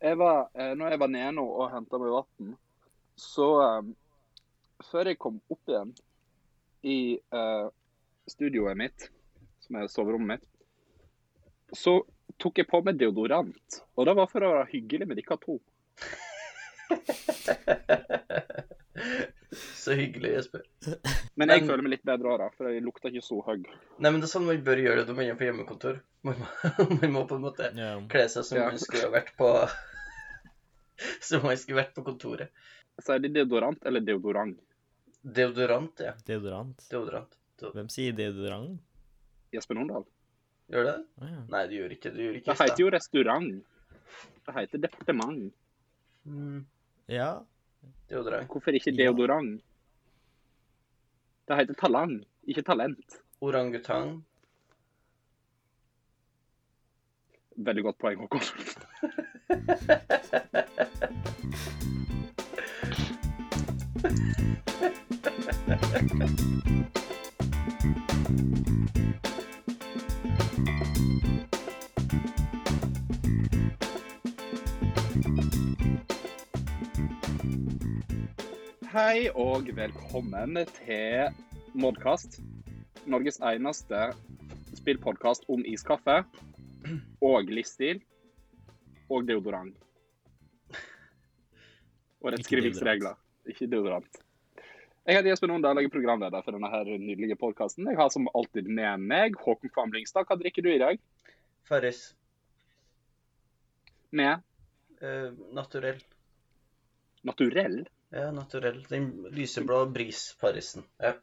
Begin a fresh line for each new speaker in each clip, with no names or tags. jeg var, eh, når jeg var nede nå og henta meg vann, så eh, Før jeg kom opp igjen i eh, studioet mitt, som er soverommet mitt, så tok jeg på meg deodorant. Og det var for å være hyggelig med dere to.
Så hyggelig, Jesper.
Men jeg
Men-
føler meg litt bedre òg, for jeg lukter ikke så høy.
Nei, men det er sånn man bør gjøre det når man er på hjemmekontor. Man må, man må på en måte
Ja.
kle seg som
Ja.
man skulle ha vært på Som man skulle vært på kontoret.
Sier de deodorant eller deodorant?
Deodorant, ja.
Deodorant.
Deodorant. Deo-
Hvem sier deodorant?
Jesper Nordahl?
Gjør det det?
Å ja.
Nei, du gjør ikke det. Du gjør ikke
Det heter jo restaurant. Det heter departement.
Mm,
ja.
deodorant.
Hvorfor ikke
Ja.
deodorant? Det heter talang, ikke talent.
Orangutang.
Veldig godt poeng, Håkon. Hei og velkommen til Modcast, Norges eneste spillpodkast om iskaffe og livsstil og deodorant. Og rettskrivingsregler. Ikke deodorant. Jeg heter Jesper Nondal, jeg er programleder for denne her nydelige podkasten. Jeg har som alltid med meg Håkon Kvam Lyngstad. Hva drikker du i dag?
Farris.
Med
Eh, naturell.
naturell?
Ja, naturell. Den lyseblå bris-farrisen. Ja.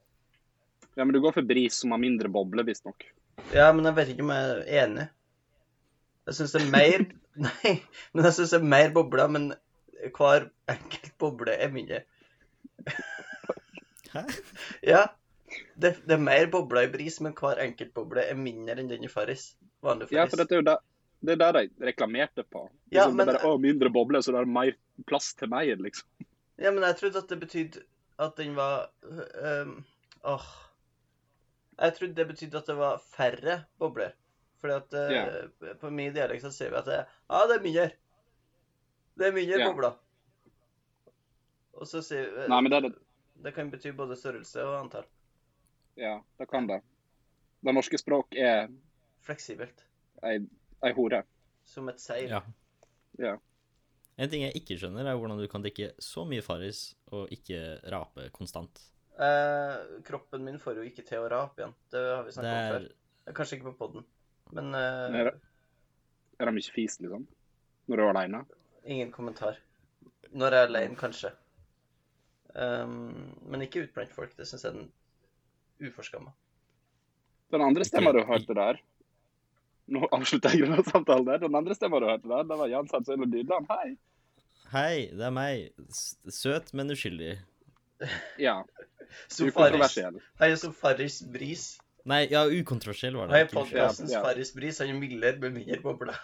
Ja, men du går for bris som har mindre boble, visstnok.
ja, men jeg vet ikke om jeg er enig. Jeg syns det er mer Nei, men jeg syns det er mer bobler, men hver enkelt boble er mindre.
Hæ?
Ja. Det, det er mer bobler i bris, men hver enkelt boble er mindre enn den i farris. Vanlig
Ja,
farris.
for dette er jo det, det er det de reklamerte på.
Ja,
Liksom, det
men-
er bare, å, mindre boble, så det er mer plass til mer, liksom.
Ja, men jeg trodde at det betydde at den var øhm, Åh. Jeg trodde det betydde at det var færre bobler. Fordi at øh, på min dialekt så sier vi at det, ah, det er mindre. Det er mindre
Ja.
bobler. Og så sier vi eh,
Nei, men det er det
Det kan bety både størrelse og antall.
Ja, det kan det. Det norske språk er
Fleksibelt.
ei, ei hore.
Som et seil.
ja.
Ja.
En ting jeg ikke skjønner, er hvordan du kan drikke så mye Farris og ikke rape konstant.
Eh, kroppen min får jo ikke til å rape igjen. Det har vi
Det
snakka om
er
før. Kanskje ikke på poden, men eh,
Nei, det- Er det mye fis, liksom? Når du er aleine?
Ingen kommentar. Når jeg er alene, kanskje. Ehm, men ikke ut blant folk. Det syns jeg er den uforskamma.
Den andre stemma du hørte der Nå avslutter jeg denne samtalen der. Den andre stemma du hørte der, det var Jan Sandsøyne Dydland. Hei!
Hei, det er meg. S- Søt, men uskyldig.
Ja,
Sofaris.
ukontroversiell.
Hei, Sofaris Bris.
Nei, ja, ukontroversiell var det.
Hei,
ikke uskyldig.
podkasten
Ja, ja.
Farris Bris. Han er mildere med mindre bobler.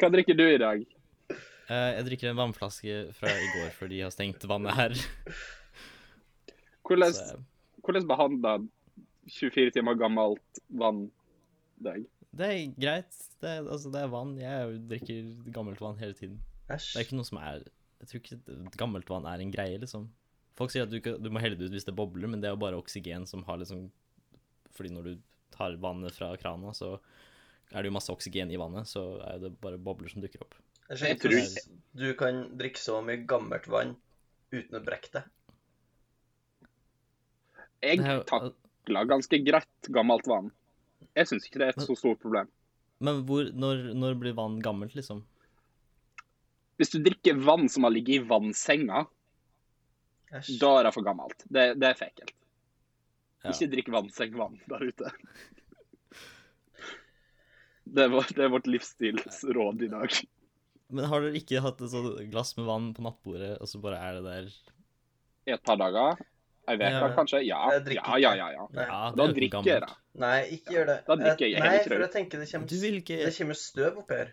Hva drikker du i dag?
Eh, Jeg drikker en vannflaske fra i går, for de har stengt vannet her.
Hvordan,
Så eh,
hvordan behandla 24 timer gammelt vann deg?
det er greit. Det er, altså, det er vann. Jeg drikker gammelt vann hele tiden. Det er
Æsj.
ikke noe som er Jeg tror ikke det- gammelt vann er en greie, liksom. Folk sier at du, ikke, du må helle det ut hvis det bobler, men det er jo bare oksygen som har liksom Fordi når du tar vannet fra krana, så er det jo masse oksygen i vannet, så er det bare bobler som dukker opp.
Jeg
Jeg
skjønner ikke hvordan du kan drikke så mye gammelt vann uten å brekke deg.
Det
Jeg
er jo-
takla ganske greit gammelt vann. Jeg syns ikke det er et så stort problem.
Men hvor, når, når blir vann gammelt, liksom?
Hvis du drikker vann som har ligget i vannsenga,
Æsj.
da er det for gammelt. Det, det er for ekkelt.
Ja.
Ikke drikk vannsengvann der ute. Det er, vårt, det er vårt livsstilsråd i dag.
Men har dere ikke hatt et sånt glass med vann på nattbordet, og så bare er det der
I et par dager? Ei uke,
Ja.
kanskje? Ja.
Jeg drikker
Ja, ja, ja. ja.
Nei.
Ja, det
Da
er jo ikke
drikker jeg,
gammelt.
Nei, ikke gjør det.
Da drikker jeg
Nei,
helt
for
rød.
jeg tenker det
Du
kommer,
vil ikke
det kommer støv oppi her.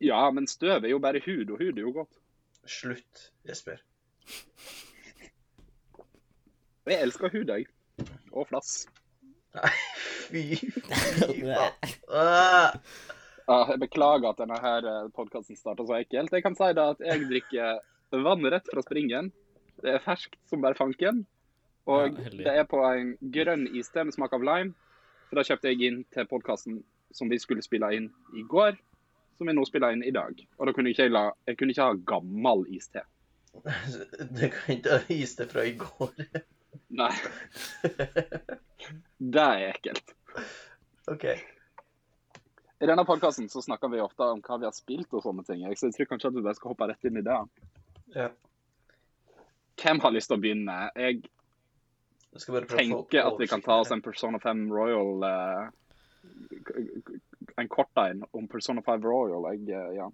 ja, men støv er jo bare hud, og hud er jo godt.
Slutt, Jesper.
Jeg elsker hud, jeg. Og flass.
Fy
Det
faen.
er-
Ah,
Ja, jeg beklager at denne her podkasten starta så ekkelt. Jeg kan si da at jeg drikker vann rett fra springen. Det er ferskt som bare fanken. Og
Ja, heldig.
det er på en grønn iste med smak av lime. For det kjøpte jeg inn til podkasten som vi skulle spille inn i går, som vi nå spiller inn i dag. Og da kunne jeg ikke, la, jeg kunne ikke ha gammel iste.
Du kan ikke ha iste fra i går.
Nei. Det er ekkelt.
OK.
I denne podkasten snakker vi ofte om hva vi har spilt og sånne ting. Så jeg tror kanskje at vi bare skal hoppe rett inn i det.
Ja.
Hvem har lyst til å begynne? Jeg
Jeg skal bare prøve å få opp
tenker at vi kan ta oss
oversikten
en Persona 5 Royal eh, En kort en om Persona 5 Royal. Jeg, eh, ja.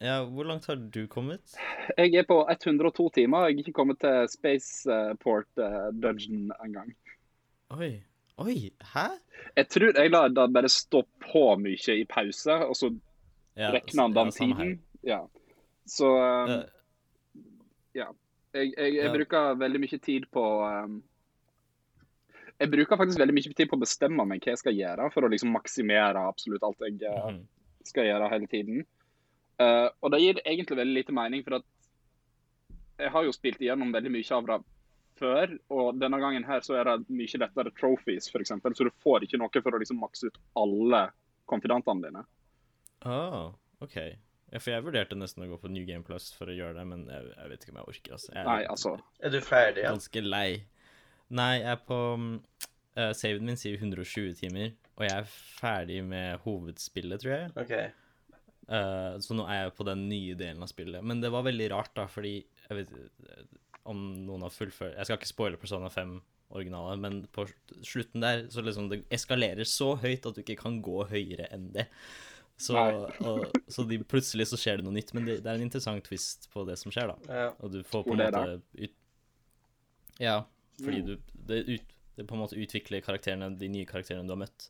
Ja, hvor langt har du kommet?
jeg er på 102 timer. Jeg er ikke kommet til Spaceport uh, Dungeon engang.
Oi. Oi, hæ?
Jeg tror jeg lar det bare stå på mye i pause, og så
Ja,
regner han
ja,
den
samme her.
tiden. Ja. Så um,
Eh,
jeg, jeg, jeg
ja.
bruker veldig mye tid på um, Jeg bruker faktisk veldig mye tid på å bestemme meg hva jeg skal gjøre, for å liksom maksimere absolutt alt jeg eh,
mhm.
skal gjøre hele tiden. Eh, og det gir egentlig veldig lite mening, for at jeg har jo spilt igjennom veldig mye av det før, og denne gangen her så er det mye lettere trophies, f.eks., så du får ikke noe for å liksom makse ut alle konfidantene dine.
Ah, OK. Ja, for jeg vurderte nesten å gå på New Game Plus for å gjøre det, men jeg, jeg vet ikke om jeg orker, altså. Jeg er
Nei, altså.
her. Er du ferdig? Ja?
ganske lei. Nei, jeg er på mm, eh, Saven min sier 120 timer, og jeg er ferdig med hovedspillet, tror jeg.
OK.
Eh, så nå er jeg på den nye delen av spillet. Men det var veldig rart, da, fordi jeg vet eh, om noen har fullført Jeg skal ikke spoile Persona 5 originale, men på slutten der så liksom det eskalerer så høyt at du ikke kan gå høyere enn det. Så,
Nei.
og, så de, plutselig så skjer det noe nytt, men det, det er en interessant twist på det som skjer, da.
Ja.
Og du får på en
Hvor det
måte
da?
ut... Ja, fordi
Mm.
du det, ut, det på en måte utvikler karakterene, de nye karakterene du har møtt,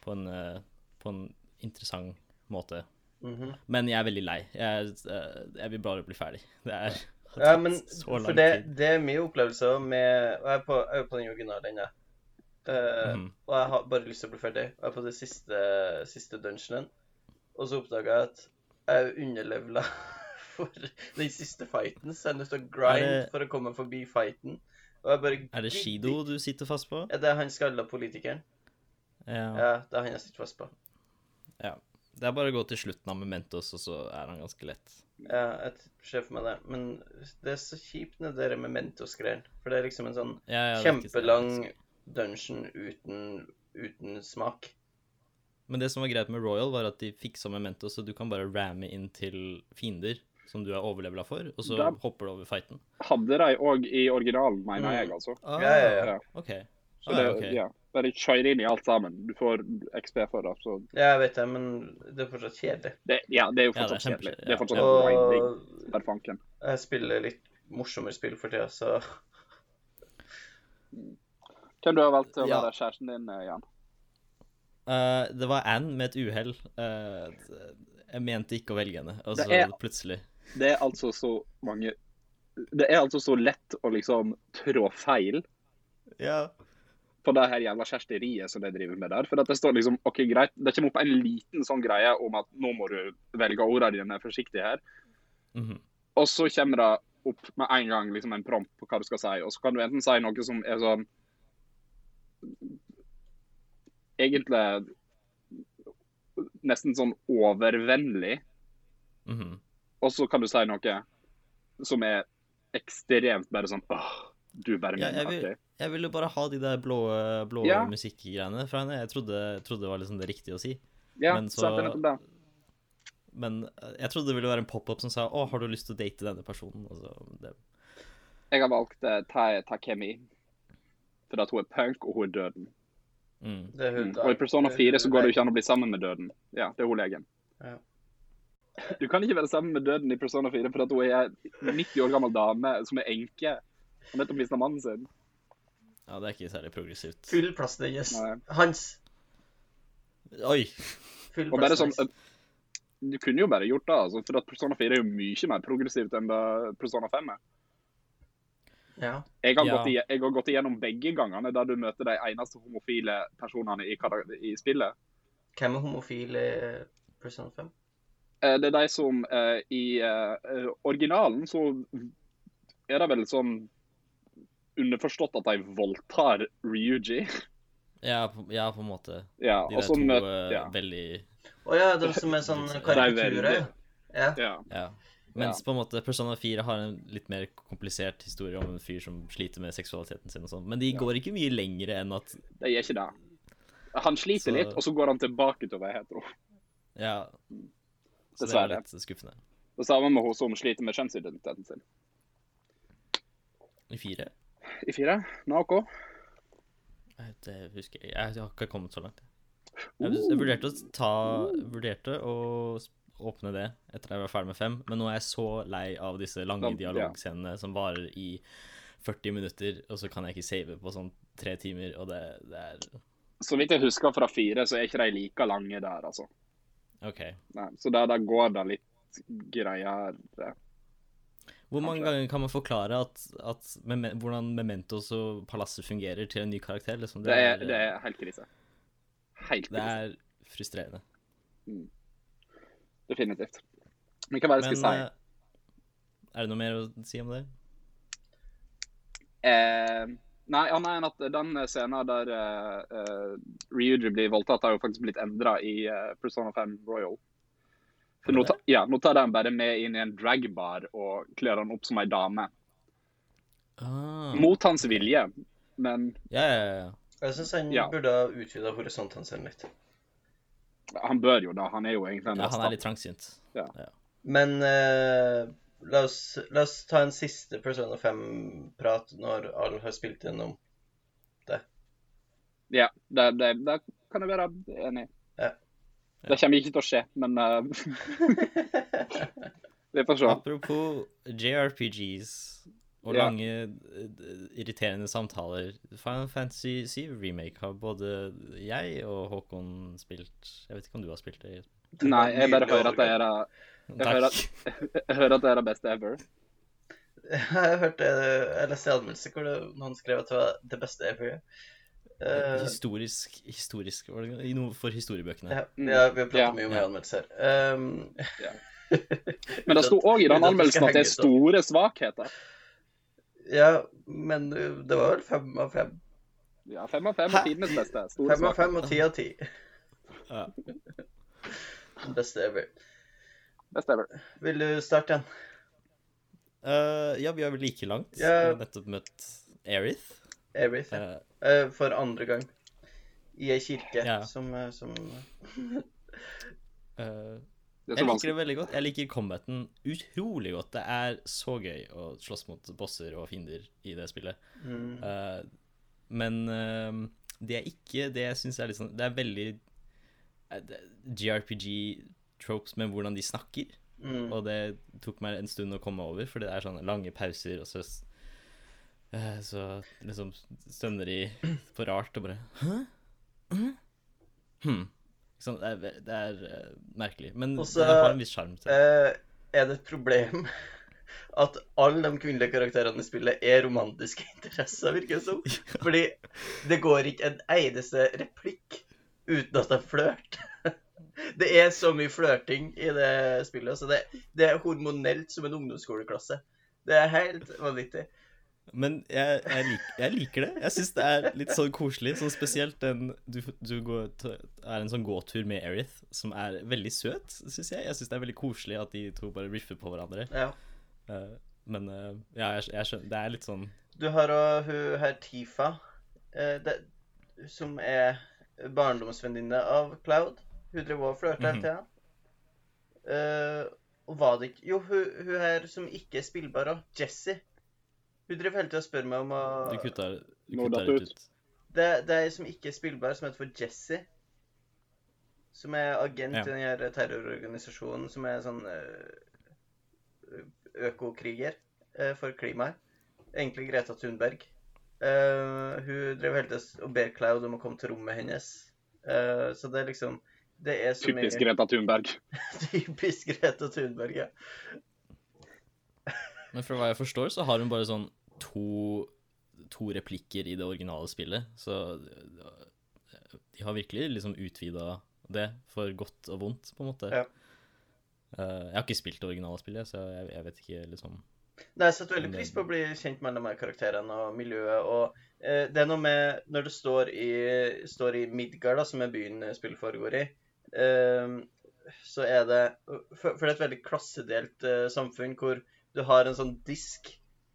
på en, eh, på en interessant måte.
mhm.
Men jeg er veldig lei. Jeg, eh, jeg vil bare bli ferdig. Det er har
ja,
tatt
men
så lang
for det,
tid.
det er min opplevelse også med Og jeg er på, jeg er på den originale ennå. Eh,
Mhm.
Og jeg har bare lyst til å bli ferdig. Jeg er på det siste, siste dungeonen. Og så oppdaga jeg at jeg er underlevela for den siste fighten. Så jeg er nødt til å grind
Er det-
for å komme forbi fighten. Og jeg bare
Er det
gidder
Shido du sitter fast på?
Ja, det er han skalla politikeren.
Ja.
Ja, det er han jeg sitter fast på.
Det er bare å gå til slutten av Mementos, og så er han ganske lett.
Ja, jeg t- ser for meg det. Men det er så kjipt med det der med Mentos-greier. For det er liksom en sånn
Ja, ja, det er ikke-
kjempelang dungeon uten, uten smak.
Men det som var greit med Royal, var at de fiksa Memento, så du kan bare ramme inn til fiender som du er overlevela for, og så
Da-
hopper du over fighten.
Hadde de òg i originalen, mener jeg, altså.
Ah,
Ja, ja,
ja.
OK.
Så
Ah,
det,
ok.
ja, bare kjør inn i alt sammen. Du får XP for det. Så
Ja, jeg vet det, men det er fortsatt kjedelig.
det, ja, det er jo
Ja, det er
fortsatt
kjempe-
kjedelig.
ja.
Det er fortsatt grinding.
Og
Der fanken.
jeg spiller litt morsommere spill for tida, så
Hvem du har valgt til å
Ja.
være kjæresten din, eh, Jan?
Eh, det var Anne med et uhell. Eh, jeg mente ikke å velge henne, og
Det
så
er-
plutselig
Det er altså så mange Det er altså så lett å liksom trå feil
Ja.
på det her jævla kjæresteriet som de driver med der. For at det står liksom OK, greit. Det kommer opp en liten sånn greie om at nå må du velge ordene dine forsiktig her.
Mhm.
Og så kommer det opp med en gang liksom en prompt på hva du skal si. Og så kan du enten si noe som er sånn Egentlig nesten sånn overvennlig,
mhm.
og så kan du si noe som er ekstremt bare sånn Åh, du bare
Ja,
mener
jeg,
at
vil,
det
jeg ville bare ha de der blå, blå
Ja.
musikkgreiene fra henne. Jeg trodde, trodde det var liksom det riktige å si.
Ja,
men
så,
så-
det er nettopp det.
Men eh, jeg trodde det ville være en pop-up som sa 'Å, har du lyst til å date denne personen?' Og så, det,
Jeg har valgt eh, Ta- Takemi. Fordi at hun er punk, og hun er døden.
mm.
det er hun
Mm. Og i Persona 4 så går det jo ikke an å bli sammen med døden. Ja, det er hun legen.
Ja.
Du kan ikke være sammen med døden i Persona 4 fordi at hun er en 90 år gammel dame som er enke. Og nettopp mista mannen sin.
Ja, det er ikke særlig progressivt.
Fyll plassen hennes.
Nei.
Hans.
Oi!
Fyll
Og bare
plassen
sånn eh,
hennes.
Du kunne jo bare gjort det, altså, for at Persona 4 er jo mye mer progressivt enn det Persona 5 er.
Ja.
Jeg har,
Ja.
gått, ige- jeg har gått igjennom begge gangene der du møter de eneste homofile personene i, karak- i spillet.
Hvem er homofil i Persona 5?
Eh, Det er de som eh, I eh, eh, originalen så er det vel sånn underforstått at de voldtar Ryuji.
Ja, på, ja, på en måte.
Ja,
De
og
der
så
to
møter
eh,
Altså, ja.
veldig
Å ja, de som er sånn
Det er
karikaturer? Ja.
ja.
Ja. Mens på en måte Persona 4 har en litt mer komplisert historie om en fyr som sliter med seksualiteten sin og sånn, men de går ikke mye lenger enn at
De gjør ikke det. Han sliter
Så-
litt, og så går han tilbake til å være hetero.
Ja. Så det
Dessverre.
er litt skuffende.
Det samme med hun som sliter med kjønnsidentiteten sin.
I fire?
I fire, Naoko.
Nei, Det husker jeg Jeg har ikke kommet så langt.
Oh.
Jeg, jeg vurderte å ta Vurderte å s- åpne det etter at jeg var ferdig med fem, men nå er jeg så lei av disse lange
Sant, ja.
dialogscenene som varer i 40 minutter, og så kan jeg ikke save på sånn tre timer, og det, det er
Så vidt jeg husker fra fire, så er ikke de like lange der, altså.
OK.
Nei, så der, der går det litt greiere.
Hvor mange
Kanskje.
ganger kan man forklare at, at meme- hvordan Mementos og palasset fungerer til en ny karakter? Liksom?
Det er, det er helt krise. Helt
det
krise.
er frustrerende.
Definitivt. Men hva var det jeg skulle
eh, er det noe mer å si om det?
si? Eh, nei, annet enn at den scenen der eh, eh, Ryuji blir voldtatt, har jo faktisk blitt endra i eh, Persona 5 Royal. For nå, ta, ja, nå tar de han bare med inn i en dragbar og kler han opp som ei dame.
Ah,
Mot hans vilje, men
ja, ja, ja, ja.
Jeg syns han
Ja.
burde ha utvida horisonten sin litt.
han bør jo det. Han er jo egentlig en
ja. Han
rasta.
er litt trangsynt.
Men eh, la, oss, la oss ta en siste Persona 5-prat når alle har spilt gjennom.
Ja, det, det, det kan jeg være enig i.
Ja.
Det kommer ikke til å skje, men eh, Vi får se.
Apropos JRPGs og
Ja.
lange, eh, irriterende samtaler. Final Fantasy 7 Remake har både jeg og Håkon spilt. Jeg vet ikke om du har spilt det? Jesper.
Det var
Nei, jeg bare
nydelig
hører at det er det- hører
Takk.
jeg hører at det er det beste ever.
Jeg hørte, jeg leste en anmeldelse hvor det, noen skrev at det var det beste ever. Eh,
Historisk, historisk var det noe for historiebøkene.
ja, vi har, vi har pratet
Ja.
mye om
Ja.
anmeldelser. Um,
Men det sto òg i den
Uten at det
anmeldelsen
skal
at det er
henge ut,
store
da.
svakheter.
ja, men uh, det var vel fem av fem.
Ja, fem av fem
Hæ?
er tidenes beste. Store
Fem av
svakheter.
fem og ti av ti.
Ja.
Beste ever.
Best ever.
Vil du starte igjen?
Eh, ja, vi er vel like langt.
Ja.
Jeg har nettopp møtt Aerith.
Everything.
Eh,
Eh, for andre gang. I ei kirke
Ja.
som, eh, som
eh,
Det er så
jeg liker
vanskelig.
det veldig godt. Jeg liker combaten utrolig godt. Det er så gøy å slåss mot bosser og fiender i det spillet.
mm,
Eh, men eh, det er ikke det jeg syns er litt sånn Det er veldig eh, det- GRPG-tropes med hvordan de snakker,
mm.
og det tok meg en stund å komme over, for det er sånne lange pauser, og så s- eh, Så liksom stønner de på rart og bare Hæ? Hæ? Hm. Ikke sant? det er, ve- det er eh, merkelig. Men
Og
det
så-
har en viss sjarm til det.
Eh, er det et problem at alle de kvinnelige karakterene i spillet er romantiske interesser, virker det som? Fordi det går ikke en eneste replikk uten at de flørter. Det er så mye flørting i det spillet. Så det, det er hormonelt som en ungdomsskoleklasse. Det er helt vanvittig.
Men jeg, jeg, lik, jeg liker det. Jeg syns det er litt sånn koselig. Sånn spesielt den Du, du går, t- er en sånn gåtur med Erith, som er veldig søt, syns jeg. Jeg syns det er veldig koselig at de to bare riffer på hverandre.
Ja.
Eh, men eh, ja, jeg, jeg skjønner Det er litt sånn
Du har òg hun her Tifa, eh, det, som er barndomsvenninne av Cloud. Hun driver og flørter hele
Mhm.
tida. Eh, og var det ikke Jo, hun, hun her som ikke er spillbar òg, Jesse. Hun driver hele tida og spør meg om å
Du kutta, du
Nå
kutta
datt
litt
ut.
ut.
det, det er ei som ikke er spillbar, som heter for Jesse. Som er agent
Ja.
i den her terrororganisasjonen som er sånn eh, økokriger eh, for klimaet. Egentlig Greta Thunberg. Eh, hun drev hele tiden og ber Cloud om å komme til rommet hennes. Eh, så det er liksom Det er så
Typisk
mye
Greta Thunberg.
Typisk Greta Thunberg, ja.
Men fra hva jeg forstår, så har hun bare sånn to, to replikker i det originale spillet, så de har virkelig liksom utvida det for godt og vondt, på en måte.
Ja.
Eh, jeg har ikke spilt det originale spillet, så jeg, jeg vet ikke liksom
Nei, jeg setter veldig pris på å bli kjent med de her karakterene og miljøet. og eh, Det er noe med når det står i, står i Midgard, da, som er byen spillet foregår i, eh, så er det For for det er et veldig klassedelt eh, samfunn hvor du har en sånn disk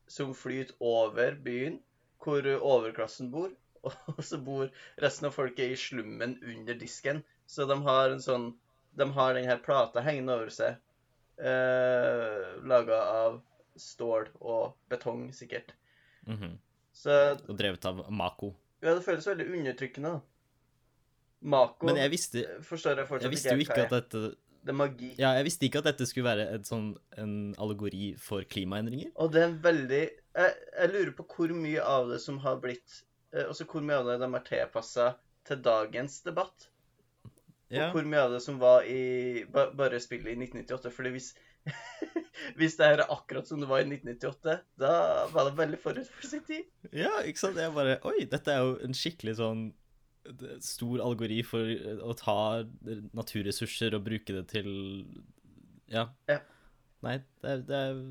som flyter over byen, hvor overklassen bor. Og så bor resten av folket i slummen under disken. Så de har en sånn De har den her plata hengende over seg, eh, laga av stål og betong, sikkert.
mhm.
Så
Og drevet av Mako.
ja, det føles veldig undertrykkende. da. Mako
Men jeg visste,
forstår jeg
jeg
fortsatt
visste jo ikke at
det...
dette
det er magi.
Ja, jeg visste ikke at dette skulle være et sånn, en allegori for klimaendringer.
Og det er en veldig jeg, jeg lurer på hvor mye av det som har blitt eh, Altså hvor mye av det de har tilpassa til dagens debatt. Og hvor mye av det som var i ba, bare spillet i 1998. Fordi hvis, hvis det her er akkurat som det var i 1998, da var det veldig forut for sin tid.
Ja, ikke sant? Jeg bare Oi, dette er jo en skikkelig sånn det- stor algori for eh, å ta naturressurser og bruke det til Ja.
Ja.
Nei, det er, det er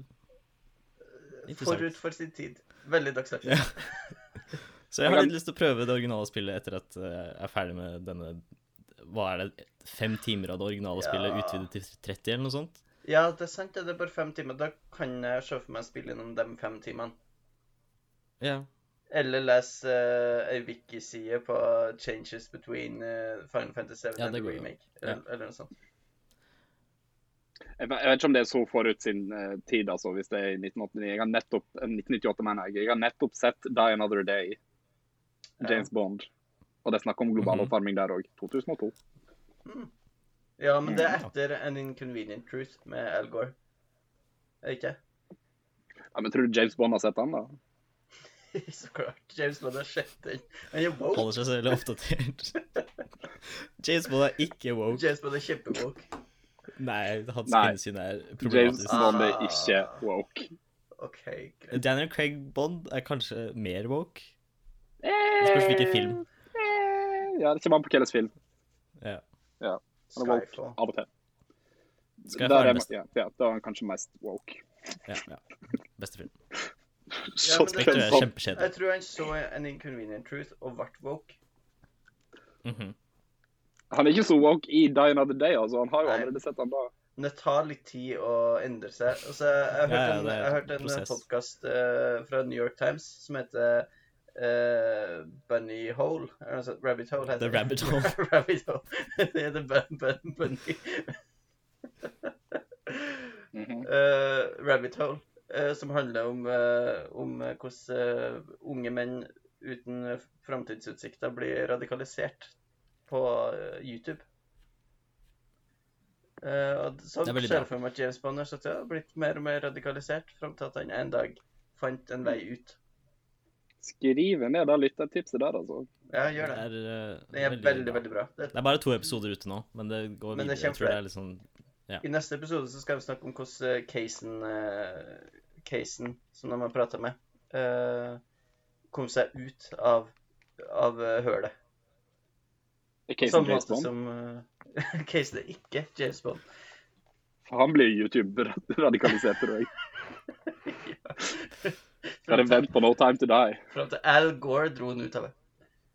Interessant.
Forut for sin tid. Veldig dagsaktuelt.
Ja. Så jeg har litt lyst til å prøve det originale spillet etter at eh, jeg er ferdig med denne Hva er det? Fem timer av det originale spillet
Ja.
utvidet til 30, eller noe sånt?
Ja, det er sant. det. Det er bare fem timer. Da kan jeg se for meg å spille gjennom de fem timene.
Ja.
Eller lese uh, ei wiki-side på Changes Between eh, Final Fantasy 7
Ja,
and
det
the
går jo.
Remake.
Ja.
Eller, eller noe sånt.
Jeg vet jeg vet ikke om det er så forut sin eh, tid, altså, hvis det er i 1989. Jeg har nettopp, eh, 1998, mener jeg. Jeg har nettopp sett Die Another Day, James Bond. Og det er snakk om global
Mhm.
oppvarming der òg. 2002.
Ja, men det er
Ja.
etter An Inconvenient Truth med Al Gore. Er det ikke?
Ja, men tror du James Bond har sett den, da?
Så klart. James Bond har sett den. Han er woke.
Holder seg selv oppdatert. James Bond er ikke woke.
James Bond er kjempewoke.
Nei, hans
Nei.
kvinnesyn er
James
problematisk.
Bond er
Ah.
ikke woke.
OK, greit.
Daniel Craig Bond er kanskje mer woke. Det spørs hvilken film.
Eh, Ja, det kommer an på hvilken film.
Ja.
Han er woke
Skyfall.
av og til.
Skyfall
Der
er
er
den
ma-
beste.
ja, ja, da er han kanskje mest woke.
Ja, ja. Beste film.
Shots
men det-
Spekter er
fired.
kjempekjedelig.
Jeg tror han så An Inconvenient Truth og ble woke.
Mhm.
Han er ikke så woke i Die Another Day, altså. Han har jo
Nei.
allerede sett den da.
Men det tar litt tid å endre seg. Altså, jeg
Ja, ja,
hørte
det er
en, jeg
en
hørte en
prosess.
podkast fra New York Times som heter eh, Bunny Hole. Eller noe sånt. Rabbit Hole heter
The Rabbit Hole.
Rabbit Hole. det heter bun, bun, Bunny.
Mhm.
Eh, Rabbit Hole, eh, som handler om, eh, om eh, hvordan eh, unge menn uten framtidsutsikter blir radikalisert på eh, YouTube. Eh, og så
Det er veldig
ser
bra.
jeg for meg at James Bond har sagt, ja, blitt mer og mer radikalisert fram til at han en dag fant en vei ut.
Skriv ned det lyttertipset der, altså.
Ja, gjør
Det
det.
er, eh,
Det er veldig, veldig bra. Det,
Det er bare to episoder ute nå, men det går
Men
videre.
det er
Jeg tror det
kjempebra.
er litt sånn
I neste episode så skal vi snakke om hvordan eh, casen, eh, casen som de har prata med, eh, kom seg ut av, av eh, hølet. På
Casen
samme
James
måte
Bond.
som uh, casen er ikke James Bond.
Han blir YouTube-radikalisert, tror jeg. Bare vent på No Time To Die.
Fram til Al Gore dro han ut av det.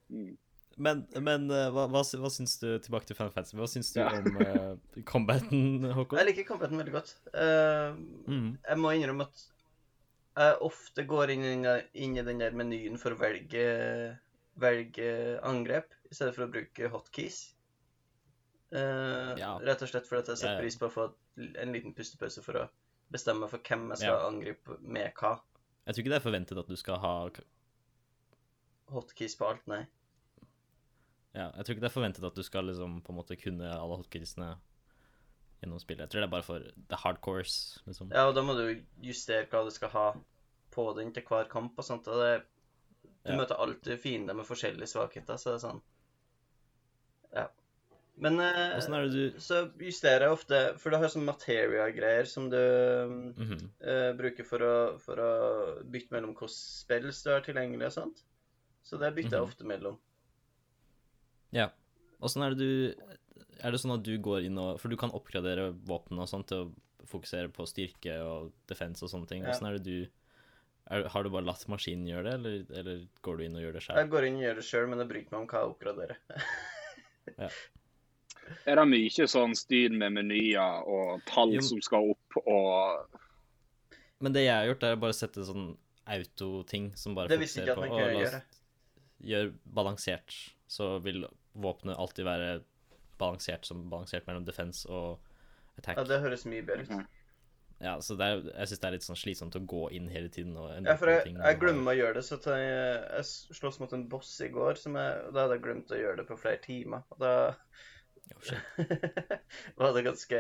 Mm.
Men, men eh, hva, hva, sy- hva syns du tilbake til Final Fantasy? Hva syns du
Ja.
om eh, combaten, Håkon?
Jeg liker combaten veldig godt. Eh,
Mhm.
jeg må innrømme at jeg ofte går inn, i den der- inn i den der menyen for å velge, velge angrep, i stedet for å bruke hotkeys. Eh,
Ja.
Rett og slett fordi at jeg
Ja,
setter
ja.
pris på å få et- en liten pustepause for å bestemme meg for hvem jeg skal
Ja.
angripe med hva.
Jeg tror ikke det er forventet at du skal ha
Hotkeys på alt, nei.
ja, Jeg tror ikke det er forventet at du skal liksom på en måte kunne alle hotkeysene gjennom spillet. Jeg tror det er bare for the hardcores, liksom.
Ja, og da må du justere hva du skal ha på den til hver kamp og sånt. Og det, du
Ja.
møter alltid fiender med forskjellige svakheter, så det er sånn Men eh,
Åssen er det du
så justerer jeg ofte For du har sånn materia-greier som du mm,
Mhm.
eh, bruker for å, for å bytte mellom hvilke spills du har tilgjengelig og sånt. Så det bytter jeg
Mhm.
ofte mellom.
Ja. Åssen er det du Er det sånn at du går inn og For du kan oppgradere våpen og sånt til å fokusere på styrke og defense og sånne ting.
Ja.
Åssen er det du er, Har du bare latt maskinen gjøre det, eller, eller går du inn og gjør det sjøl?
Jeg går inn og gjør det sjøl, men jeg bryr meg om hva jeg oppgraderer.
Er det mye sånn styr med menyer og tall
Jo.
som skal opp og
Men det jeg har gjort, er å bare sette sånn autoting som bare
Det visste ikke jeg at
fokuserer på
man kunne
«Å, la oss
gjøre.
gjøre balansert, så vil våpenet alltid være balansert som balansert mellom defense og attack.
Ja,
Ja,
det høres mye bedre ut.
Mhm.
så det er, jeg syns det er litt sånn slitsomt å gå inn hele tiden og endre
Ja, for jeg,
ting man
jeg
har.
glemmer å gjøre det, så at jeg, jeg slåss mot en boss i går, som jeg, og da hadde jeg glemt å gjøre det på flere timer. Og da
Oh, shit.
var det ganske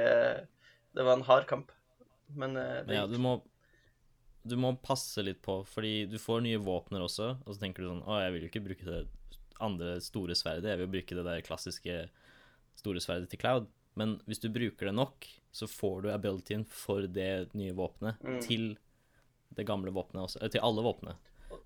Det var en hard kamp. Men eh,
Men
det
ja,
gikk.
du må, du må passe litt på, fordi du får nye våpner også, og så tenker du sånn Å, jeg vil jo ikke bruke det andre store sverdet, jeg vil jo bruke det der klassiske store sverdet til Cloud. Men hvis du bruker det nok, så får du abilityen for det nye våpenet
Mm.
til det gamle våpenet også, eh, til alle våpnene.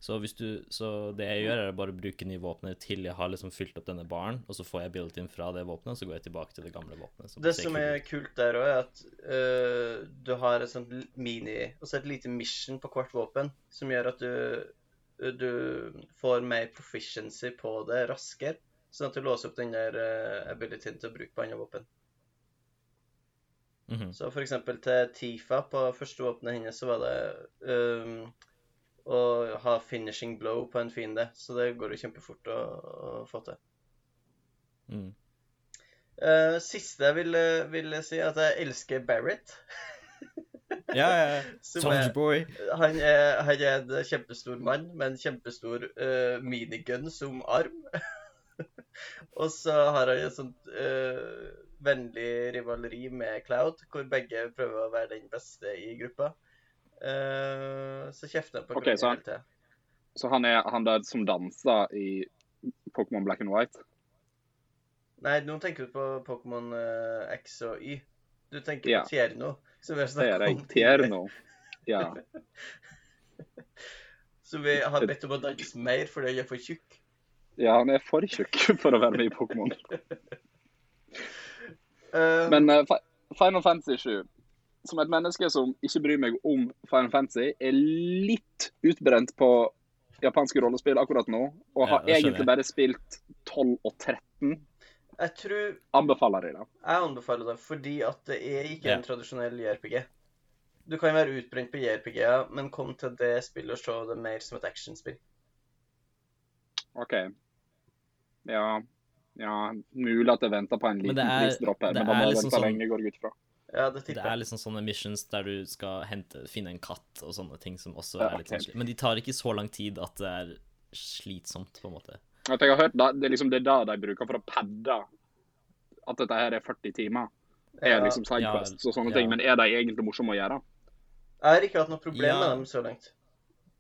Så, hvis du, så det jeg gjør, er bare å bruke nye våpner til jeg har liksom fylt opp denne baren, og så får jeg abilityen fra det våpenet, og så går jeg tilbake til det gamle våpenet. så
Det
ser
som
kult ut.
er kult der òg, er at eh, du har et sånt l- mini Altså et lite mission på hvert våpen som gjør at du du får mer proficiency på det raskere. Sånn at du låser opp den der eh, abilityen til å bruke på andre våpen.
Mhm.
Så for eksempel til Tifa på første våpenet hennes så var det um, å ha finishing blow på en fiende, så det går jo kjempefort å, å få til.
Mm.
Eh, siste jeg ville, ville si, er at jeg elsker Barrett.
Ja, ja, ja.
som
Soldier
er,
Boy.
han, er, han er en kjempestor mann med en kjempestor eh, minigun som arm. Og så har han et sånt eh, vennlig rivaleri med Cloud, hvor begge prøver å være den beste i gruppa. Eh, så kjefter han på
Ok,
Cloud
så han-
hele tida.
Så han er han der som danser i Pokémon Black and White?
Nei, nå tenker du på Pokémon eh, X og Y. Du tenker
Ja.
på Tierno. Som vi har
Det er
snakket
ei
om tidligere,
Tierno. Ja.
Som vi har bedt om å danse mer fordi han er for tjukk.
ja, han er for tjukk for å være med i Pokémon.
Eh,
Men eh, Fi- Final Fantasy 7 Som et menneske som ikke bryr meg om Final Fantasy, er litt utbrent på japanske rollespill akkurat nå, og
Ja,
har
det skjønner
egentlig
jeg.
bare spilt 12 og 13.
jeg tror
Anbefaler jeg det.
Jeg anbefaler det fordi at det er ikke
Ja.
en tradisjonell JRPG. Du kan være utbrent på JRPG-er, men kom til det spillet og se det mer som et actionspill.
OK. Ja. Ja, mulig at jeg venter på en
Men
liten
det er-
prisdropp her,
det
men da må
er
jeg
liksom
vente
sånn-
lenge, går jeg ut fra.
Ja, det
Det
tipper
er
jeg.
liksom sånne missions der du skal hente, finne en katt og sånne ting som også
Ja,
er litt
ok.
vanskelig. Men de tar ikke så lang tid at det er slitsomt, på en måte.
At jeg har hørt da, Det er liksom det er da de bruker for å padde at dette her er 40 timer. Er
Ja.
liksom sidequests og sånne
ja.
ting. Men er de egentlig morsomme å gjøre?
Jeg har ikke hatt noe problem
Ja.
med dem så langt.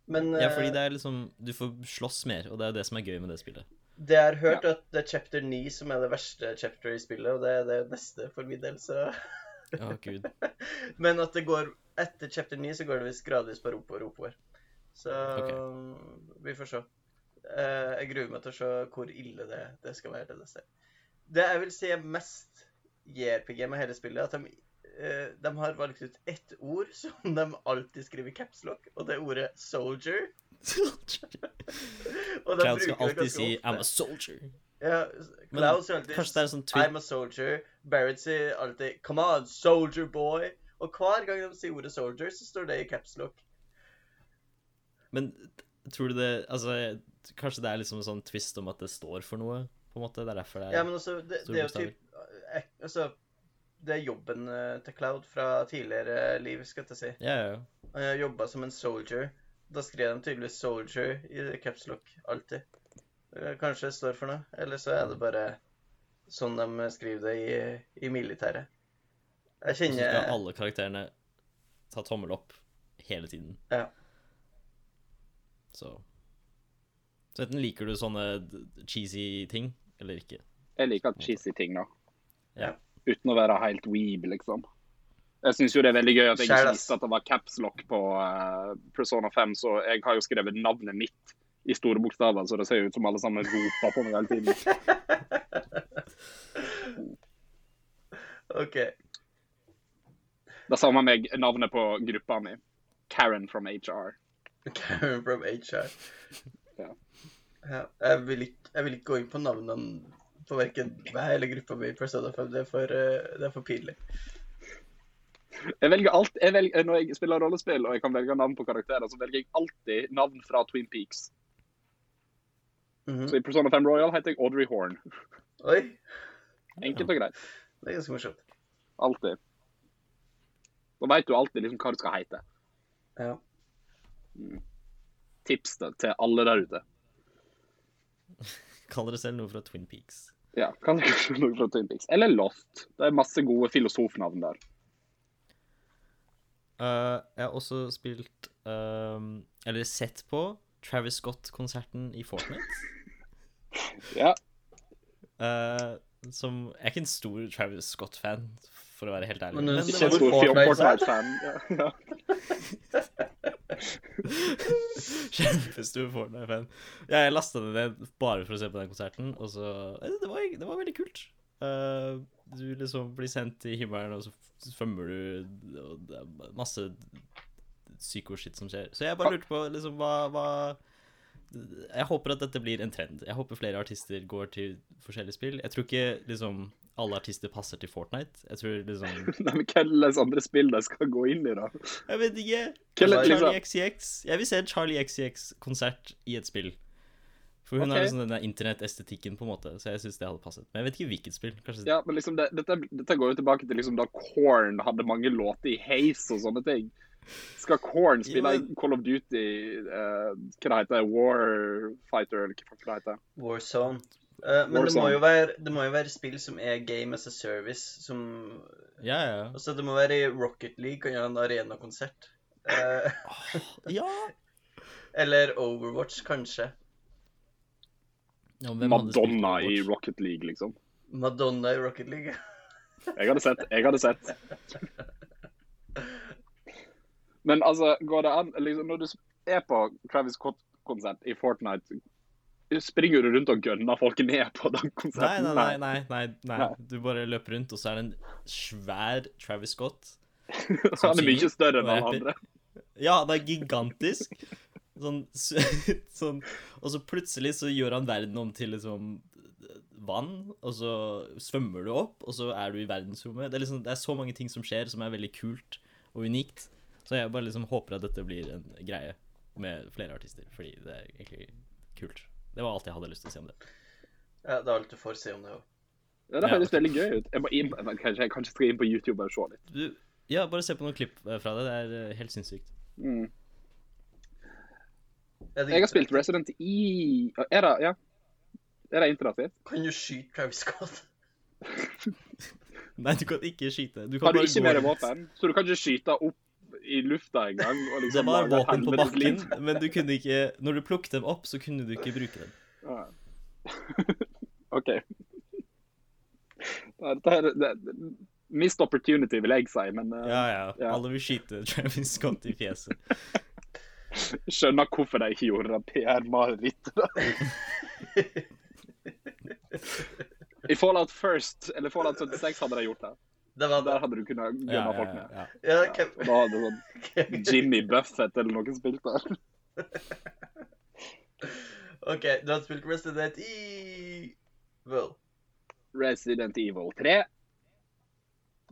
Men
Ja, fordi
eh,
det er liksom Du får slåss mer, og det er jo det som er gøy med det spillet.
eh, Det jeg har hørt at det er chapter 9 som er det verste chapter i spillet, og det er det neste for min del, så
Å, gud.
Men at det går etter chapter 9, så går det visst gradvis bare oppover og oppover. Så
Ok.
vi får se. Eh, jeg gruer meg til å se hvor ille det, det skal være. Det, neste. det jeg vil si er mest JRPG med hele spillet, er at de, eh, de har valgt ut ett ord som de alltid skriver i caps lock, og det er ordet 'soldier'. Og de bruker
Cloud skal
det ganske
alltid si
ofte.
'I'm a soldier'.
Ja,
Men
Cloud sier alltid
Kanskje det er en sånn tweet
I'm a soldier. Barrett sier alltid 'Come on, soldier boy'. Og hver gang de sier ordet 'soldier', så står det i caps lock.
Men tror du det Altså, jeg- kanskje det er liksom en sånn twist om at det står for noe, på en måte? Det er derfor det er
Ja, men altså, det,
Store
det er jo
bokstaver.
typ eh, altså, Det er jobben eh, til Cloud fra tidligere liv, skal jeg til å si.
Ja, ja, ja.
Han har jobba som en soldier. Da skrev de tydeligvis 'soldier' i caps lock alltid. Eh, Kanskje det står for noe, eller så er det bare sånn de skriver det i, i militæret. Jeg
Og så skal
kjenner
alle karakterene ta tommel opp hele tiden.
Ja.
Så Så enten liker du sånne d- cheesy ting, eller ikke.
Jeg liker cheesy ting, da.
Ja.
Uten å være helt weeb, liksom. Jeg syns jo det er veldig gøy at jeg ikke
Skjælas.
visste at det var capslock på eh, Persona 5, så jeg har jo skrevet navnet mitt i store bokstaver, så det ser jo ut som alle sammen roper på meg hele tiden.
OK.
Det samme med navnet på gruppa mi. Karen from HR.
Karen from HR.
Ja.
Ja, jeg, vil ikke, jeg vil ikke gå inn på navnene på verken meg eller gruppa mi i Persona 5. Det er for, eh, det er for pinlig.
Jeg velger alt, jeg velger, Når jeg spiller rollespill og jeg kan velge navn på karakterer, så velger jeg alltid navn fra Twin Peaks.
Mhm.
Så i Persona 5 Royal heter jeg Audrey Horn.
Oi,
Enkelt og greit.
det er ganske morsomt.
Alltid. Da veit du alltid liksom hva du skal hete.
Ja.
Tips da, til alle der ute.
Kall dere selv noe fra Twin Peaks.
Ja, kan dere kanskje noe fra Twin Peaks. Eller Lost. Det er masse gode filosofnavn der.
Eh, jeg har også spilt ehm, Eller sett på Travis Scott-konserten i Fortnite.
Ja,
Eh, som Jeg er ikke en stor Travis Scott-fan, for å være helt ærlig.
Men, eh,
Men
ikke
var
en stor
jo Fortnite,
Fortnite-fan. Ja, ja.
kjempestor Fortnite-fan. Ja, jeg lasta det ned bare for å se på den konserten, og så eh, Det var, det var veldig kult. Eh, du liksom blir sendt til himmelen, og så svømmer du, og det er masse psyko-shit som skjer. Så jeg bare lurte på liksom hva, hva jeg håper at dette blir en trend. Jeg håper flere artister går til forskjellige spill. Jeg tror ikke liksom alle artister passer til Fortnite. Jeg tror liksom
Nei, men Hva slags andre spill de skal gå inn i, da?
Jeg vet ikke.
Hvem er det,
Charlie
liksom?
XCX. Jeg vil se en Charlie XCX-konsert i et spill. For hun
Ok.
har liksom den der internettestetikken, på en måte, så jeg syns det hadde passet. Men jeg vet ikke hvilket spill. Kanskje
Ja, men liksom, det, dette, dette går jo tilbake til liksom da Korn hadde mange låter i Haze og sånne ting. Skal Korn spille
Ja, men-
Call of Duty eh, Hva det heter det? Warfighter, eller hva faen det heter?
Warzone. Eh, men Det, må
Warzone.
jo være, det må jo være spill som er game as a service. Som,
Ja, ja.
altså Det må være i Rocket League kan gjøre en arenakonsert. Eh,
Ja!
eller Overwatch, kanskje.
ja men hvem hadde spilt
Madonna i
Overwatch?
Rocket League, liksom.
Madonna i Rocket League.
Jeg hadde sett. Jeg hadde sett. Men altså, går det an liksom, Når du er på Travis Scott-konsert i Fortnite, springer du rundt og gønner folk ned på den
Nei,
konserten?
nei, nei, nei, nei, nei.
Nei.
Du bare løper rundt, og så er det en svær Travis Scott. som
Han er mye
synger
større enn
og
alle
rapper.
andre.
Ja, det er gigantisk. Sånn, s- sånn Og så plutselig så gjør han verden om til liksom vann, og så svømmer du opp, og så er du i verdensrommet. Det er, liksom, det er så mange ting som skjer som er veldig kult og unikt. Så jeg bare liksom håper at dette blir en greie med flere artister, fordi det er egentlig kult. Det var alt jeg hadde lyst til å si om det.
Ja, det er alt du får se om det òg.
Ja, det
Ja.
høres veldig gøy ut. Jeg må inn, men kanskje, jeg kanskje skal inn på YouTube og se litt.
Du, ja, bare se på noen klipp eh, fra det. Det er eh, helt sinnssykt.
Mm. Jeg har spilt Resident E... Er det, ja. Er det interaktivt?
Kan du skyte Travis Scott?
Nei, du kan ikke skyte. Du kan
Har du
bare
ikke
gå
mer
rundt.
våpen, så du kan ikke skyte opp i lufta engang? og
Det
Liksom
var
lage et
våpen på
helvetes
bakken,
liv?
men du kunne ikke Når du plukket dem opp, så kunne du ikke bruke dem.
Ja. OK. Dette her, det, det- missed opportunity, vil jeg si, men eh,
Ja, ja.
Ja.
Alle vil skyte Travis Scott i fjeset.
skjønner hvorfor de ikke gjorde det PR-marerittet. I Fallout First, eller Fallout 76 hadde de gjort det.
Det var
Der
det.
hadde du kunnet gønne
Ja, ja,
folk med.
ja.
Ja,
Ja,
hvem-
og da hadde sånn Jimmy Buffett eller noen spilt der.
OK, du har spilt Resident i Well.
Resident Evil 3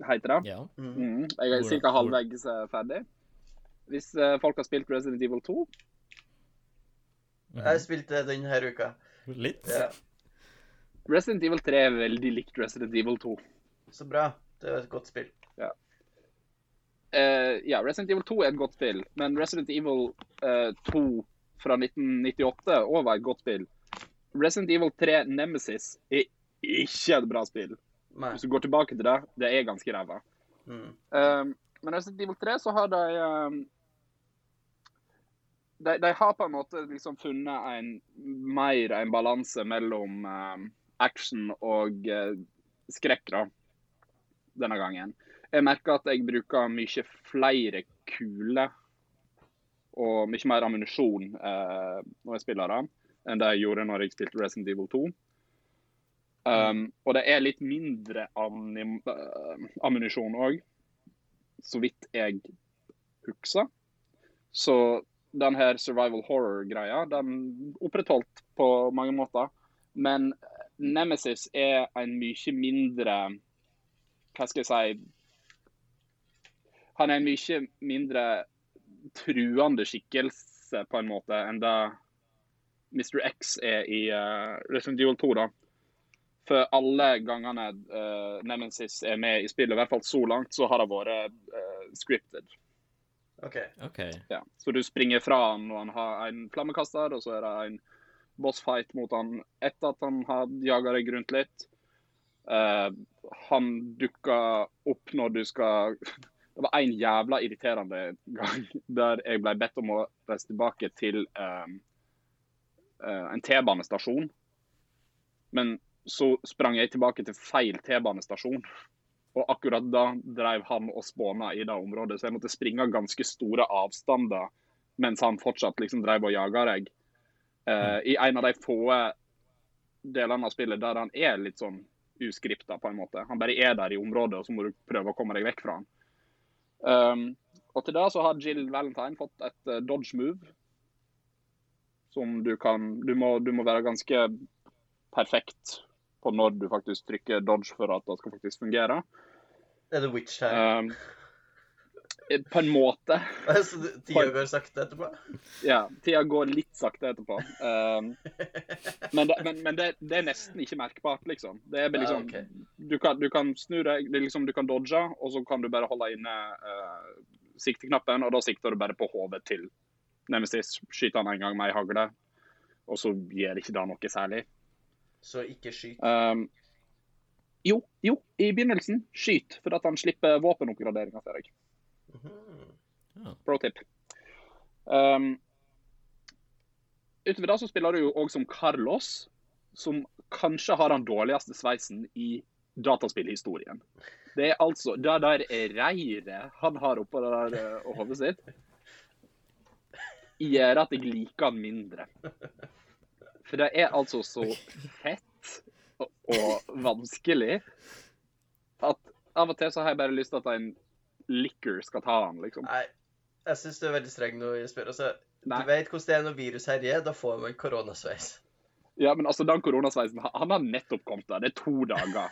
heter det.
ja.
Mm.
Mm, jeg er
Hvordan-
ca. halvveis eh, ferdig. Hvis eh, folk har spilt Resident Evil 2
Jeg spilte den her uka.
Mhm. Litt.
Ja,
Resident Evil 3 er veldig likt Resident Evil 2.
så bra. Det var et godt spill.
Eh, ja, Resident Evil 2 er et godt spill, men Resident Evil eh, 2 fra 1998 også var et godt spill. Resident Evil 3 Nemesis er ikke et bra spill.
Nei.
Hvis du går tilbake til det, det er ganske ræva.
Mm.
Eh, men Resident Evil 3 så har de eh, de, de har på en måte liksom funnet en, ehm, mer en balanse mellom eh, action og eh, skrekk, da. denne gangen. Jeg merker at jeg bruker mye flere kuler og mye mer ammunisjon eh, når jeg spiller det, enn det jeg gjorde når jeg spilte Resident Evil 2. Um, og det er litt mindre anim- eh, ammunisjon òg, så vidt jeg husker. Så den her survival horror-greia, den opprettholdt på mange måter. Men Nemesis er en mye mindre Hva skal jeg si Han er en mye mindre truende skikkelse, på en måte, enn det Mr. X er i eh, Resident Evil 2. da. For alle gangene eh, Nemesis er med i spillet, i hvert fall så langt, så har det vært eh, scripted.
OK.
OK.
Ja. Så du springer fra han, og han har en flammekaster, og så er det en bossfight mot han etter at han har jaga deg rundt litt. Eh, han dukker opp når du skal Det var en jævla irriterende gang der jeg ble bedt om å reise tilbake til eh, eh, en T-banestasjon. Men så sprang jeg tilbake til feil T-banestasjon. Og akkurat da drev han og spåna i det området, så jeg måtte springe ganske store avstander mens han fortsatt liksom drev og jaga deg. Eh, I en av de få delene av spillet der han er litt sånn uskripta, på en måte. Han bare er der i området, og så må du prøve å komme deg vekk fra han. Um, og til det så har Jill Valentine fått et eh, dodge move som du kan Du må, du må være ganske perfekt på når du faktisk trykker dodge for at det skal faktisk fungere.
Er det Witch her?
Um, eh, på en måte.
så du- tida Altså, går sakte etterpå?
Ja, tida går litt sakte etterpå. Um, men det, men, men det, det er nesten ikke merkbart, liksom. Det er bare
Ja,
liksom
ok.
du, kan, du kan snu deg, det er liksom, du kan dodge, og så kan du bare holde inne eh, sikteknappen, og da sikter du bare på hodet til Nemesis. Skyter han en gang med ei hagle, og så gjør ikke det noe særlig.
Så ikke skyt.
Um, jo, jo, i begynnelsen, skyt, for at han slipper våpenoppgraderinga til deg.
Mhm.
Pro tip. Um, utover det så spiller du jo òg som Carlos, som kanskje har den dårligste sveisen i dataspillhistorien. Det er altså det der reiret han har oppå det der eh, hodet sitt, gjør at jeg liker han mindre. For det er altså så fett og, og vanskelig at av og til så har jeg bare lyst til at en licker skal ta han, liksom.
Nei, jeg syns du er veldig streng nå, Jesper. Altså, du
Nei.
vet hvordan det er når virus herjer. Da får man koronasveis.
Ja, men altså, den koronasveisen, han- han har nettopp kommet der. Det er to dager.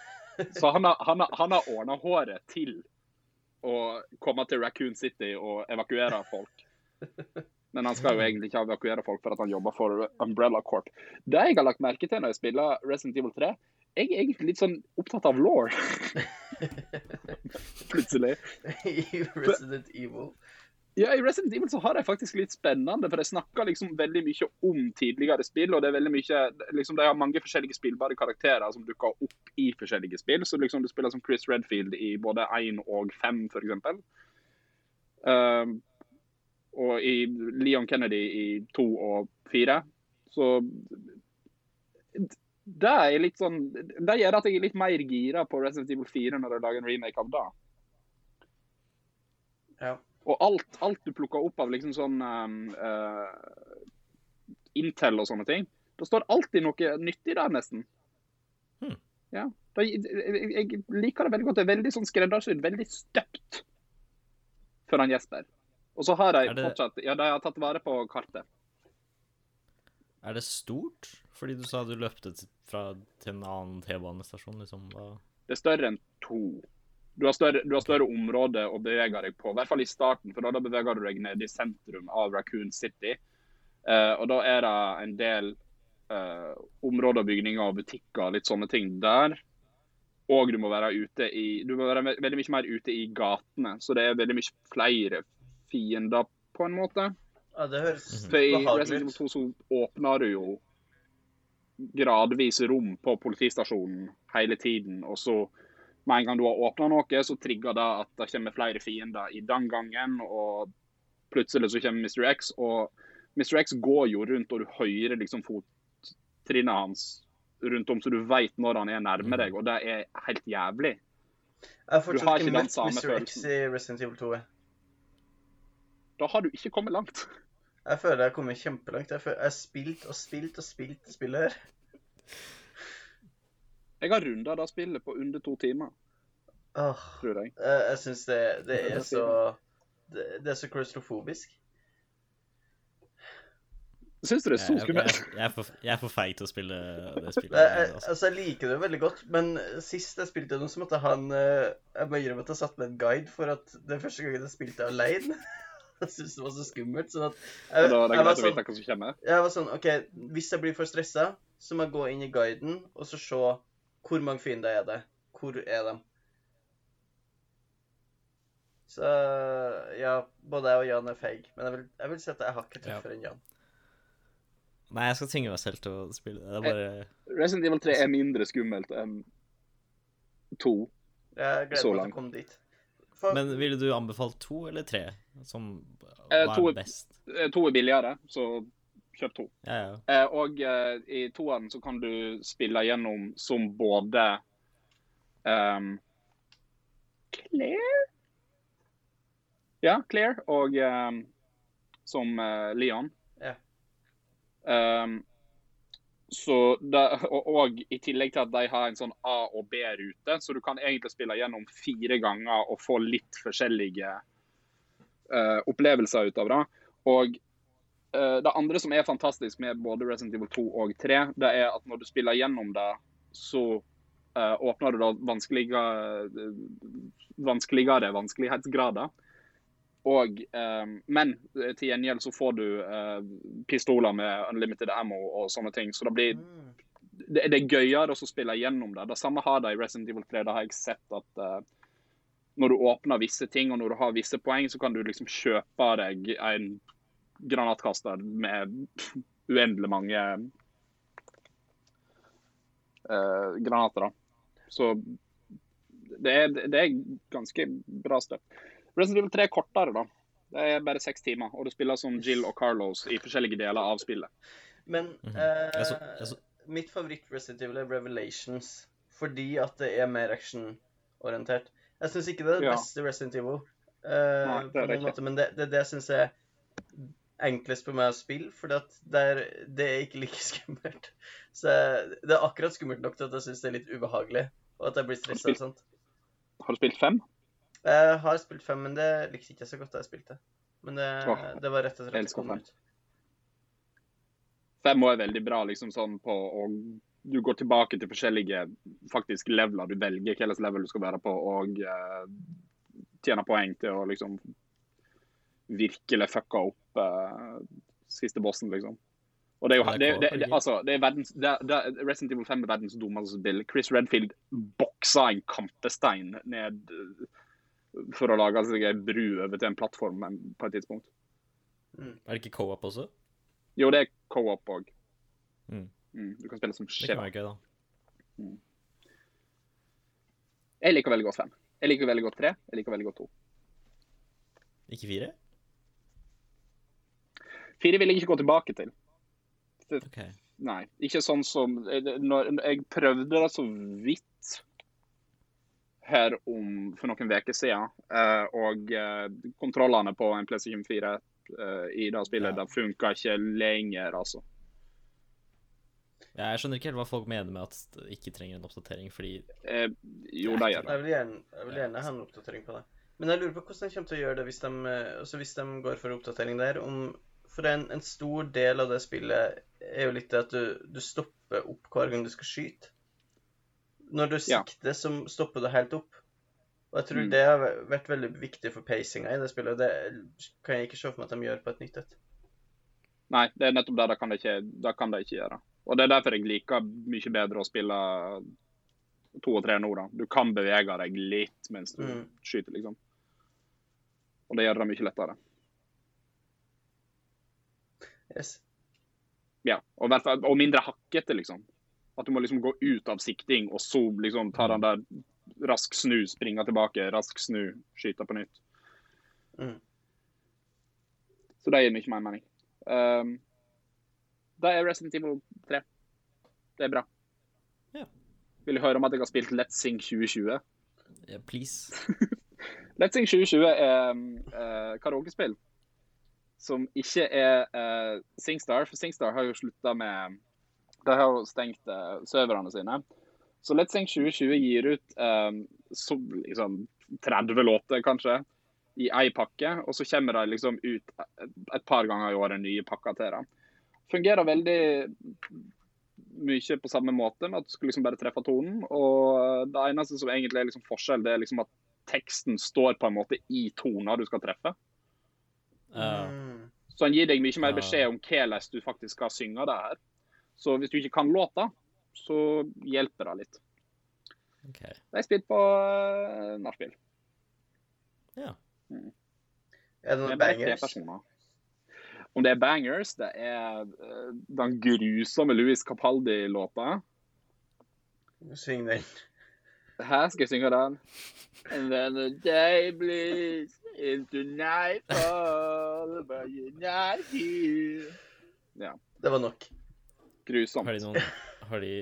Så han har, han har, han har ordna håret til å komme til Raccoon City og evakuere folk. Men han skal jo egentlig ikke evakuere folk for at han jobber for Umbrella Corp. Det jeg har lagt merke til når jeg spiller Resident Evil 3, jeg er egentlig litt sånn opptatt av law, plutselig.
I Resident Evil.
Ja, I Resident Evil så har jeg faktisk litt spennende, for jeg snakker liksom veldig mye om tidligere spill, og det er veldig mye, liksom de har mange forskjellige spillbare karakterer som dukker opp i forskjellige spill, så liksom du spiller som Chris Redfield i både 1 og 5 for eksempel. Ehm, og i Leon Kennedy i 2 og 4, så det er litt sånn, det gjør at jeg er litt mer gira på Resident Evil 4 når jeg lager en remake av det.
Ja.
Og alt, alt du plukker opp av liksom sånn ehm, eh, Intel og sånne ting, det står alltid noe nyttig der, nesten.
Hmm.
Ja. Da, jeg, jeg liker det veldig godt. Det er veldig sånn skreddersydd, veldig støpt for han Jesper. Og så har
Er
de
det-
fortsatt Ja, de har tatt vare på kartet.
Er det stort? Fordi du sa du løpte t- fra til en annen T-banestasjon, liksom. Hva?
Det er større enn to. Du har større, du har større område å bevege deg på, i hvert fall i starten, for da, da beveger du deg ned i sentrum av Raccoon City. Eh, og da er det en del eh, områder, bygninger og butikker og litt sånne ting der. Og du må være ute i Du må være ve- veldig mye mer ute i gatene, så det er veldig mye flere fiender, på en måte.
ja, det høres
For i
behagelig
Resident Evil
ut.
2 så åpner du jo gradvis rom på politistasjonen hele tiden, og så med en gang du har åpna noe, så trigger det at det kommer flere fiender i den gangen, og plutselig så kommer Mr. X, og Mr. X går jo rundt, og du hører liksom fottrinnet hans rundt om, så du veit når han er nærme deg, og det er helt jævlig.
Jeg
Du
har
har
fortsatt
ikke den
ikke møtt
samme
Mr. X
følelsen.
i Resident Evil 2. jeg.
Da har du ikke kommet langt.
Jeg føler jeg har kommet kjempelangt. Jeg føler- jeg har spilt og spilt og spilt spillet her.
Jeg har runda det spillet på under to timer,
Åh,
tror jeg.
jeg jeg syns det, det
Det er
er så det, det er så klaustrofobisk.
Syns du det er så
Jeg, jeg,
skummelt?
jeg, er for, jeg er for feig til å spille det spillet.
Jeg, jeg,
altså.
altså, jeg liker det veldig godt, men sist jeg spilte noe, så måtte jeg ha en eh, Jeg må innrømme at jeg satte med en guide, for at det er første gangen jeg spilte alene. Jeg syntes det var så skummelt. sånn at
Da
jeg,
er det
jeg, var
greit å
sånn,
vite hva som kommer.
jeg var sånn OK, hvis jeg blir for stressa, så må jeg gå inn i guiden og så se hvor mange fiender er det. Hvor er de? Så ja, både jeg og Jan er feig, men jeg vil, jeg vil si at jeg har ikke
Ja.
tøffere enn Jan.
Nei, jeg skal tvinge meg selv til å spille det. Det er bare
Resident Evil 3 er mindre skummelt enn to.
Jeg gleder
Så
meg
langt.
til å komme dit. For,
Men ville du anbefalt to eller tre? Som
Eh,
hva
to er-
er best?
Eh, To er billigere, så kjøp to.
Ja, ja.
Eh, Og eh, i toeren så kan du spille gjennom som både ehm, Claire? Ja, Claire og ehm, som eh, Leon.
Ja.
Ehm, så da- og, og i tillegg til at de har en sånn A- og B-rute, så du kan egentlig spille gjennom fire ganger og få litt forskjellige eh, opplevelser ut av det. Og eh, det andre som er fantastisk med både Resident Evil 2 og 3, det er at når du spiller gjennom det, så eh, åpner du da vanskeligere, eh, vanskeligere vanskelighetsgrader. Og, eh, men til gjengjeld så får du eh, pistoler med unlimited ammo og sånne ting. Så det, blir,
Mm.
det, det er gøyere å spille gjennom det. Det samme har de i Resident Evil 3. Da har jeg sett at eh, når du åpner visse ting og når du har visse poeng, så kan du liksom kjøpe deg en granatkaster med uendelig mange eh, granater. da. Så det er, det er ganske bra støtt. Resident Evil 3 er kortere, da. Det er bare seks timer, og du spiller som Jill og Carlos i forskjellige deler av spillet.
Men
Mhm.
eh,
Jeg så- jeg så-
mitt favoritt-Resident Evil er Revelations. Fordi at det er mer actionorientert. Jeg syns ikke det er det
Ja.
beste Resident Evil, eh,
Nei, det er
på
det
noen
ikke.
måte, men det, det, er det jeg syns er enklest for meg å spille. For det er, det er ikke like skummelt. Så jeg- Det er akkurat skummelt nok til at jeg syns det er litt ubehagelig, og at jeg blir stressa. og sånt.
Har du spilt fem?
Jeg har spilt fem, men det likte ikke jeg så godt da jeg spilte. Men det,
Åh,
det var rett etter at
jeg
det
elsker
kom
fem.
ut.
Fem er veldig bra liksom sånn på å Du går tilbake til forskjellige faktisk leveler. Du velger hvilket level du skal være på, og eh, tjener poeng til å liksom virkelig fucke opp eh, siste bossen, liksom. Og det er jo
Ja,
det,
det
det,
er co-op,
det,
ikke?
altså, det er verdens, det, det, Resident Evil 5 er verdens dummeste spill. Chris Redfield boksa en kampestein ned eh, for å lage seg ei bru over til en plattform en- på et tidspunkt.
Er det ikke co-op også?
Jo, det er co-op òg.
Mm.
Mm, du kan spille som
Det
sjef.
kan være gøy, da.
Jeg liker veldig godt fem. Jeg liker veldig godt tre. Jeg liker veldig godt to.
Ikke fire?
Fire vil jeg ikke gå tilbake til.
OK.
Nei. Ikke sånn som når, Jeg prøvde det så vidt her om for noen uker siden, eh, og eh, kontrollene på en PlayStation 4 eh, i det spillet,
Ja.
det funka ikke lenger, altså.
Ja, jeg skjønner ikke helt hva folk mener med at det ikke trenger en oppdatering, fordi
Eh, jo, det gjør det.
Jeg vil gjerne, jeg vil gjerne ha en oppdatering på det. Men jeg lurer på hvordan de kommer til å gjøre det hvis de, eh, altså hvis de går for oppdatering der. Om, for en, en stor del av det spillet er jo litt det at du, du stopper opp hver gang du skal skyte. Når du
Ja.
sikter, så stopper du helt opp. Og jeg tror
Mm.
det har væ- vært veldig viktig for pacinga i det spillet. og Det kan jeg ikke se for meg at de gjør på et nytt et.
Nei, det er nettopp det. Det kan det ikke, det kan det ikke gjøre. Og Det er derfor jeg liker mye bedre å spille to og tre nå. da. Du kan bevege deg litt mens du
Mm.
skyter, liksom. Og det gjør det mye lettere.
Yes.
Ja, Og, i hvert fall- og mindre hakkete, liksom. At du må liksom gå ut av sikting, og så liksom ta den der rask snu, springe tilbake, rask snu, skyte på nytt.
Mm.
Så det gir mye mer mening. Um, det er Resident Evil 3. Det er bra.
Ja.
Vil du høre om at jeg har spilt Let's Sing 2020?
Ja, please.
Let's Sing 2020 er eh, karaokespill som ikke er eh, Singstar, for Singstar har jo slutta med De har jo stengt eh, serverne sine. Så Let's Sing 2020 gir ut eh, så, liksom 30 låter, kanskje, i ei pakke. Og så kommer det liksom ut et- et par ganger i året nye pakker til det. Fungerer veldig mye på samme måte, med at du skal liksom bare treffe tonen. Og det eneste som egentlig er liksom forskjell, det er liksom at teksten står på en måte i tonen du skal treffe.
Eh,
Mm.
Så han gir deg mye mer
Ja.
beskjed om hvordan du faktisk skal synge det her. Så hvis du ikke kan låta, så hjelper det litt.
ok.
Det er spilt på uh, nachspiel.
Ja.
Er det
Det er
noen
bare tre
bangers?
personer. Om det er bangers, det er eh, den grusomme Louis Capaldi-låta.
Syng den.
Her skal jeg synge den. And then the day bleeds into nightfall, but you're not here.
Det var nok.
Grusomt.
Har de noen, har de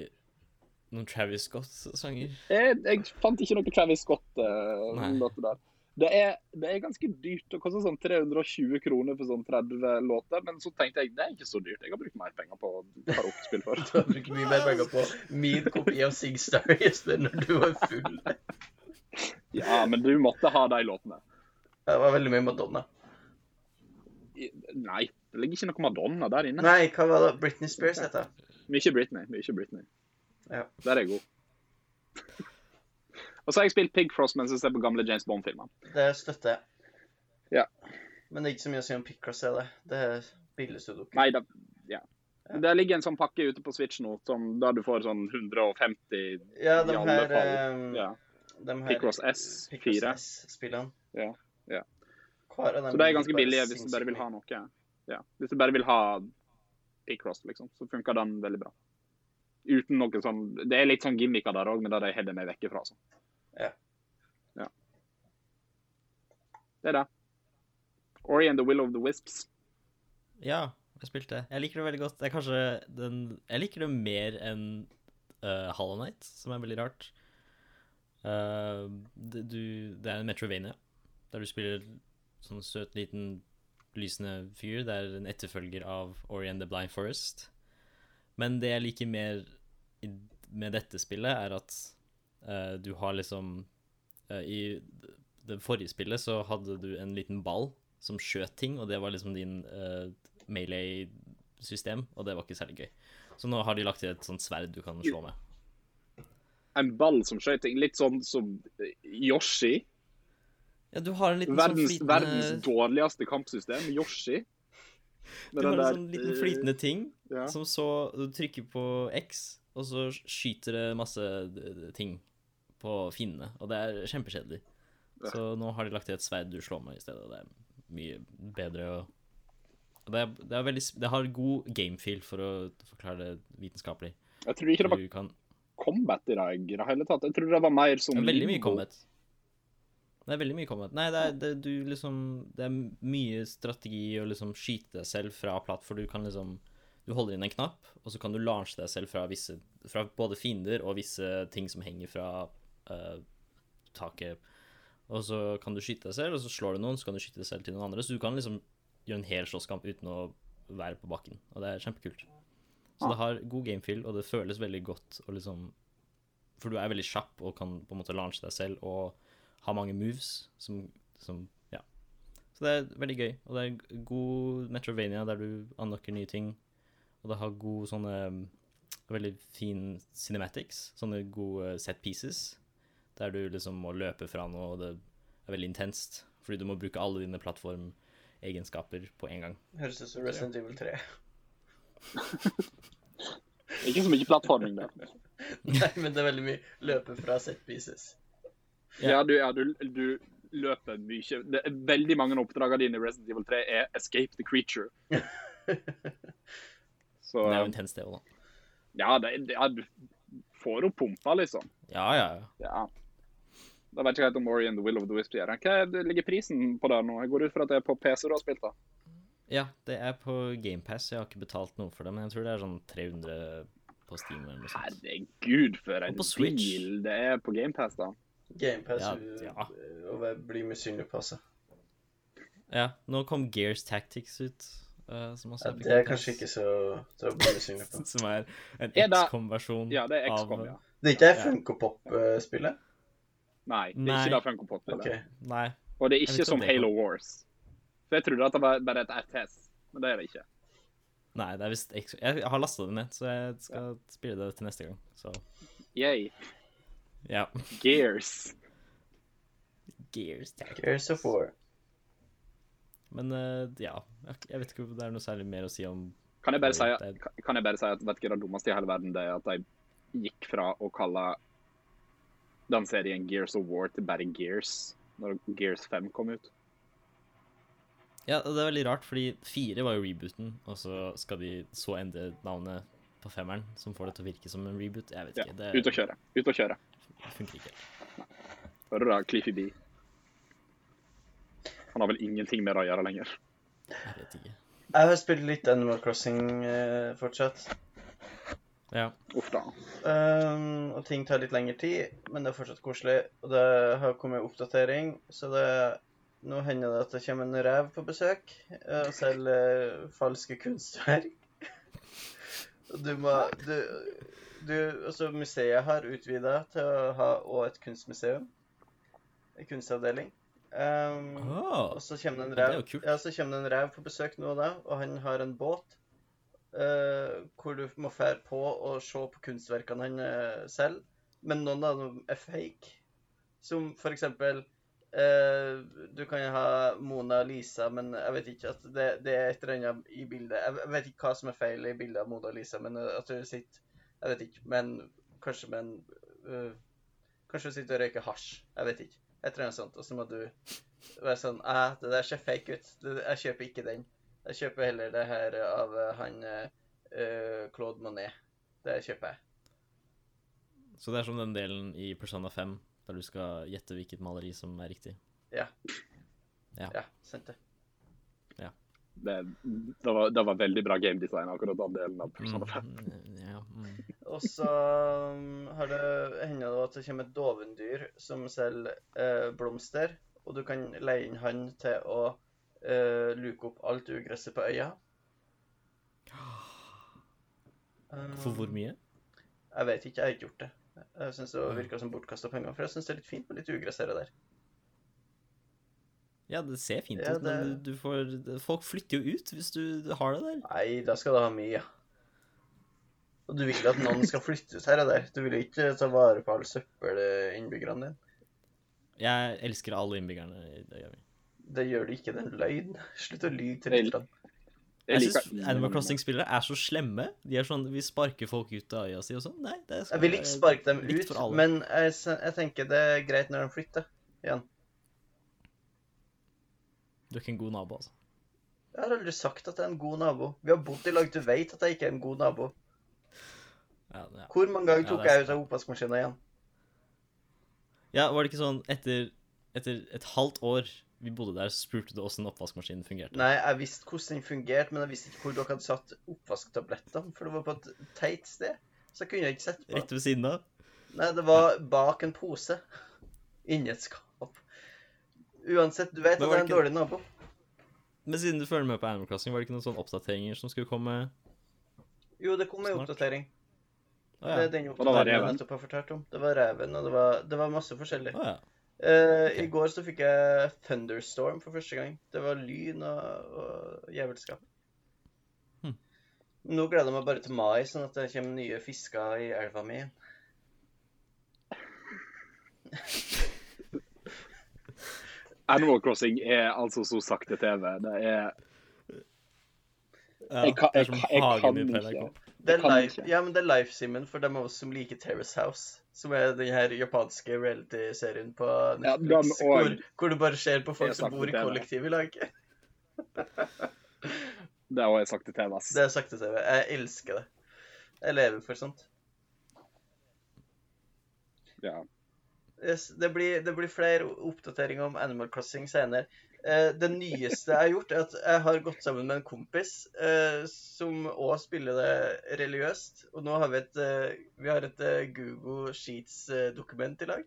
noen Travis Scott-sanger?
Jeg, jeg fant ikke noe Travis Scott-låt
Nei.
der. Det er, det er ganske dyrt. Det koster sånn 320 kroner for sånn 30 låter. Men så tenkte jeg det er ikke så dyrt. Jeg har brukt mer penger på karaokespill før.
Du har brukt mye mer penger på min kopi av Singstar Jesper når du var full.
Ja, men du måtte ha de låtene.
Det var veldig mye Madonna.
I- Nei, det ligger ikke noe Madonna der inne.
Nei, hva var det? Britney Spears heter det.
Mye Britney. Mye Britney.
Ja.
Der er jeg god. Og så har jeg spilt Pig Frost mens jeg ser på gamle James Bond-filmer.
Det støtter jeg.
Ja.
Men det er ikke så mye å si om Picross, er det? Det er billigste du
Nei, det, ja. Der ligger en sånn pakke ute på Switch nå, som, der du får sånn 150
Ja,
i
de
alle
her,
fall,
ehm,
ja.
de her
Picross S, fire.
S-spillene.
Ja, ja.
Hver av dem
Så det er ganske
bare
billig hvis du bare
sinnssykt
vil ha
mye.
noe. Ja. Hvis du bare vil ha Picross, liksom, så funker den veldig bra. Uten noe sånn Det er litt sånn gimmicker der òg, men det er det jeg holder meg vekk fra. sånn.
Ja.
Ja. Det er det. Ori and the Will of the Wisps.
Ja, jeg spilte det. Jeg liker det veldig godt. Det er kanskje den Jeg liker det mer enn eh, Hollow Knight, som er veldig rart. Eh, det, du, det er en Metrovania, der du spiller sånn søt, liten, lysende fyr. Det er en etterfølger av Ori and the Blind Forest. Men det jeg liker mer i, med dette spillet, er at eh, du har liksom eh, I det forrige spillet så hadde du en liten ball som skjøt ting, og det var liksom din uh, melee-system, og det var ikke særlig gøy. Så nå har de lagt til et sånt sverd du kan slå med.
En ball som skøyt ting. Litt sånn som Yoshi.
Ja, du har en liten
Verdens,
sånn
verdens
flytende
dårligste kampsystem. Yoshi.
Du
Med
har
den
en
der,
sånn liten
eh,
flytende ting
ja.
som så Du trykker på X, og så skyter det masse eh, ting på finnene, og det er kjempekjedelig. Så nå har de lagt til et sverd du slår med i stedet, og det er mye bedre å og det, er, det, er veldig, s- det har god gamefeel, for å forklare det vitenskapelig.
eh, Jeg tror ikke det var
Du kan
combat i dag i det hele tatt. Jeg tror det var mer som
Det er veldig mye
limbo.
combat. Det er veldig mye combat. Nei, det er, det, du liksom, det er mye strategi å liksom skyte deg selv fra platt, for du kan liksom Du holder inn en knapp, og så kan du launche deg selv fra, visse, fra både fiender og visse ting som henger fra eh, taket. Og så kan du skyte deg selv, og så slår du noen, så kan du skyte deg selv til noen andre. Så du kan liksom gjøre en hel slåsskamp uten å være på bakken, og det er kjempekult. Så det har god gamefeel, og det føles veldig godt å liksom for du er veldig kjapp og kan på en måte launche deg selv og ha mange moves som, som Ja. Så det er veldig gøy. Og det er god Metrovania der du unlocker nye ting. Og det har god sånne um, Veldig fin cinematics. Sånne gode set pieces. Der du liksom må løpe fra noe, og det er veldig intenst. Fordi du må bruke alle dine plattformegenskaper på en gang.
Høres ut som Resident Evil 3.
Ikke så mye plattforming der.
Nei, men det er veldig mye løpe fra set pieces.
Ja.
Ja, du, ja, du, du løper mye. Det er veldig mange av oppdragene dine i Resident Evil 3 er 'escape the creature'. Så
Men det er jo intenst, det òg, da.
ja, det, det, ja, du får opp pumpa, liksom.
Ja, ja, ja.
Ja. Da vet jeg ikke helt om Ori and the Will of the Wisp gjør. Hva er- ligger prisen på det nå? Jeg går ut fra at det er på PC du har spilt, da.
Ja, det er på GamePass. Jeg har ikke betalt noe for det, men jeg tror det er sånn 300 på Steam eller noe sånt.
Herregud, for en
Og på Switch.
bil det er på GamePass, da.
GamePass
Ja,
u-
ja.
eh, og jeg blir misunnelig på, altså.
Ja, nå kom Gears Tactics ut. eh, som også
Ja,
er på
det er
Game
kanskje ikke
Pass,
så til å bli misunnelig på.
Som er en
Er det-
XCOM-versjon.
Ja, det er
av-
XCOM, ja.
Det er ikke
Ja.
det Funkopop-spillet?
Nei, det er
Nei.
ikke det Funko Pop er.
OK.
Nei.
Og det er
Jeg vet
ikke
ikke
som
om det er
Halo Wars. For jeg trodde at det var bare et RTS, men det er det ikke.
Nei, det er visst X- Jeg har lasta det ned, så jeg skal spille det til neste gang. Så
Yay.
ja.
Gears.
Gears Tactics.
Gears of War.
Men eh, ja, jeg jeg vet ikke om det er noe særlig mer å si om
Kan jeg bare si,
Oi, det
kan jeg bare si at vet ikke, det dummeste i hele verden det er at de gikk fra å kalle den serien Gears of War til bare Gears når Gears 5 kom ut.
Ja, og det er veldig rart, fordi fire var jo rebooten, og så skal de så endre navnet på femmeren, som får det til å virke som en reboot. Jeg vet
Ja,
ikke.
ut og kjøre. Ut og kjøre.
Det funker ikke.
Hører du da, Cliffy B? Han har vel ingenting med det å gjøre lenger.
Jeg vet ikke.
Jeg har spilt litt Animal Crossing eh, fortsatt.
Ja.
Uff da.
Ehm, og ting tar litt lengre tid, men det er fortsatt koselig. Og det har kommet oppdatering, så det Nå hender det at det kommer en rev på besøk eh, og selger falske kunstverk. Og du må Du, du Altså, museet har utvida til å ha òg et kunstmuseum. En kunstavdeling. Ehm,
Ah. Åh,
og så kommer det en
Ja, det er
rev,
jo kult.
ja, så kommer det en rev på besøk nå og da, og han har en båt eh, hvor du må fære på og se på kunstverkene han eh, selger. Men noen av dem er fake. Som for eksempel eh, Du kan ha Mona Lisa, men jeg vet ikke at det, det er et eller annet i bildet. Jeg jeg vet ikke hva som er feil i bildet av Mona Lisa, men eh, at hun sitter Jeg vet ikke, men kanskje med en eh, Kanskje hun sitter og røyker hasj. Jeg vet ikke. Et eller annet sånt. Og så må du være sånn «Ah, Det der ser fake ut. Det, jeg kjøper ikke den. Jeg kjøper heller det her av eh, han eh, eh, Claude Monet. Det kjøper jeg.
Så det er som den delen i Persona 5, der du skal gjette hvilket maleri som er riktig.
Ja, sant det.
Det, det, var, det var veldig bra gamedesign, akkurat den delen av Persona 5.
Mm, ja, mm.
Og så um, har det hender det at det kommer et dovendyr som selger eh, blomster, og du kan leie inn han til å eh, luke opp alt ugresset på øya. Um,
For hvor mye?
Jeg vet ikke, jeg har ikke gjort det. Jeg syns det virka som bortkasta penger, for jeg syns det er litt fint med litt ugress her og der.
Ja, det ser fint ut,
Ja,
men
det-
du, du får Folk flytter jo ut hvis du har det der.
Nei, da skal du ha mye. Og du vil at noen skal flyttes her og der. Du vil jo ikke ta vare på all søppelinnbyggerne dine.
Jeg elsker alle innbyggerne i det gamet.
Det gjør du ikke, det er løgn. Slutt å lyve til
Vel.
lytterne.
Jeg syns Animal Crossing-spillere er så slemme. De er sånn Vi sparker folk ut av øya si og sånn. Nei, det skal
Jeg vil ikke
være
sparke dem
likt
ut,
for alle.
men jeg, s- jeg tenker det er greit når de flytter.
Du er ikke en god nabo, altså.
Jeg har aldri sagt at jeg er en god nabo. Vi har bodd i lag, du vet at jeg ikke er en god nabo.
Ja, ja.
Hvor mange ganger
Ja,
tok
det er
jeg ut av oppvaskmaskinen igjen?
ja, var det ikke sånn etter, etter et halvt år vi bodde der, så spurte du åssen oppvaskmaskinen fungerte?
Nei, jeg visste hvordan den fungerte, men jeg visste ikke hvor dere hadde satt oppvasktablettene, for det var på et teit sted. Så jeg kunne ikke sette på.
Rett ved siden av?
Nei, det var bak en pose. Inni et skap. Uansett, du vet
Men
at
var
jeg er en
det ikke-
dårlig nabo.
Men siden du følger med på Animal Crossing, var det ikke noen sånne oppdateringer som skulle komme?
Jo, det kom en
Snart.
oppdatering.
Å
Det
ja.
er den
da var
oppdateringen jeg
reven.
nettopp har fortalt om. Det var reven, og det var, det var masse forskjellig.
Å ja.
Eh, I
Ok.
går så fikk jeg thunderstorm for første gang. Det var lyn og, og jævelskap.
Hmm.
Nå gleder jeg meg bare til mai, sånn at det kommer nye fisker i elva mi.
Animal Crossing er altså så sakte TV. Det er
ja.
Jeg kan-
det er som
jeg kan- jeg
hagen
kan
i
ikke.
Pelagor.
Det
Det
er
kan jeg
life,
ikke.
ja, men det er lifesimmen for dem av oss som liker Terrace House. Som er den her japanske reality-serien på Netflix.
den og-
hvor, hvor du bare ser på folk
Jeg
som
snakket
bor i
med deg.
kollektiv i lag.
Det er også sakte TV, ass.
Det er sakte-TV. Jeg elsker det. Jeg lever for sånt.
Ja.
Yes, det, blir, det blir flere oppdateringer om Animal Crossing senere. Eh, det nyeste jeg har gjort, er at jeg har gått sammen med en kompis eh, som òg spiller det religiøst. Og nå har vi et, eh, vi har et eh, Google Sheets-dokument eh, i lag.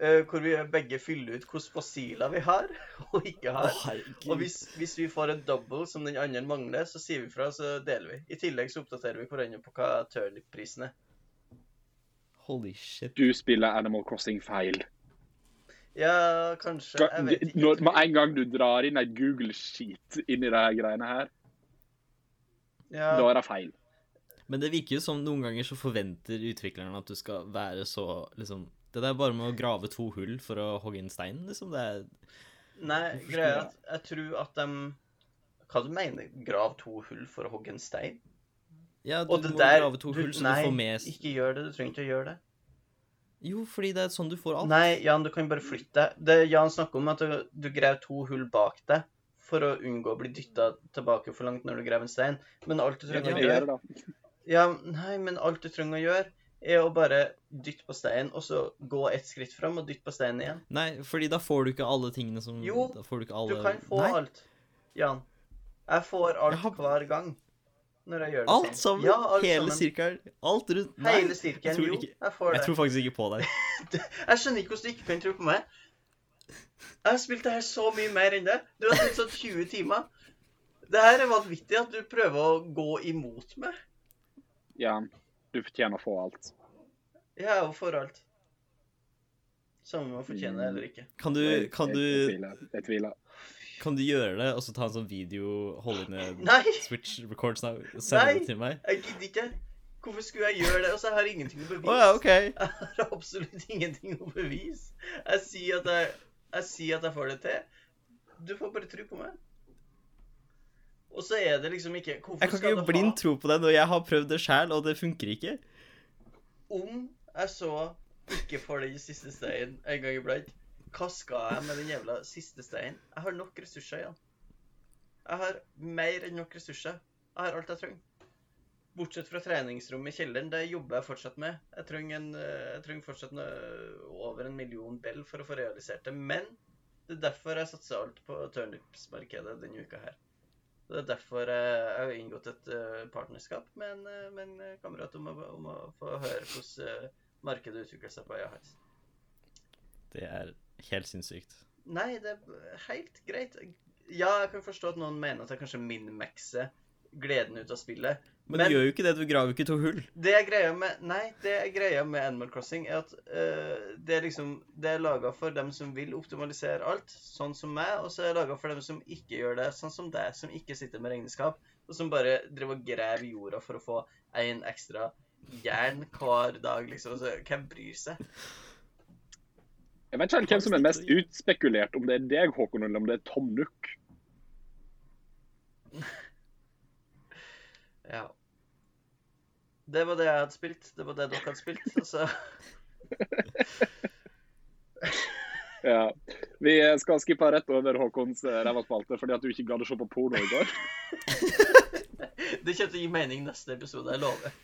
eh, hvor vi begge fyller ut hvilke fossiler vi har og ikke
Å,
har.
herregud.
Og hvis, hvis vi får en double som den andre mangler, så sier vi fra, så deler vi. I tillegg så oppdaterer vi hverandre på hva turnip-prisen er.
Holy shit.
Du spiller Animal Crossing feil.
Ja, kanskje. Jeg vet
Ga-
ikke.
Når, med en gang du drar inn et Google-skit inn i de her greiene her,
Ja,
da er det feil.
Men det virker jo som noen ganger så forventer utvikleren at du skal være så liksom Det der bare med å grave to hull for å hogge inn steinen, liksom. Det er
nei,
Hvorfor
greia er
skulle
at jeg tror at de Hva du mener Grav to hull for å hogge en stein?
Ja, du
Og det
må
der
grave to hull så
nei,
du får med s-
ikke gjør det. Du trenger ikke å gjøre det.
Jo, fordi det er sånn du får alt.
Nei, Jan, du kan bare flytte deg. Det Jan snakker om, at du, du graver to hull bak deg for å unngå å bli dytta tilbake for langt når du graver en stein. Men alt du
Det
trenger
er
å
det jeg
gjøre
gjør, da.
Ja, nei, men alt du trenger å gjøre, er å bare dytte på steinen, og så gå ett skritt fram og dytte på steinen igjen.
Nei, fordi da får du ikke alle tingene som
Jo,
da får du, ikke
Du
alle...
kan få
Nei,
alt, Jan. Jeg får alt
Jeg har-
hver gang når jeg gjør det sånn.
Alt sammen!
Ja, alt
hele
sammen.
sirkelen. Alt rundt. Nei,
Hele
jeg
sirkelen.
tror
Jo,
ikke-
jeg får det.
jeg tror faktisk ikke på deg.
Jeg skjønner ikke hvordan du ikke kan tro på meg. Jeg har spilt det her så mye mer enn det. Du har spilt sånn 20 timer. Det her er vanvittig at du prøver å gå imot meg.
Ja, du fortjener å få alt.
Jeg er jo for alt. Samme om jeg fortjener det eller ikke.
Kan du,
Jeg-
kan
jeg- Jeg
du,
tviler. Jeg tviler.
kan du gjøre det, og så ta en sånn video, holde inne
Nei,
Switch records now, sende
Nei.
det til meg?
jeg gidder ikke. Hvorfor skulle jeg gjøre det? Og så har jeg ingenting å
Å
bevise.
ja, OK.
Jeg har absolutt ingenting å bevise. Jeg sier at jeg, jeg, sier at jeg får det til. Du får bare tro på meg. Og så er det liksom ikke Hvorfor
Jeg kan
skal
ikke
du ha
blindt tro på det når jeg har prøvd det sjæl, og det funker ikke.
om jeg så ikke får den siste steinen en gang iblant, hva skal jeg med den jævla siste steinen? Jeg har nok ressurser igjen. Jeg har mer enn nok ressurser. Jeg har alt jeg trenger. Bortsett fra treningsrommet i kjelleren, det jobber jeg fortsatt med. Jeg trenger, en, eh, jeg trenger fortsatt en, eh, over en million bell for å få realisert det. Men det er derfor jeg satser alt på turnipsmarkedet denne uka her. Det er derfor eh, jeg har inngått et eh, partnerskap med en, eh, med en eh, kamerat om å, om å få høre hvordan eh, markedet utvikler seg på øya hans.
Det er helt sinnssykt.
Nei, det er helt greit. Ja, jeg kan forstå at noen mener at jeg kanskje min-maxer gleden ut av spillet.
Men,
Men-
du gjør jo ikke det, du graver jo ikke to hull.
Det jeg greia med Nei, det jeg greia med Animal Crossing, er at eh, det er liksom Det er laga for dem som vil optimalisere alt, sånn som meg, og så er det laga for dem som ikke gjør det, sånn som deg, som ikke sitter med regnskap, og som bare driver og graver jorda for å få én ekstra jern hver dag, liksom. Så hvem bryr seg?
Jeg vet ikke hvem som er mest utspekulert, om det er deg, Håkon, eller om det er Tom Nook.
Ja. Det var det jeg hadde spilt. Det var det dere hadde spilt. og så...
Ja. Vi skal skippe rett over Håkons eh, ræva spalte fordi at du ikke gadd å se på porno i går.
Det kommer til å gi mening neste episode, jeg lover.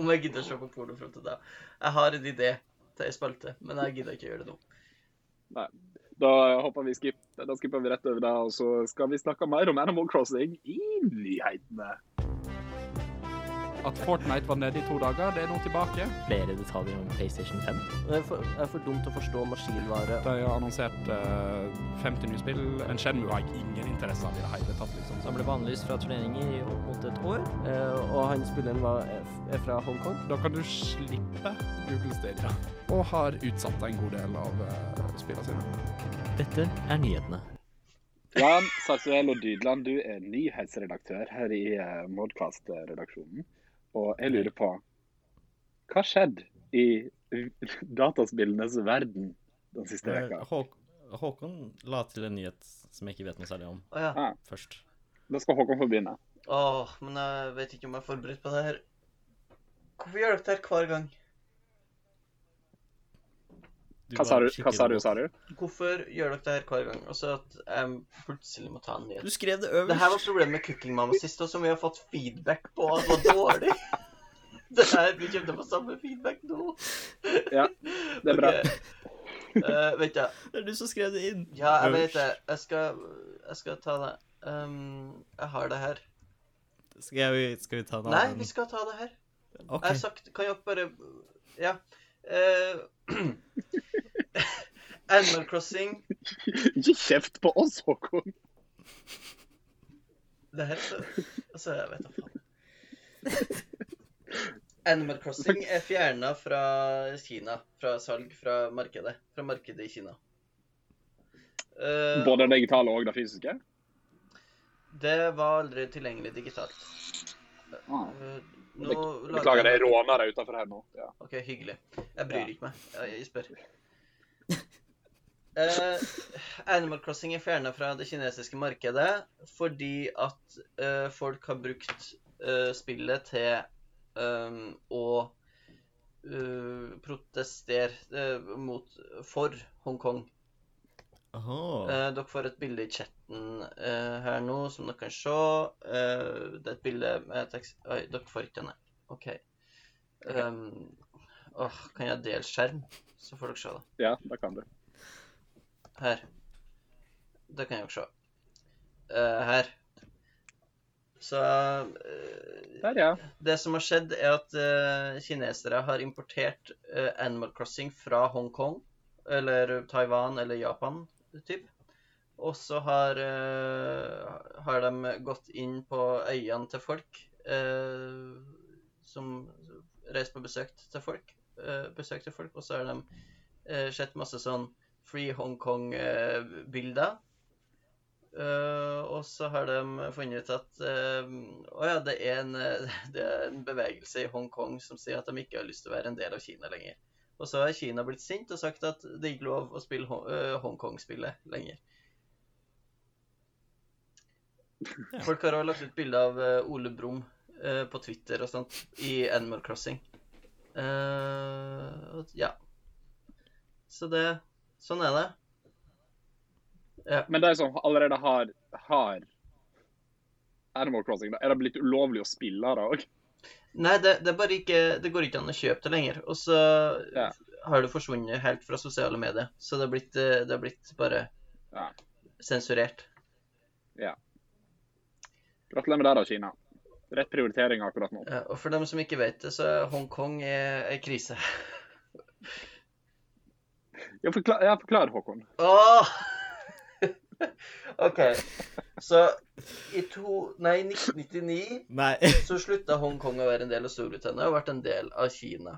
Om jeg gidder å se på porno fram til da. Jeg har en idé til ei spalte, men jeg gidder ikke å gjøre det nå.
Da hopper vi skip. Da skipper vi rett over det, og så skal vi snakke mer om Animal Crossing i nyhetene. At Fortnite var nede i to dager, det er nå tilbake.
Flere detaljer om PlayStation 5.
Det er for, det er for dumt å forstå maskinvare.
De har annonsert eh, 50 nye spill, men Shenmue har jeg ingen interesse av i det hele tatt. liksom. Så
ble bannlyst fra turneringer i opp mot et år. eh, og han spilleren var, er f- er fra Hongkong.
Da kan du slippe Google Stadia, og har utsatt en god del av eh, spillene sine.
Dette er nyhetene.
Jan Sarsuel og Dydland, du er nyhetsredaktør her i eh, Modcast-redaksjonen. Og jeg lurer på Hva skjedde i dataspillenes verden den siste
Eh,
veka?
Håk Håkon la til en nyhet som jeg ikke vet noe særlig om,
Å ja.
først.
Da skal Håkon få begynne.
Åh, men jeg vet ikke om jeg er forberedt på det her. Hvorfor gjør dere det her hver gang?
Hva sa
var
du, hva
skikkelig
sa du?
robot.
Sa du?
Hvorfor gjør dere det her hver gang? Altså at jeg plutselig må ta en nyhet.
Du skrev det
Det her var
øverst.
problemet med Cooking Mama sist, og som vi har fått feedback på at var dårlig. Det her, Vi kommer til å få samme feedback nå.
Ja, det er bra.
Ok. Eh, vent, da.
Det er du som skrev det inn.
Ja, jeg
Øverst.
vet det. Jeg skal, jeg skal ta det. Ehm, jeg har det her.
Skal vi, skal vi ta en
Nei,
annen?
vi skal ta det her.
Ok.
Jeg har sagt Kan dere bare Ja. eh, Animal Crossing
Ikke kjeft på oss, Håkon!
Det er helt så- Altså, jeg vet da faen. Animal Crossing er fjerna fra Kina. Fra salg fra markedet. Fra markedet i Kina. Eh,
Både det digitale og det fysiske?
det var aldri tilgjengelig digitalt.
Ah.
Eh, nå lager
Beklager, det
jeg-
er rånere utenfor her nå. Ja.
OK, hyggelig. Jeg bryr
Ja.
ikke meg. Jeg, jeg spør. Eh, Animal Crossing er fjerna fra det kinesiske markedet fordi at eh, folk har brukt eh, spillet til ehm, å eh, protestere eh, mot for Hongkong.
Åhå.
Eh, dere får et bilde i chatten eh, her nå, som dere kan se. Eh, det er et bilde med tekst Oi, dere får ikke denne. OK. Um, åh, kan jeg dele skjerm, så får dere se det.
ja, det kan du.
Her. Det kan dere se. Eh, her. Så eh,
Der, ja.
det som har skjedd, er at eh, kinesere har importert eh, Animal Crossing fra Hongkong, eller Taiwan eller Japan, typ. Og så har, eh, har de gått inn på øyene til folk, eh, som reiser på besøk til folk, eh, besøk til folk, og så har de eh, sett masse sånn Free Hongkong-bilder. Eh, og så har de funnet ut at eh, å ja, det, er en, eh, det er en bevegelse i Hongkong som sier at de ikke har lyst til å være en del av Kina lenger. Og så har Kina blitt sint og sagt at det er ikke lov å spille Hong- eh, Hongkong-spillet lenger. Folk har også lagt ut bilde av eh, Ole Brumm eh, på Twitter og sånt i Animal Crossing. Eh, og- ja. Så det Sånn er det.
Men de som allerede har, har Animal Crossing, da, er det blitt ulovlig å spille det òg?
Nei, det, det er bare ikke Det går ikke an å kjøpe det lenger. Og så
Ja.
har det forsvunnet helt fra sosiale medier. Så det har blitt, eh, det har blitt bare
Ja.
sensurert.
Gratulerer med det, da, Kina. Rett prioritering akkurat nå.
Ja, og for dem som ikke vet det, så er Hongkong er ei krise.
Ja, forklar, ja, forklar Håkon.
Åh! OK. Så i to Nei, i 1999
Nei.
så slutta Hongkong å være en del av Storbritannia og vært en del av Kina.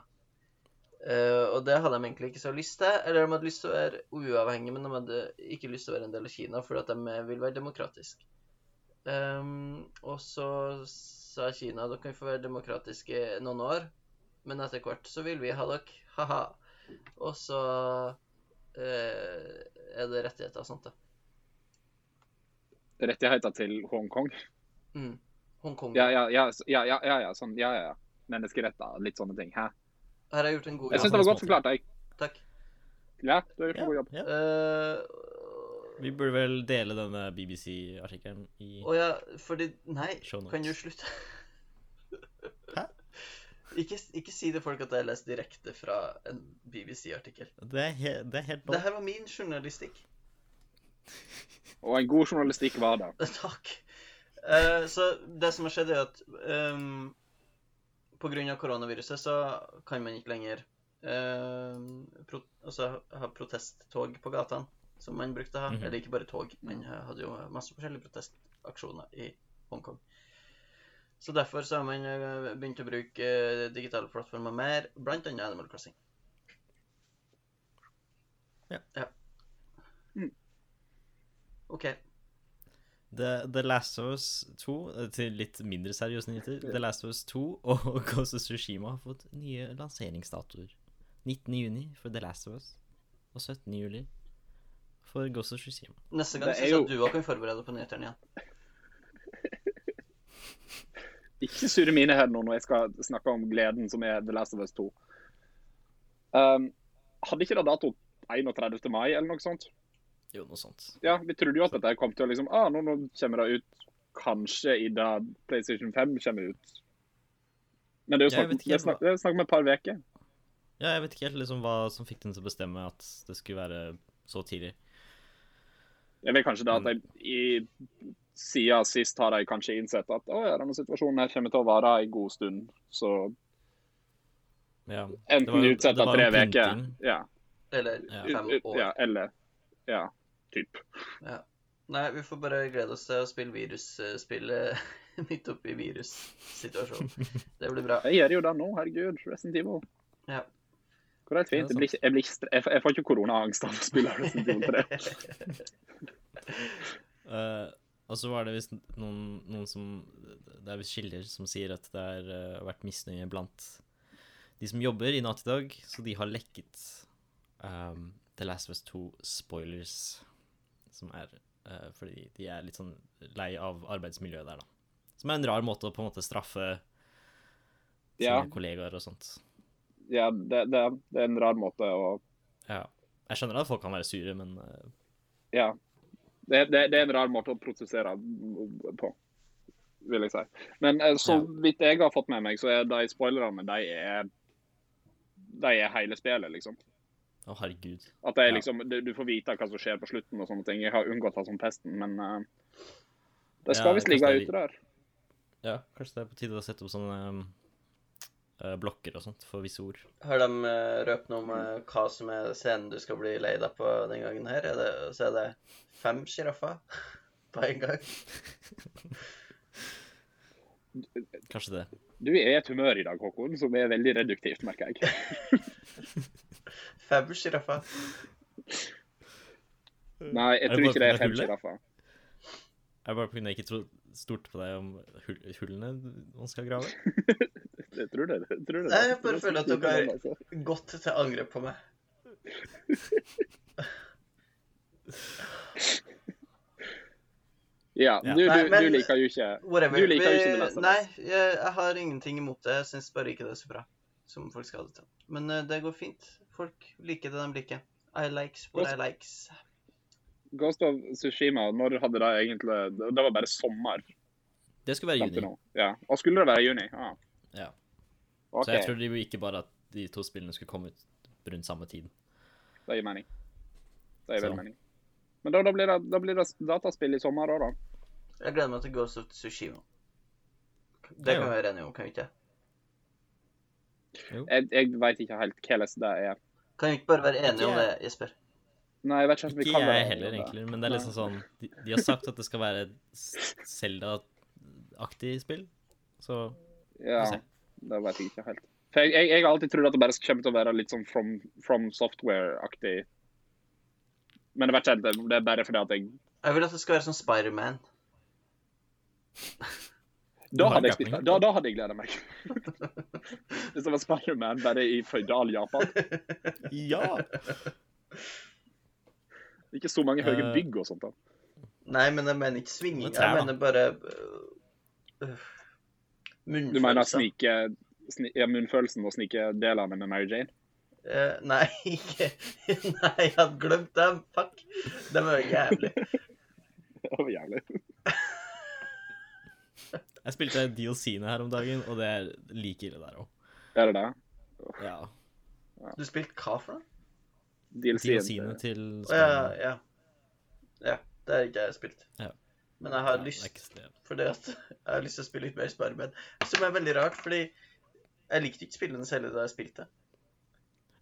Eh, og det hadde de egentlig ikke så lyst til. Eller de hadde lyst til å være uavhengige, men de hadde ikke lyst til å være en del av Kina fordi at de eh, vil være demokratiske. og så sa Kina dere kan få være demokratiske noen år, men etter hvert så vil vi ha dere. Ha-ha. Og så eh, er det rettigheter og sånt, da.
Rettigheter til Hongkong.
Mm. Hongkong.
Ja, ja, ja, s- ja, ja, ja, ja, sånn, ja, ja. ja. Menneskeretter, litt sånne ting. Hæ?
Her har jeg gjort en god
Jeg
Ja,
syns
jobb.
det var
sånn
godt forklart. Jeg.
Takk.
Ja, du har gjort
Ja,
en god jobb.
ja.
Eh,
Vi burde vel dele denne BBC-artikkelen i
Å ja, fordi Nei,
Show notes.
kan du slutte?
Hæ?
Ikke, ikke si til folk at jeg leste direkte fra en BBC-artikkel.
Det er, he det er helt
Det
lov.
her var min journalistikk.
Og en god journalistikk var det.
Takk. Eh, så det som har skjedd, er at ehm, på grunn pga. koronaviruset så kan man ikke lenger ehm, pro altså, ha protesttog på gatene, som man brukte å ha.
Mhm.
Eller ikke bare tog, man hadde jo masse forskjellige protestaksjoner i Hongkong. Så derfor så har man eh, begynt å bruke eh, digitale plattformer mer, blant annet Animal Crossing.
Ja.
ja.
Mm.
OK.
The, The Last of Us 2, eh, til litt mindre seriøse nyheter, The Last of Us 2 og Ghost of Tsushima har fått nye lanseringsdatoer. 19. juni for The Last of Us, og 17. juli for Ghost of Tsushima.
Neste gang
Det
så
er
skal
jo-
du òg kan forberede deg på nyhetene igjen.
Ikke surre mine her nå når jeg skal snakke om gleden som er The Last of Us 2. Um, hadde ikke det dato 31. mai eller noe sånt?
Jo, noe sånt.
Ja, vi trodde jo at dette kom til å liksom ah, nå, nå kommer det ut kanskje i da PlayStation 5 kommer ut. Men det er jo
Jeg
snakk,
vet ikke
det er snakk, det er snakk om et par uker.
Ja, jeg vet ikke helt liksom hva som fikk den til å bestemme at det skulle være så tidlig.
Jeg vet kanskje det
Mm.
at jeg i, siden sist har jeg kanskje innsett at å, ja, denne situasjonen her kommer til å vare en god stund. Så
Ja. Det var
Enten
jo-
utsatt
det
av
var
tre
jo
uker.
pynting.
Ja.
Eller
Ja.
fem
ut-
år.
ja. Eller Ja, typ.
Nei, vi får bare glede oss til å spille virusspillet midt oppi virussituasjonen. Det blir bra.
Jeg gjør jo det nå, herregud. Resident Evil.
Ja.
Hvor er det
Ja,
fint? Jeg, blir ikke, jeg, blir ikke, stre- jeg, får- jeg får ikke koronaangst av å spille Resident Evil 3.
Eh, og så var det visst noen, noen som Det er visst kilder som sier at det har vært misnøye blant de som jobber i Naughty Dog, så de har lekket ehm, The Last of Us 2 spoilers, som er eh, fordi de er litt sånn lei av arbeidsmiljøet der, da. Som er en rar måte å på en måte straffe
Ja.
sine kollegaer og sånt.
Ja, det, det, det er en rar måte å
Ja. Jeg skjønner at folk kan være sure, men eh,
Ja. Det, det, det er en rar måte å prosessere på, vil jeg si. Men eh, så
Ja.
vidt jeg har fått med meg, så er de spoilerne, de er de er hele spillet, liksom.
Å, herregud.
At det er
Ja.
liksom, du, du får vite hva som skjer på slutten og sånne ting. Jeg har unngått det som pesten, men eh, det skal
Ja,
visst ligge
kanskje det
ute der.
Ja, kanskje det er på tide å sette opp sånne ehm, eh, blokker og sånt for visse ord.
Har de eh, røpt noe om eh, hva som er scenen du skal bli lei deg på den gangen her? Er det, så er det fem sjiraffer på en gang.
Kanskje det.
Du er i et humør i dag, Håkon, som er veldig reduktivt, merker jeg.
Fem sjiraffer.
Nei, jeg
Er det
tror
bare
ikke det er fem
fordi det er hullet?
sjiraffer.
Jeg bare på grunn av jeg ikke trodde stort på deg om hull, hullene man skal grave.
Jeg tror det. Jeg tror det.
Nei, jeg bare føler at det ble-
er sånn.
Godt til angrep på meg.
Ja,
Ja.
du, du,
Nei, men-
du liker jo ikke
Whatever.
Du liker jo ikke The Last of Us.
Nei, jeg, jeg har ingenting imot det. Jeg syns bare ikke det er så bra som folk skal ha det til. Men eh, det går fint. Folk liker det de liker. I likes what I likes.
Ghost of Tsushima, når hadde det egentlig Det var bare sommer
Det skulle være
fram til
juni.
nå. Ja. Og skulle det være i juni? Ja.
Ja.
OK,
Så jeg tror de jo ikke bare at de to spillene skulle komme ut rundt samme tid.
det gir mening. Det gir
Så.
veldig mening. Men da, da, blir det, da blir det dataspill i sommer òg, da.
Jeg gleder meg til Ghost of Tsushima. Det
Ja.
kan vi være enige om, kan vi ikke?
Jeg, jeg veit ikke helt hvordan det er.
Kan vi ikke bare være enige om det,
Ikke-
Jesper?
Nei, jeg vet ikke om vi
Ikke
kan
jeg
være
heller,
enige om
egentlig, men det er liksom sånn De, de har sagt at det skal være et Zelda-aktig spill, så
Ja,
Vi får se.
det vet jeg ikke helt. For jeg, jeg, jeg har alltid trodd at det bare kommer til å være litt sånn from, from software-aktig. Men jeg vet ikke, helt, det- det er bare fordi at jeg
Jeg vil at det skal være som Spiderman.
Da
har
hadde jeg
gapping,
spilt det.
vet
Da,
du.
da hadde jeg gleda meg. Hvis det var Spiderman bare i føydal Japan.
Ja!
Ikke så mange høye
Eh.
bygg og sånt. da.
Nei, men jeg mener ikke svinging. Jeg
Men trær, da.
mener bare øh, øh,
Du mener
Munnfølelser.
snike, sni, ja, munnfølelsen og snikedelene med Mary Jane?
Eh, nei, ikke Nei, jeg hadde glemt dem. Fuck. De er jo jævlig.
Det var jævlig.
Jeg spilte DLC-ene her om dagen, og det er like ille der òg.
Er det det?
Ja.
Du spilte hva for noe?
DLC-en.
DLC-ene til
Å ja,
Spider-Man.
ja. Ja, det har ikke jeg spilt.
Ja.
Men jeg har
Ja, det er
lyst
ikke så-
Fordi at jeg har lyst til å spille litt mer Spiderman. Som er veldig rart, fordi jeg likte ikke spillene selv da jeg spilte.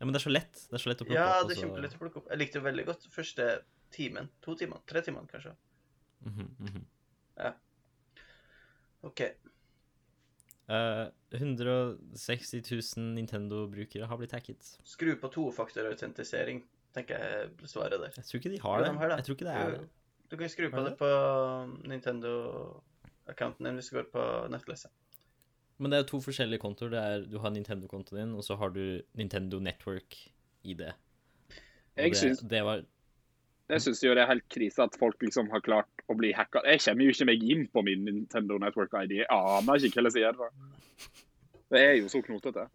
Ja, men det er så lett. Det er så lett å plukke
Ja,
opp.
det er kjempelett å plukke opp. Jeg likte jo veldig godt første timen. To timer. Tre timer, kanskje.
Mhm,
OK.
Eh, 160 000 Nintendo-brukere har blitt hacket.
Skru på tofaktorautentisering, tenker jeg er svaret der.
Jeg tror ikke de har
Jo,
det.
de har det.
Jeg tror ikke det er det.
Du kan skru på
Har de
det på Nintendo-accounten din hvis du går på nettleseren.
Men det er jo to forskjellige kontoer. Det er, du har Nintendo-kontoen din, og så har du Nintendo Network i det. Og
Jeg
det,
syns-
det var
Jeg syns jo det er helt krise at folk liksom har klart å bli hacka. Jeg kommer jo ikke meg inn på min Nintendo Network ID. Jeg aner ikke hva jeg sier. da. Det er jo så knotete.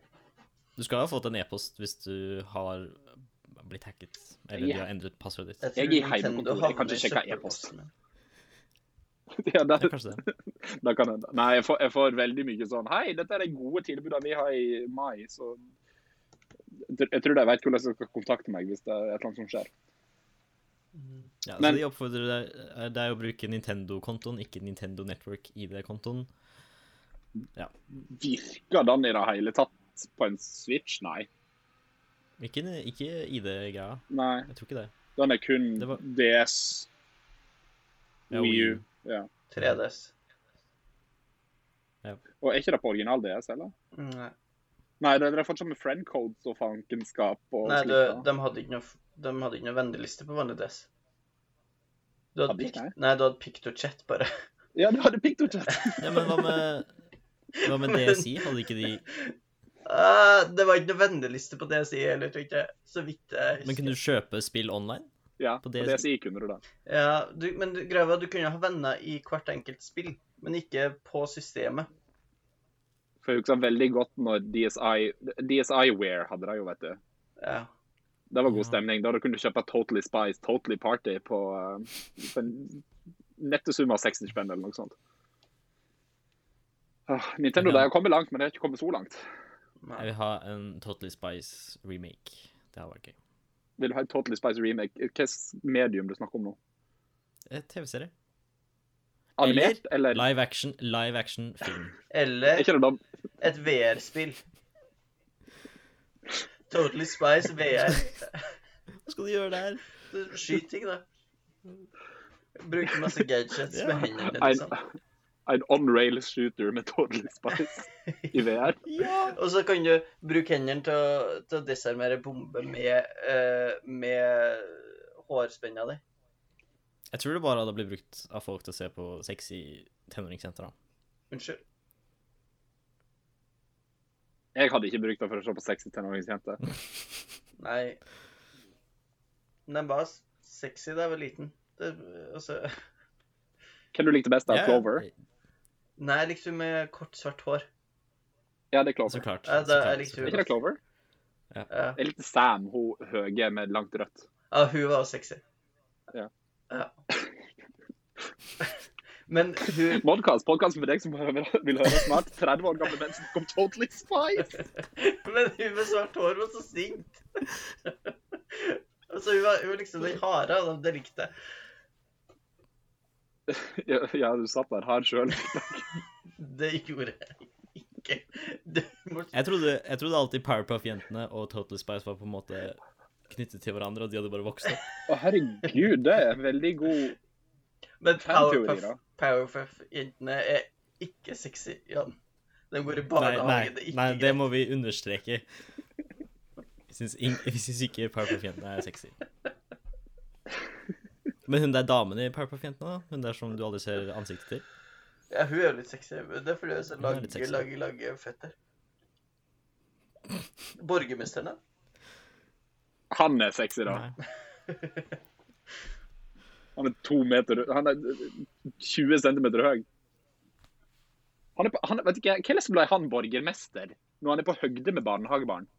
Du skal jo ha fått en e-post hvis du har blitt hacket, eller
Ja.
de har endret passordet ditt.
tror
Jeg er i
Nintendo
heimekontoret, jeg kan
havner
ikke
i
sjekke
søppelposten min.
Ja, det,
Ja, kanskje det.
det kan hende. Nei, jeg får, jeg får veldig mye sånn Hei, dette er de gode tilbudene vi har i mai, så Jeg tror de vet hvordan de skal kontakte meg hvis det er et eller annet som skjer.
Ja,
Men-
så de oppfordrer deg, eh, deg å bruke Nintendo-kontoen, ikke Nintendo Network i det kontoen.
Virker den i det hele tatt fett på en Switch? Nei.
Ikke, ikke ID-greia.
Nei.
Jeg tror ikke det.
Den er kun
Det var-
DS,
Ja,
Wii
Wii
U.
U.
Ja.
3DS.
Og er ikke det på original DS, eller?
Mm, Nei,
Nei, det det er fortsatt med friend codes og fankenskap og
Nei
slikt,
du,
da.
de hadde ikke noe, de hadde ikke noe venneliste på vanlig DS. Du hadde,
Hadde ikke
pikt,
jeg?
nei, du hadde PictoChat, bare.
Ja, du hadde PictoChat.
Ja, men hva med, hva med DSI? Hadde ikke de
Ah, det var ikke noe venneliste på DSI heller, tror jeg. ikke. Så vidt jeg husker.
Men kunne du kjøpe spill online?
Ja,
På
på
DSi.
DSI kunne du det.
Ja, du, men du, greia var at du kunne ha venner i hvert enkelt spill, men ikke på systemet.
For jeg husker veldig godt når DSI DSI-Ware hadde det jo, vet du.
Ja.
Det var god
Ja.
stemning. Da du kunne kjøpe Totally Spice, Totally Party på, eh, for en nette sum av 60 spenn eller noe sånt. Ah, Nintendo
Ja.
de har kommet langt, men de har ikke kommet så langt.
Jeg
Nei.
vil ha en Totally Spice remake. Det hadde vært gøy.
Vil du ha en Totally Spice remake? Hvilket medium du snakker om nå?
Eh, TV-serie.
Animert, eller?
Live action, live action film.
Er
Eller
ikke det da
et VR-spill. Totally Spice VR.
Hva skal du gjøre der?
Du Skyt ting, da. Bruker masse gadgets
Ja.
med hendene dine.
en,
Liksom.
en on-rail shooter med Totally Spice i VR?
Og så kan du bruke hendene til å, til å desarmere bombe med, eh, med hårspenna di.
Jeg tror det bare hadde blitt brukt av folk til å se på sexy tenåringsjenter. da.
Unnskyld.
Jeg hadde ikke brukt det for å se på sexy tenåringsjenter.
Nei. Men den var sexy da jeg var liten. Det, altså,
Hvem du likte best, da?
Ja,
Clover?
nei, jeg likte hun liksom med kort, svart hår.
Ja, det er
Så
Clover.
klart.
Ja, det-
så klart,
jeg likte
så
Er ikke
det.
klart.
det Clover?
Ja,
Jeg likte Sam, hun høye med langt rødt.
ja hun var også sexy.
Ja.
ja. Men hun
Modcast, podcasten for deg som hører- vil høre snart 30 år gamle menn som kom Totally Spice.
Men hun med svart hår var så sint. altså, hun var, hun var liksom den harde, og det likte jeg.
Ja, ja, du satt der her sjøl.
Det gjorde jeg ikke. Du må
Jeg trodde, jeg trodde alltid Powerpuff-jentene og Total Spice var på en måte knyttet til hverandre, og de hadde bare vokst opp.
Å, herregud, det er en veldig god
Men
Fanteori,
Powerpuff,
da.
Powerpuff-jentene er ikke sexy, Jan. De går i
Nei, nei,
barnehage, det er ikke
nei det
greit.
må vi understreke. Vi syns, ing- vi syns ikke Powerpuff-jentene er sexy. Men hun der damen i Powerpuff-jentene, da? Hun der som du aldri ser ansiktet til?
Ja, hun er jo litt sexy. men Det er fordi hun er så
Hun er litt
lange,
sexy.
lange, lange føtter. Borgermesteren, da?
Han er sexy, da.
Nei.
Han er to meter Han er 20 centimeter høy. Han er på, han, vet ikke, Hvordan ble han borgermester når han er på høgde med barnehagebarn?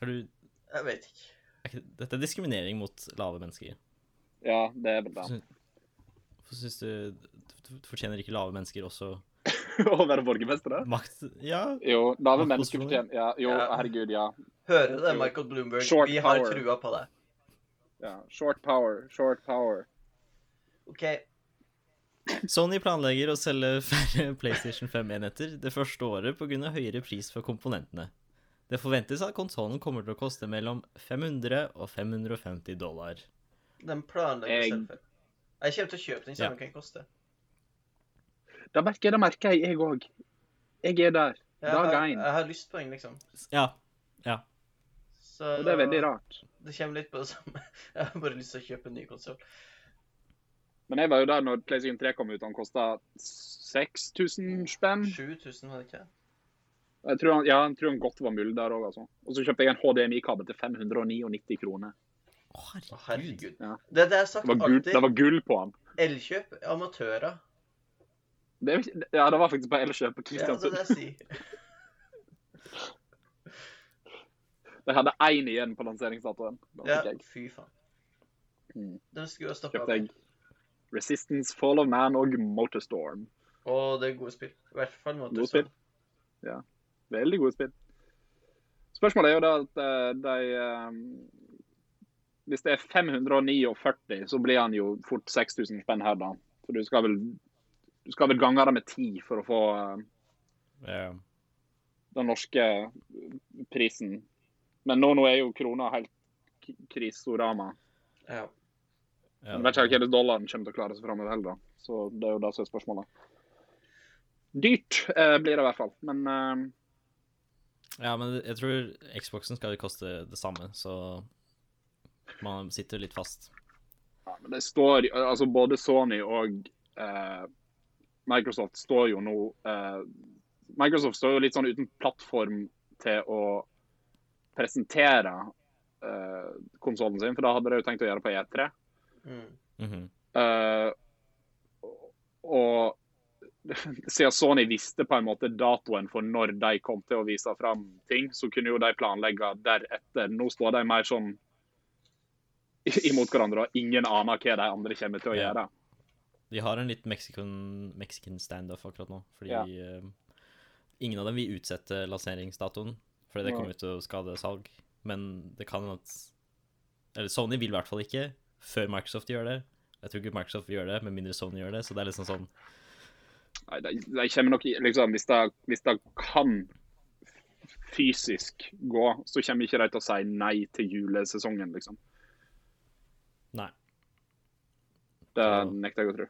Er du,
Jeg vet ikke.
er ikke, dette er diskriminering mot lave mennesker.
Ja, det er vel det.
Hvorfor syns du, du du fortjener ikke lave mennesker også
Å være borgermester, da?
makt? Ja,
Jo, lave
Maktposisjoner.
mennesker fortjener ja, Jo,
Ja.
herregud, ja.
Hører du det, Michael Bloomberg?
Short
Vi har
power.
trua på deg.
ja. Short power, short power.
OK.
Sony planlegger å selge færre PlayStation 5-enheter det første året pga. høyere pris for komponentene. Det forventes at konsollen kommer til å koste mellom 500 og 550 dollar.
Den planlegger
Jeg-
selv for. Jeg kommer til å kjøpe den
Ja.
samme hva den koster.
Det merker jeg, det merker jeg, jeg òg. Jeg er der.
Jeg har,
Dag én.
jeg har lyst på den, liksom.
Ja.
Så
Og det er veldig rart.
Det kommer litt på det samme. Jeg har bare lyst til å kjøpe en ny konsoll.
Men jeg var jo der når PlayStation 3 kom ut. Han kosta 6000 spenn.
7000, var det ikke?
Jeg tror han, ja, jeg tror han godt var mulig der òg, altså. Og så kjøpte jeg en HDMI-kabel til 599 kroner.
Å,
Å,
herregud.
herregud.
Ja.
Det er det jeg har sagt
Det var gull, det
alltid.
var gull på han.
Elkjøp, amatører.
Det, er jo ikke- ja, det var faktisk på Elkjøp på
Ja, det er
Kristiansund.
det jeg sier.
De hadde én igjen på lanseringsdatoen. Da
Ja,
fikk jeg.
fy faen.
Mm.
Den skulle ha stoppa.
Kjøpte jeg Resistance, Fall of Man og Motorstorm.
Å, det er gode spill. I hvert fall måte
Gode spill. Veldig gode spill. Spørsmålet er jo da at eh, de eh, Hvis det er 549, så blir han jo fort 6000 spenn her, da. For du skal vel du skal vel gange det med ti for å få eh,
Ja.
den norske prisen. Men nå, nå er jo krona helt k- krisorama.
Ja.
Ja.
Jeg vet ikke hvordan dollaren kommer til å klare seg framover heller, da. Så det er jo det som er spørsmålet. Dyrt eh, blir det i hvert fall. Men eh,
Ja, men jeg tror Xboxen skal jo koste det samme, så man sitter litt fast.
Ja, men det står Altså, både Sony og eh, Microsoft står jo nå eh, Microsoft står jo litt sånn uten plattform til å presentere eh, konsollen sin, for da hadde de jo tenkt å gjøre det på E E3.
Mm.
Mhm.
Eh, og siden Sony visste på en måte datoen for når de kom til å vise fram ting, så kunne jo de planlegge deretter. Nå står de mer sånn imot hverandre, og ingen aner hva de andre kommer til å
Ja.
gjøre.
De har en litt Mexican, Mexican standoff akkurat nå, fordi
Ja.
eh, ingen av dem vil utsette lanseringsdatoen, fordi det
Nei.
kommer ut til å skade salg. Men det kan at Eller Sony vil i hvert fall ikke, før Microsoft gjør det. Jeg tror ikke Microsoft vil gjøre det, med mindre Sony gjør det, så det er liksom sånn
Nei, de, de kommer nok liksom, Hvis det hvis det kan fysisk gå, så kommer ikke de til å si nei til julesesongen, liksom.
Nei.
Det
Ja.
nekter jeg å tro.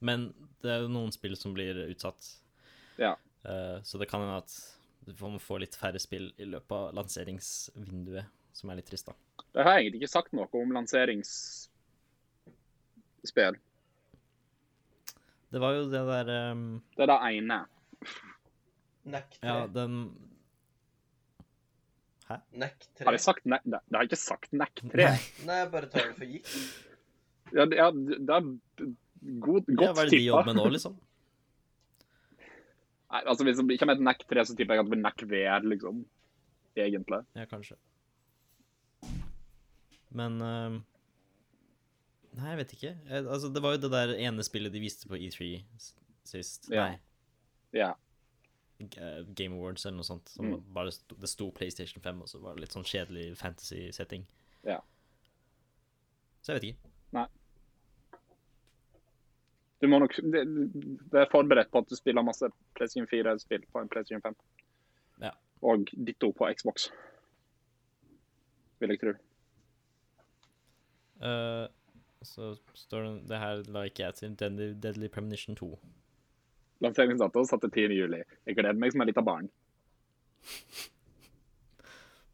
Men det er jo noen spill som blir utsatt.
Ja.
Eh, så det kan hende at man får litt færre spill i løpet av lanseringsvinduet, som er litt trist, da.
De har egentlig ikke sagt noe om lanseringsspill.
Det var jo det der ehm,
Det er det ene.
Nekk 3.
Ja, den
Nekk 3.
Har jeg sagt nek... Nei, det har jeg ikke sagt nekk 3.
Nei,
Nei, jeg bare tar det for gitt.
Ja, det- ja, det er b- god,
ja,
godt
Hva er det de
tippa.
jobber med nå, liksom?
Nei, altså, hvis det ikke med et nekk 3, så tipper jeg at det blir nekk VR, liksom. Egentlig.
Ja, kanskje. Men ehm, Nei, jeg vet ikke. Eh, Altså, det var jo det der ene spillet de viste på E3 s- sist.
Ja.
Nei.
Ja.
G- eh, Game Awards eller noe sånt. Som
Mm.
bare sto, det sto PlayStation 5, og så var det litt sånn kjedelig fantasy-setting.
Ja.
Så jeg vet ikke.
Du må nok Det, det er forberedt på at du spiller masse PlayStation 4-spill på en PlayStation 5.
Ja.
Og ditto på Xbox. Vil jeg tro.
Eh, så står det Det her la ikke jeg til. Deadly, Deadly Premonition 2.
Lanseringsdato satt til 10. juli. Jeg gleder meg som et lite barn.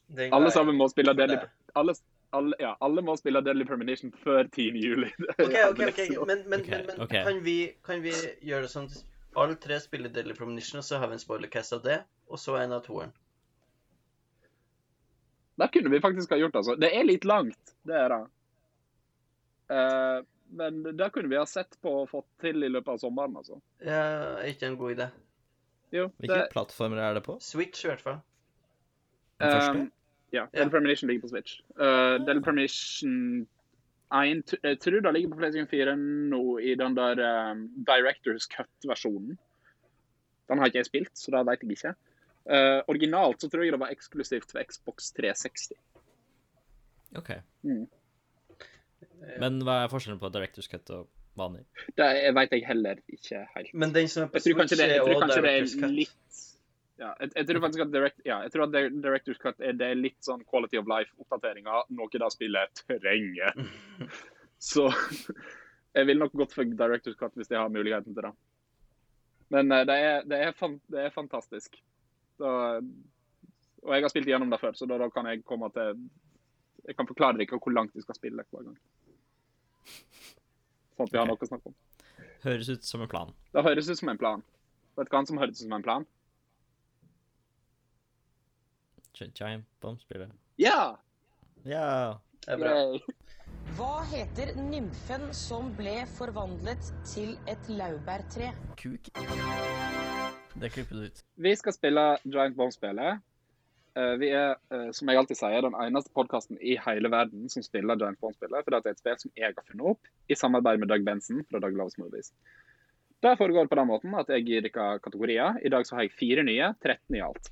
Den
Alle
gleder
sammen må spille
jeg meg
Deadly
til.
alle, alle, ja, alle må spille Deadly Premonition før 10. juli.
OK, OK, ok, men, men,
Ok,
men, men
ok.
Kan, vi, kan vi gjøre det sånn at alle tre spiller Daily Premonition, og så har vi en spoilercast av det, og så en av toeren?
Det kunne vi faktisk ha gjort, altså. Det er litt langt, det er det. Eh, men det kunne vi ha sett på og fått til i løpet av sommeren, altså.
Ja, er ikke det en god idé?
Jo, det,
Hvilke plattformer er det på?
Switch, i hvert fall.
Den
eh,
første?
ja,
Ja.
Deadly Premonition ligger på Switch. Eh, Deadly Premonition 1 t- Jeg tror det ligger på PlayStation 4 nå i den der eh, Directors Cut-versjonen. Den har ikke jeg spilt, så det vet jeg ikke. Eh, originalt så tror jeg det var eksklusivt for Xbox 360.
OK.
Mm.
Men hva er forskjellen på Directors Cut og vanlig?
Det jeg- vet jeg heller ikke helt.
Men den som E er på
Jeg tror
Switch,
kanskje det, jeg
er
tror
også
kanskje det
Directors
er
Cut.
litt ja, jeg, jeg tror faktisk at direct, ja, jeg tror at det- Directors Cut er, det er litt sånn quality of life-oppdateringer, noe det spillet trenger. Så jeg ville nok gått for Directors Cut hvis jeg har muligheten til det. Men eh, det er, det er, fan, det er fantastisk. Så, og jeg har spilt gjennom det før, så da, da kan jeg komme til Jeg kan forklare dere hvor langt vi skal spille hver gang. Sånn at vi har
Ok.
noe å snakke om.
Høres ut som en plan.
Det høres ut som en plan. Vet du hva som høres ut som en plan?
Gi- Giant Bomb-spillet.
Ja!
Ja!
Det er bra.
Hva heter nymfen som ble forvandlet til et laurbærtre?
Kuk. Det klipper du ut.
Vi skal spille Giant Bomb-spillet. Eh, Vi er, eh, som jeg alltid sier, den eneste podkasten i hele verden som spiller Giant Bomb-spillet, for det er et spill som jeg har funnet opp i samarbeid med Doug Benson fra Doug Loves Movies. Det foregår på den måten at jeg gir dere kategorier. I dag så har jeg fire nye, 13 i alt.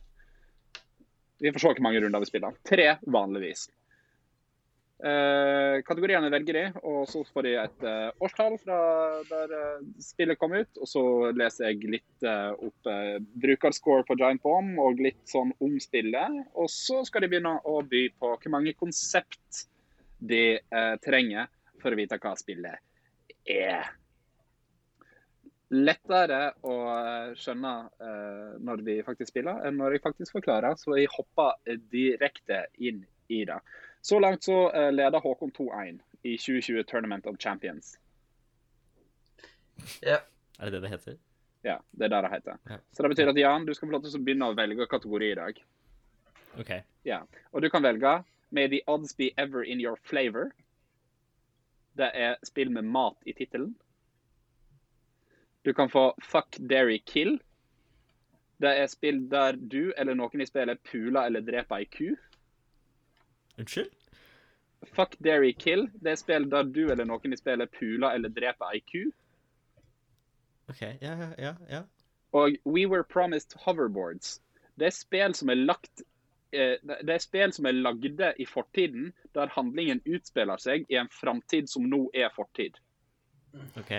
Vi får se hvor mange runder vi spiller. Tre vanligvis. Eh, kategoriene velger de, og så får de et eh, årstall fra der eh, spillet kom ut. Og så leser jeg litt eh, opp eh, brukerscore på Giant Bomb og litt sånn om spillet. Og så skal de begynne å by på hvor mange konsept de eh, trenger for å vite hva spillet er. Lettere å eh, skjønne eh, når vi faktisk spiller, enn når jeg faktisk forklarer. Så jeg hopper eh, direkte inn i det. Så langt så eh, leder Håkon 2-1 i 2020 Tournament of Champions.
Ja.
Er det det det heter?
Ja, det er det det heter.
Ja.
Så det betyr at Jan, du skal få lov til å begynne å velge kategori i dag.
OK.
Ja, og du kan velge May the odds be ever in your flavor. Det er spill med mat i tittelen. Du kan få Fuck, Dairy, Kill. Det er spill der du eller noen i spillet puler eller dreper ei ku.
Unnskyld?
Fuck, Dairy, Kill. Det er spill der du eller noen i spillet puler eller dreper ei ku.
OK. Ja, ja, ja. ja.
Og We Were Promised Hoverboards. Det er spill som er lagt eh, det er spill som er lagde i fortiden, der handlingen utspiller seg i en framtid som nå er fortid.
OK.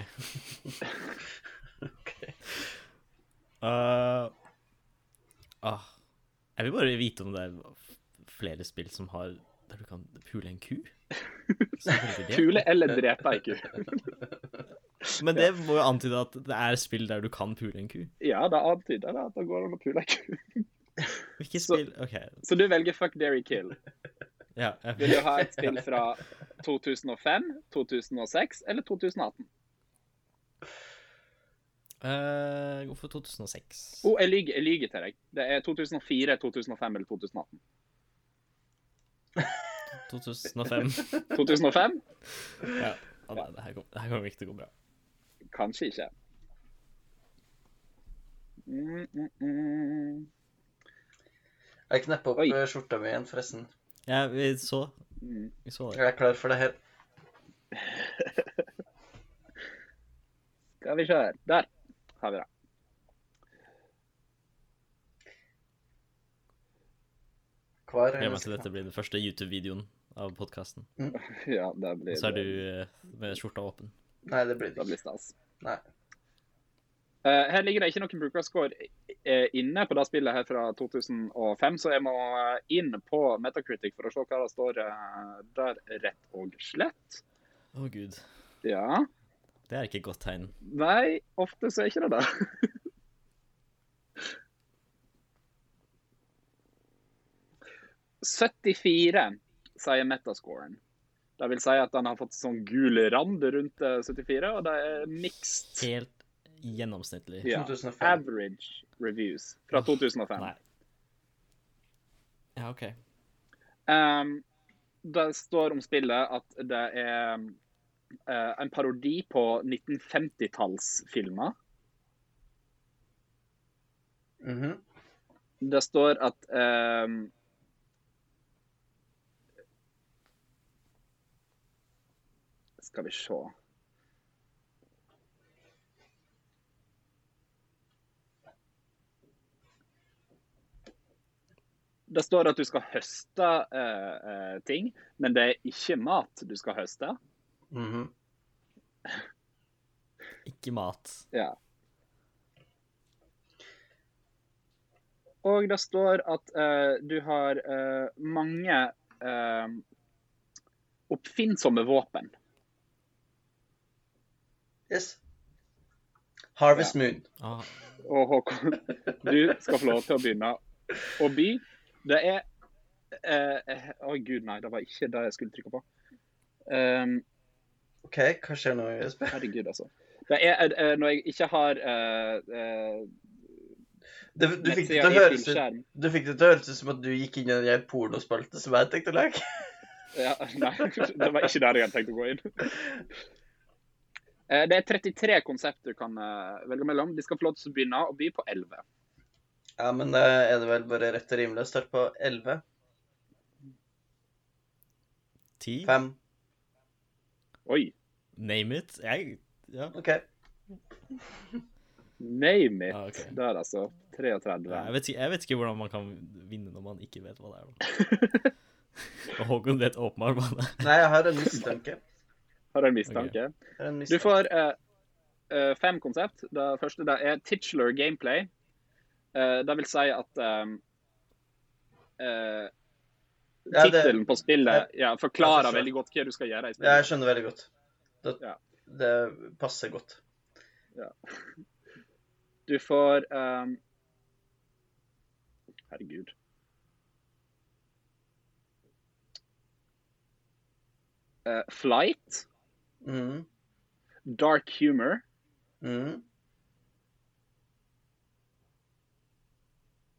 Uh, ah, jeg vil bare vite om det er flere spill som har Der du kan pule en ku? Så velger det.
Pule eller drepe ei ku.
Men det må jo antyde at det er spill der du kan pule en ku.
Ja, det antyder det at det går an å pule ei ku.
Hvilke
Så-
spill OK.
Så du velger Fuck Dairy Kill.
Ja,
Vil du
jeg,
ha et spill fra 2005, 2006 eller 2018?
Eh, gå for 2006.
Å, jeg lyver jeg lyver til deg. Det er 2004, 2005 eller 2018.
2005.
2005?
Ja. Å nei, det her kom- det her kommer ikke til å gå bra.
Kanskje ikke. Mm, mm, mm.
Jeg knepper opp
Oi.
eh, skjorta mi igjen, forresten.
Ja, vi så Vi så det.
Jeg er klar for det her.
Skal vi se her. Der har vi det.
Hver
Gleder meg til dette blir den første YouTube-videoen av podkasten.
Ja, det blir,
Så er du eh, med skjorta åpen.
Nei, det blir
det
det
blir
ikke.
stas.
Nei.
Eh, her ligger det ikke noen brukerscore eh, inne på det spillet her fra 2005, så jeg må eh, inn på Metacritic for å se hva det står eh, der, rett og slett.
Å gud.
Ja.
Det er ikke et godt tegn.
Nei, ofte så er ikke det det. «74», sier metascoren. Det vil si at den har fått sånn gul rand rundt eh, 74, og det er mixed.
Helt gjennomsnittlig.
Ja.
2005.
Average reviews fra 2005.
Nei. Ja, OK.
Um, det står om spillet at det er eh, en parodi på 1950-tallsfilmer.
Mhm.
Det står at ehm, Skal vi se Det står at du skal høste eh, eh, ting, men det er ikke mat du skal høste.
Mhm.
Ikke mat.
Ja. Og det står at eh, du har eh, mange eh, oppfinnsomme våpen.
Yes. Harvest Moon.
Ah,
Og Håkon, du skal få lov til å begynne å by. Det er eh, eh, Å gud, nei, det var ikke det jeg skulle trykke på. Um,
OK, hva skjer nå, Jesper?
herregud, altså. Det er eh, når jeg ikke har eh, eh,
Det, du, fikk det
nettsida
til å
i
høres
full
ut,
skjerm.
du fikk det til å høres ut som at du gikk inn i den der pornospalte som jeg tenkte å lage.
Ja, nei, det var ikke der jeg hadde tenkt å gå inn. Eh, Det er 33 konsept du kan eh, velge mellom. De skal få lov til å begynne å by på 11.
Ja, men da er det vel bare rett og rimelig å starte på 11,
ti?
5
Oi.
Name it. Jeg Ja.
OK.
Name it.
Ah, ok.
Der, altså.
Jeg
33.
vet, ikke, jeg vet ikke hvordan man kan vinne når man ikke vet hva det er. da. Og Håkon vet åpenbart hva det er.
Nei, jeg har en mistanke.
Har en mistanke.
Jeg har en
Du
mistanke.
får eh, eh, fem konsept. Det første det er titular gameplay. Eh, det vil si at um, eh,
Ja, det-
Tittelen på spillet ja, forklarer
Jeg forstår.
veldig godt hva du skal gjøre i
Ja, jeg
spillet.
skjønner veldig godt. Det,
Ja.
det passer godt.
Du får um, Herregud. Eh, flight,
Mhm,
dark humor,
mhm.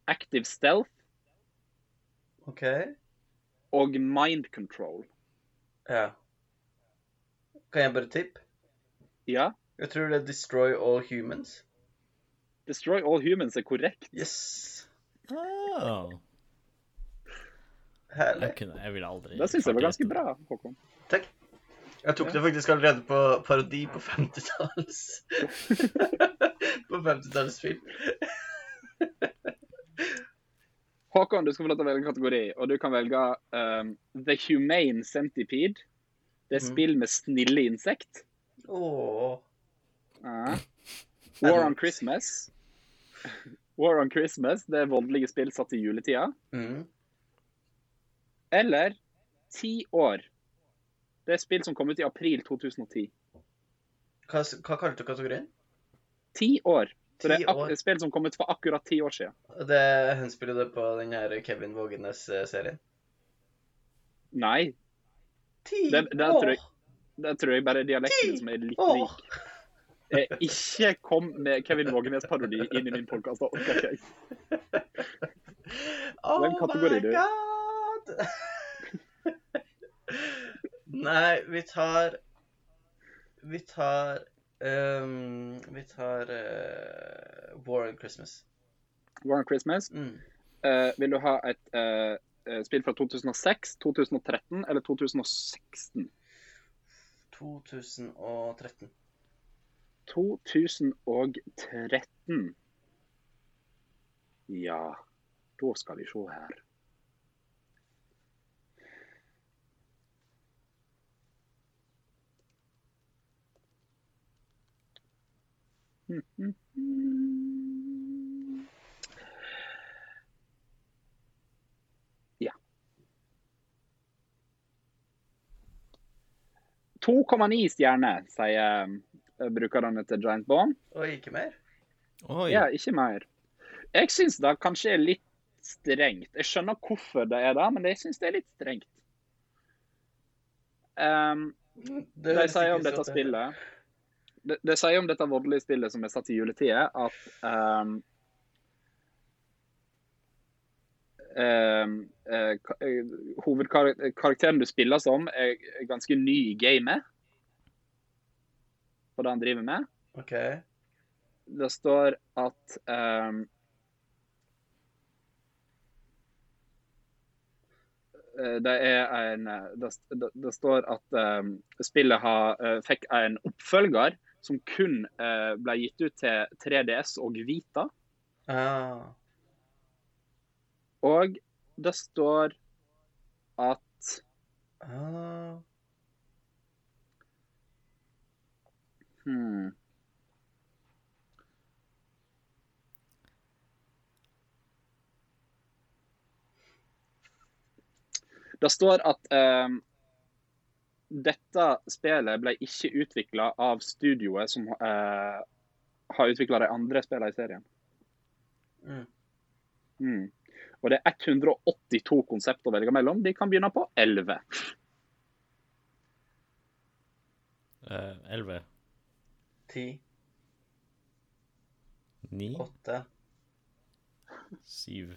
active stealth
OK.
og mind control.
Ja. Kan jeg bare tippe?
Ja,
Jeg tror det er Destroy All Humans.
destroy all humans er korrekt.
Yes.
Oh,
Herlig.
jeg, kunne, jeg ville aldri
Det syns jeg var
klart
ganske
å gjette
bra, Håkon.
Takk. Jeg tok det faktisk allerede på parodi på 50-tallets På 50-tallets film.
Håkon, du skal få lov til å velge en kategori, og du kan velge um, The Humane Centipede. Det er
Mhm.
spill med snille insekt.
Åh.
Ja. War on Christmas. War on Christmas, det er voldelige spill satt i juletida.
Mhm.
Eller Ti år. Det er spill som kom ut i april 2010.
Hva, hva kalte du kategorien?
Ti år. Så det
Ti
er ak-
år.
spill som kom ut for akkurat ti år siden.
Det henspiller det på den her Kevin eh, Vågenes-serien.
Nei,
Ti
Det- det tror jeg- det tror jeg bare er dialekten som er litt
Åh.
lik. Eh, ikke kom med Kevin Vågenes-parodi inn i min podkast. Det
Oh
Hvem kategori
my
du?
god! Nei, vi tar Vi tar ehm, Vi tar eh, War and Christmas.
War on Christmas.
Mm.
Eh, vil du ha et eh, eh, spill fra 2006, 2013 eller 2016?
2013.
2013. Ja, da skal vi se her. Ja. 2,9 stjerner, sier eh, brukerne til Giant Bomb.
Og ikke mer?
Oi,
Ja, ikke mer. Jeg syns det kanskje er litt strengt. Jeg skjønner hvorfor det er det, men jeg syns det er litt strengt. Ehm,
Det
de
høres
sier
ikke
om
så
dette
til.
spillet de, de sier om dette voldelige spillet som er satt i juletida, at ehm, ehm, eh, ka- eh, Hovedkarakteren du spiller som, er er ganske ny i gamet. På det han driver med.
OK.
Det står at ehm, eh, Det er en eh, Det, det, det står at ehm, spillet har, eh, fikk en oppfølger som kun eh, ble gitt ut til 3DS og Vita.
Ah.
Og det står at
Ah.
hmm, Det står at ehm, dette spillet ble ikke utvikla av studioet som eh, har utvikla de andre spillene i serien.
Mm.
Mm. Og det er 182 konsept å velge mellom. De kan begynne på 11.
eh, 11,
10,
9,
8,
7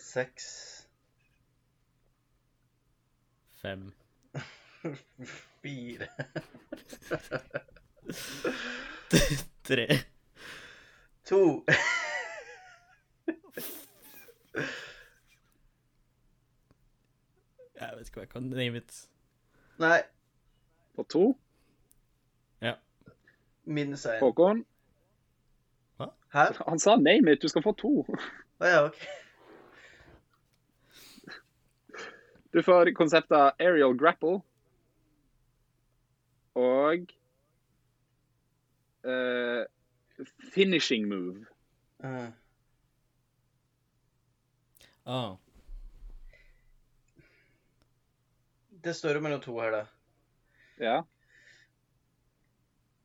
6
5
4
3
2
Jeg vet ikke hva jeg kan name it.
Nei,
På 2.
Ja.
minus 1.
Håkon,
Hæ?
han sa name it, du skal få to.
Å ja, OK.
Du får konseptet aerial grapple og eh, finishing move.
Eh,
Ah,
Det står jo mellom to her, da.
Ja,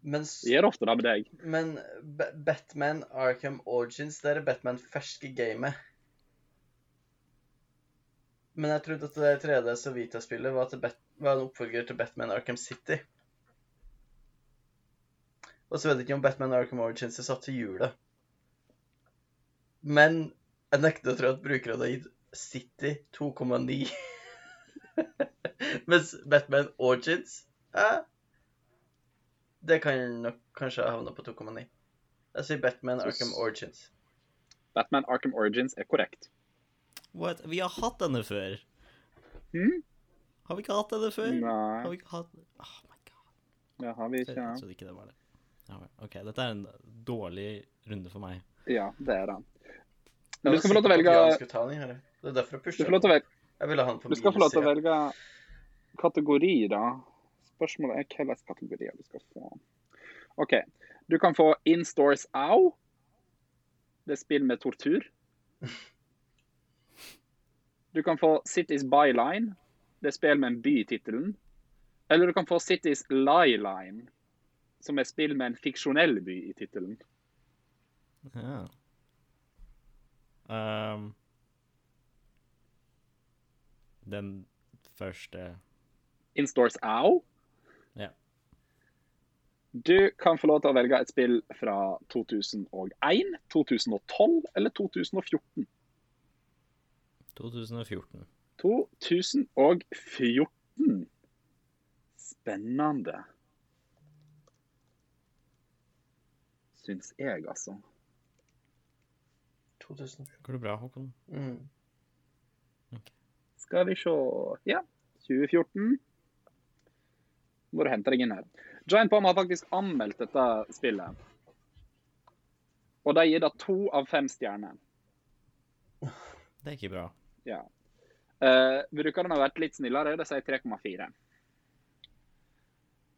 Mens
det gjør ofte det med deg.
Men Ba- Batman Arkham Origins, det er det Batman ferske gamet. Men jeg trodde at det 3D så Vita-spillet var, til Bat var en oppfølger til Batman Arkham City. Og så vet jeg ikke om Batman Arkham Origins er satt til jula. Men jeg nekter å tro at brukere hadde gitt City 2,9. Mens Batman Origins eh, det kan nok kanskje havne på 2,9. Jeg sier Batman
Så s-
Arkham Origins.
Batman Arkham Origins er korrekt.
what? Vi har hatt denne før.
Hm?
Har vi ikke hatt denne før? Har
Nei,
vi ikke hatt Oh my god.
det har vi
Jeg
ikke.
trodde ikke det var det. Ja, vel. OK, dette er en dårlig runde for meg.
Ja, det er det.
Jeg
Du
var
skal få lov til å
sikker på at Jan
velge
skulle ta den, her. Det er derfor jeg
Du
pusher.
får lov til å velge
Jeg ville ha den på
Du skal få lov til å
minussida.
velge kategori, da. Spørsmålet er hvilke kategorier du skal få. OK. Du kan få In Stores Au. Det er spill med tortur. Du kan få Cities Byline. Det er spill med en by i tittelen. Eller du kan få Cities Lie-Line, som er spill med en fiksjonell by i tittelen.
Ja. Ehm, den første
In Stores Au.
Ja.
Du kan få lov til å velge et spill fra 2001, 2012 eller 2014.
2014.
2014. Spennende. Syns jeg, altså.
2000.
Går det bra, Håkon?
Mm.
Skal vi se Ja, 2014. Må du hente deg inn her. Giant Bomb har faktisk anmeldt dette spillet. Og de gir det to av fem stjerner.
Det er ikke bra.
Ja. Eh, brukerne har vært litt snillere. Det sier 3,4.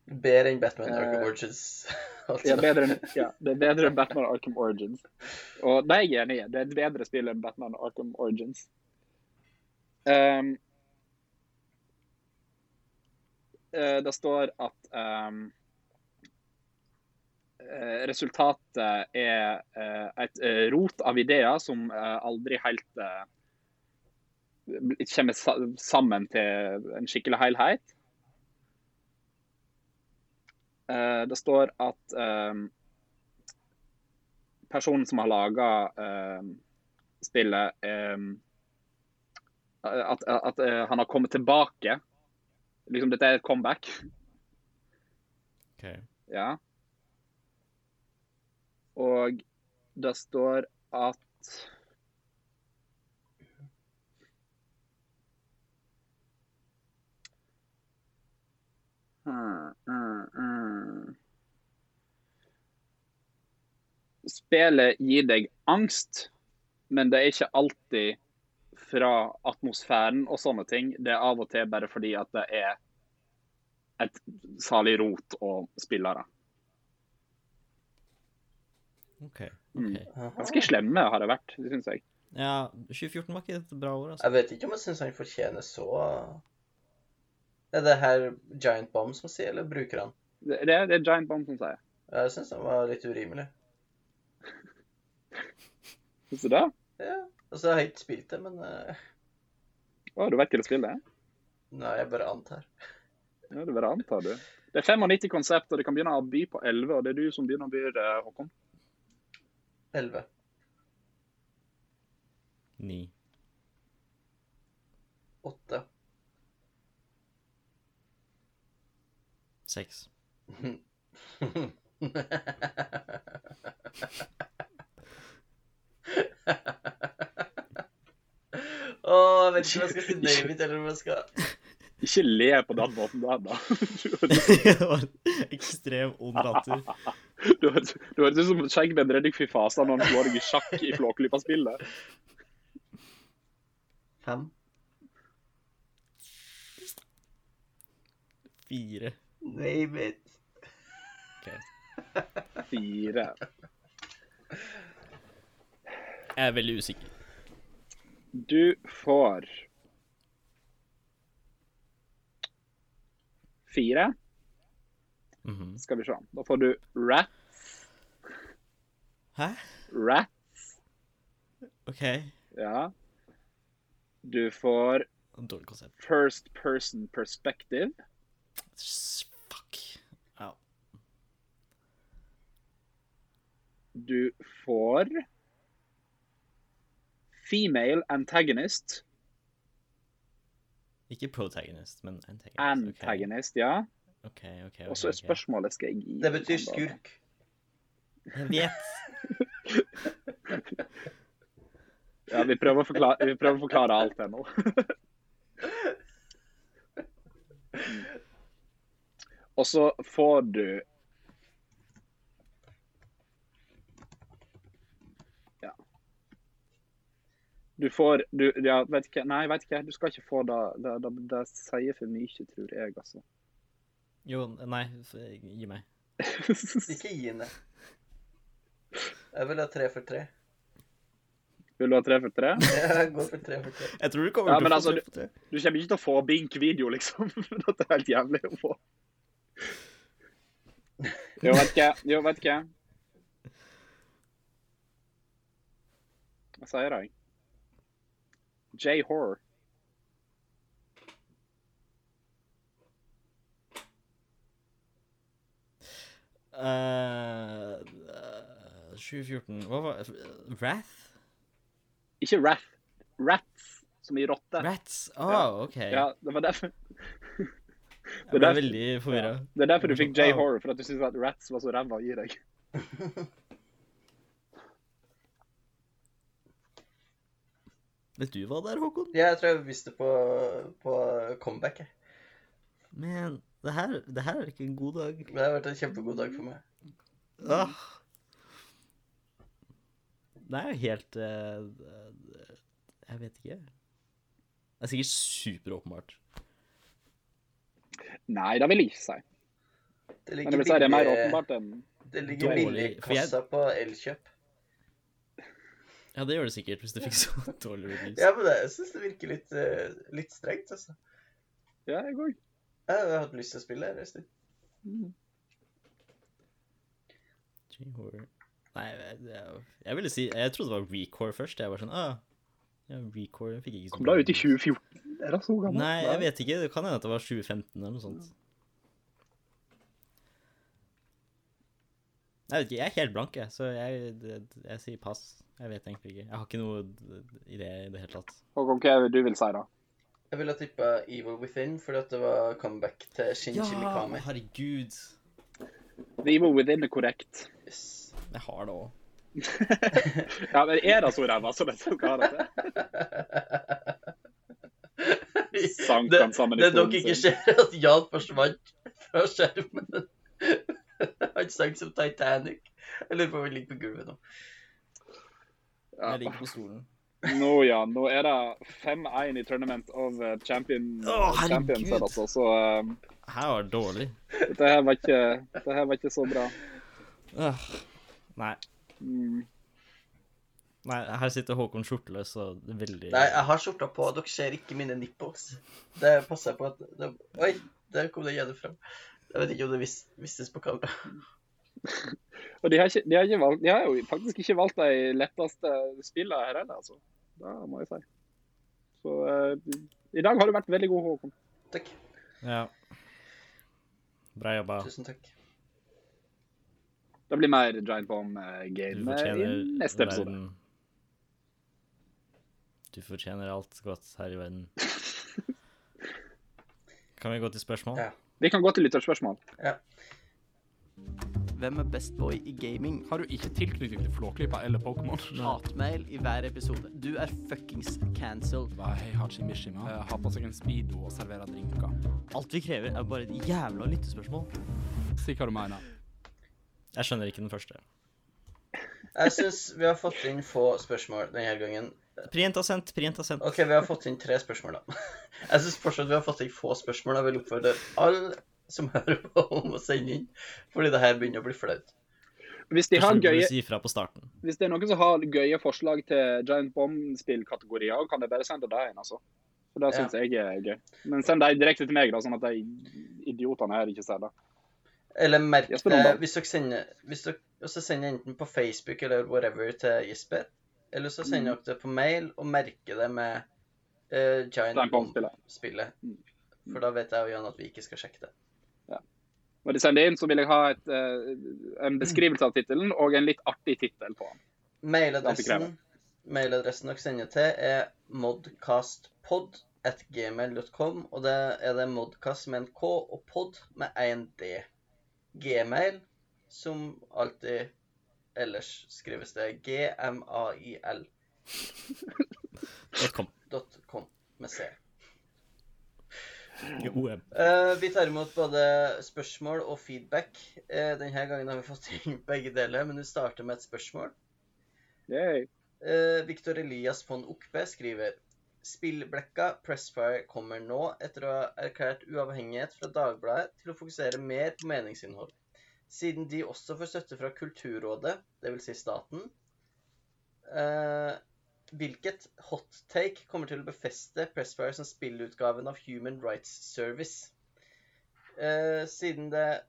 Bedre enn Batman Arkham
Eh,
Origins.
Ja, bedre enn, ja, det er bedre enn Batman Arkham Origins. Og det er jeg enig i. Det er et bedre spill enn Batman Arkham Origins. Ehm, eh, det står at ehm, eh, resultatet er eh, et eh, rot av ideer som eh, aldri helt eh, kommer sa- sammen til en skikkelig helhet. Eh, det står at ehm, personen som har laga spillet ehm, At, at eh, han har kommet tilbake. Liksom, dette er et comeback.
OK.
Ja. Og det står at Hmm, hmm, hmm. Spillet gir deg angst, men det er ikke alltid fra atmosfæren og sånne ting. Det er av og til bare fordi at det er et salig rot og spillere.
OK.
Mm.
ok.
Ganske slemme har det vært, syns jeg.
Ja, 2014 var ikke et bra år, altså.
Jeg vet ikke om jeg syns han fortjener så Er det her Giant Bomb som sier, eller bruker han?
Det, det er Giant Bomb som sier.
Jeg syns han var litt urimelig.
Syns du det?
Ja. Altså, jeg har ikke spilt det, men eh,
Å, du vet hva det spillet er?
Nei, jeg bare antar.
Ja, det bare antar du. Det er 95 konsept, og det kan begynne å by på 11, og det er du som begynner å by, eh, Håkon.
11.
Ni.
8.
Seks.
Åh, jeg vet ikke om jeg skal si David, eller om jeg skal
Ikke le på den måten der, da.
det var en ekstrem ond latter.
Du høres du høres ut som skjeggbenn Reddik Fifasa når han slår deg i sjakk i Flåklypa-spillet.
5.
Fire.
Name it.
Ok.
Fire.
Jeg er veldig usikker.
Du får Fire.
Mhm.
Skal vi se. Da får du rat,
Hæ?
rat.
OK.
Ja. Du får
Dårlig konsept.
first person perspective.
S- Fuck. Au.
Du får female antagonist.
Ikke protagonist, men antagonist. ok.
Antagonist, ja.
Ok, ok, ok,
Og så er
ok.
spørsmålet skal jeg gi
Det betyr
deg, sånn, da.
skurk.
Jeg vet.
Ja, vi prøver å forklare, vi prøver å forklare alt her nå. Mm. Og så får du Ja. Du får du, ja, vet ikke, Nei, vet ikke. Du skal ikke få det. Det, det, det sier for mye, tror jeg, altså.
Jo, nei, f- gi meg.
Ikke gi henne. Jeg vil ha tre for tre.
Vil du ha tre for tre?
Jeg går for tre for tre.
Jeg tror du
Ja,
kommer
men
til å
altså,
få tre på tre.
Du kommer ikke til å få bink-video, liksom. Dette er helt jævlig å få. Jo, vet ikke. Jo, vet ikke. Hva sier jeg? J-Horror.
Eh, eh, 7-14 Hva var eh, Wrath?
Ikke Wrath. Rats, som i rotte.
Rats? Å,
Ja.
Ah, OK.
Ja, det var derfor.
jeg ble
derfor-
veldig forvirra.
Det er derfor du fikk J-Horror, for at du syntes at rats var så ræva i deg.
Vet du hva det er, Håkon?
Jeg tror jeg visste på, på comeback. jeg.
Men det her, det her er ikke en god dag.
Men det har vært en kjempegod dag for meg.
Ah. Det er jo helt eh, Jeg vet ikke. Det er sikkert superåpenbart.
Nei, det vil jeg ikke si.
Det
Men jeg vil si det er mer
billig-
eh,
åpenbart enn
Det ligger
Dårlig,
billig i
for jeg-
kassa på Elkjøp.
Ja, det gjør det sikkert, hvis du fikk så dårlig reviews.
Ja, men det, jeg syns det virker litt, eh, litt strengt, altså.
Ja, jeg òg.
Jeg har hatt lyst til å spille her en stund.
J-horror. Nei, jeg, jeg, jeg ville si Jeg trodde det var Recore først. Jeg var sånn ah, ja, Recore fikk ikke så
Kom
bra
da ut i
reviews.
2014. Er det så gammelt?
Nei, jeg vet ikke. Det kan hende at det var 2015 eller noe sånt. Jeg vet ikke, jeg er helt blank, jeg, så jeg, det- jeg sier pass. Jeg vet egentlig ikke. Jeg har ikke noe i det i det hele tatt.
Håkon, hva er det du vil si, da?
Jeg ville ha tippa Evil Within, fordi at det var comeback til Shin
Ja,
Shimikami.
herregud.
The Evil Within er korrekt.
Yes.
Jeg har det òg.
Ja, men er det så ræva som dette skal ha det til? Sank
det
han sammen i
det dere
stolen
ikke
sin.
ser, er at Jan forsvant fra skjermen. Han sank som Titanic. Jeg lurer på om han ligger på gulvet nå.
Jeg
Ja.
ligger på stolen.
Nå, ja. Nå er det 5-1 i tournament of eh, champion,
Å, herregud.
champions her, altså. Så eh,
Her var det dårlig.
dette her var ikke, dette her var ikke så bra.
Ah, nei.
Mm.
nei. Her sitter Håkon skjorteløs og veldig
Nei, jeg har skjorta på, og dere ser ikke mine nipples. Det passer jeg på at det... Oi, der kom det igjen fram. Jeg vet ikke om det vis vistes på kamera.
Og de har, ikke, de, har ikke valgt, de har jo faktisk ikke valgt de letteste spillene her heller, altså. Det må jeg si. Så eh, i dag har du vært veldig god, Håkon.
Takk.
Ja. Bra jobba.
Tusen takk.
Det blir mer Giant Bomb
Du
Game eh, i
fortjener
neste episode.
verden. Du fortjener alt godt her i verden. Kan vi gå til spørsmål?
Ja.
Vi kan gå til lytterspørsmål.
Hvem er best boy i gaming?
Har du ikke tilknytning til Flåklypa eller Pokémon?
Hatmail i hver episode. Du er fuckings cancelled.
Hva er Hei Hachi Mishima? Eh, Har på seg en speedo og serverer drinker.
Alt vi krever, er bare et jævla lyttespørsmål.
Si hva du mener.
Jeg skjønner ikke den første.
Jeg syns vi har fått inn få spørsmål denne gangen.
Print og sendt, print og sendt.
OK, vi har fått inn tre spørsmål, da. Jeg syns fortsatt vi har fått inn få spørsmål. Jeg vil oppfordre all som hører på, om å sende inn. Fordi det her begynner å bli flaut.
Hvis, de
Kanskje
har
du burde
gøye,
si ifra på starten.
hvis det er noen som har gøye forslag til Giant Bomb-spillkategorier, kan de bare sende det inn, altså. For det
Ja.
syns jeg er gøy. Men send dem direkte til meg, da, sånn at de idiotene her ikke ser det.
Eller merk
Jesper
det
Omdal.
hvis dere sender hvis dere, og så sender enten på Facebook eller whatever til Jesper. Eller så sender dere det på mail og merker det med eh, Giant
Giant Bomb-spillet.
Bomb-spillet.
Mm.
For da vet jeg og Jan at vi ikke skal sjekke det.
Når de sender inn, så vil jeg ha et, eh, en beskrivelse av tittelen og en litt artig tittel på den.
Mailadressen,
krever.
mailadressen dere sender til, er modcastpod at gmail.com, og det er det modcast med en K og pod med en D. Gmail, som alltid ellers skrives det gmail.com
Kom.
med C.
OM.
Eh, vi tar imot både spørsmål og feedback. Eh, denne gangen har vi fått inn begge deler, men vi starter med et spørsmål.
Yay.
Eh, Victor Elias von Okpe skriver Spillblekka Pressfire kommer nå, etter å ha erklært uavhengighet fra Dagbladet, til å fokusere mer på meningsinnhold. Siden de også får støtte fra Kulturrådet, dvs. Si staten, eh, hvilket hot take kommer til å befeste Pressfire som spillutgaven av Human Rights Service? Eh, siden det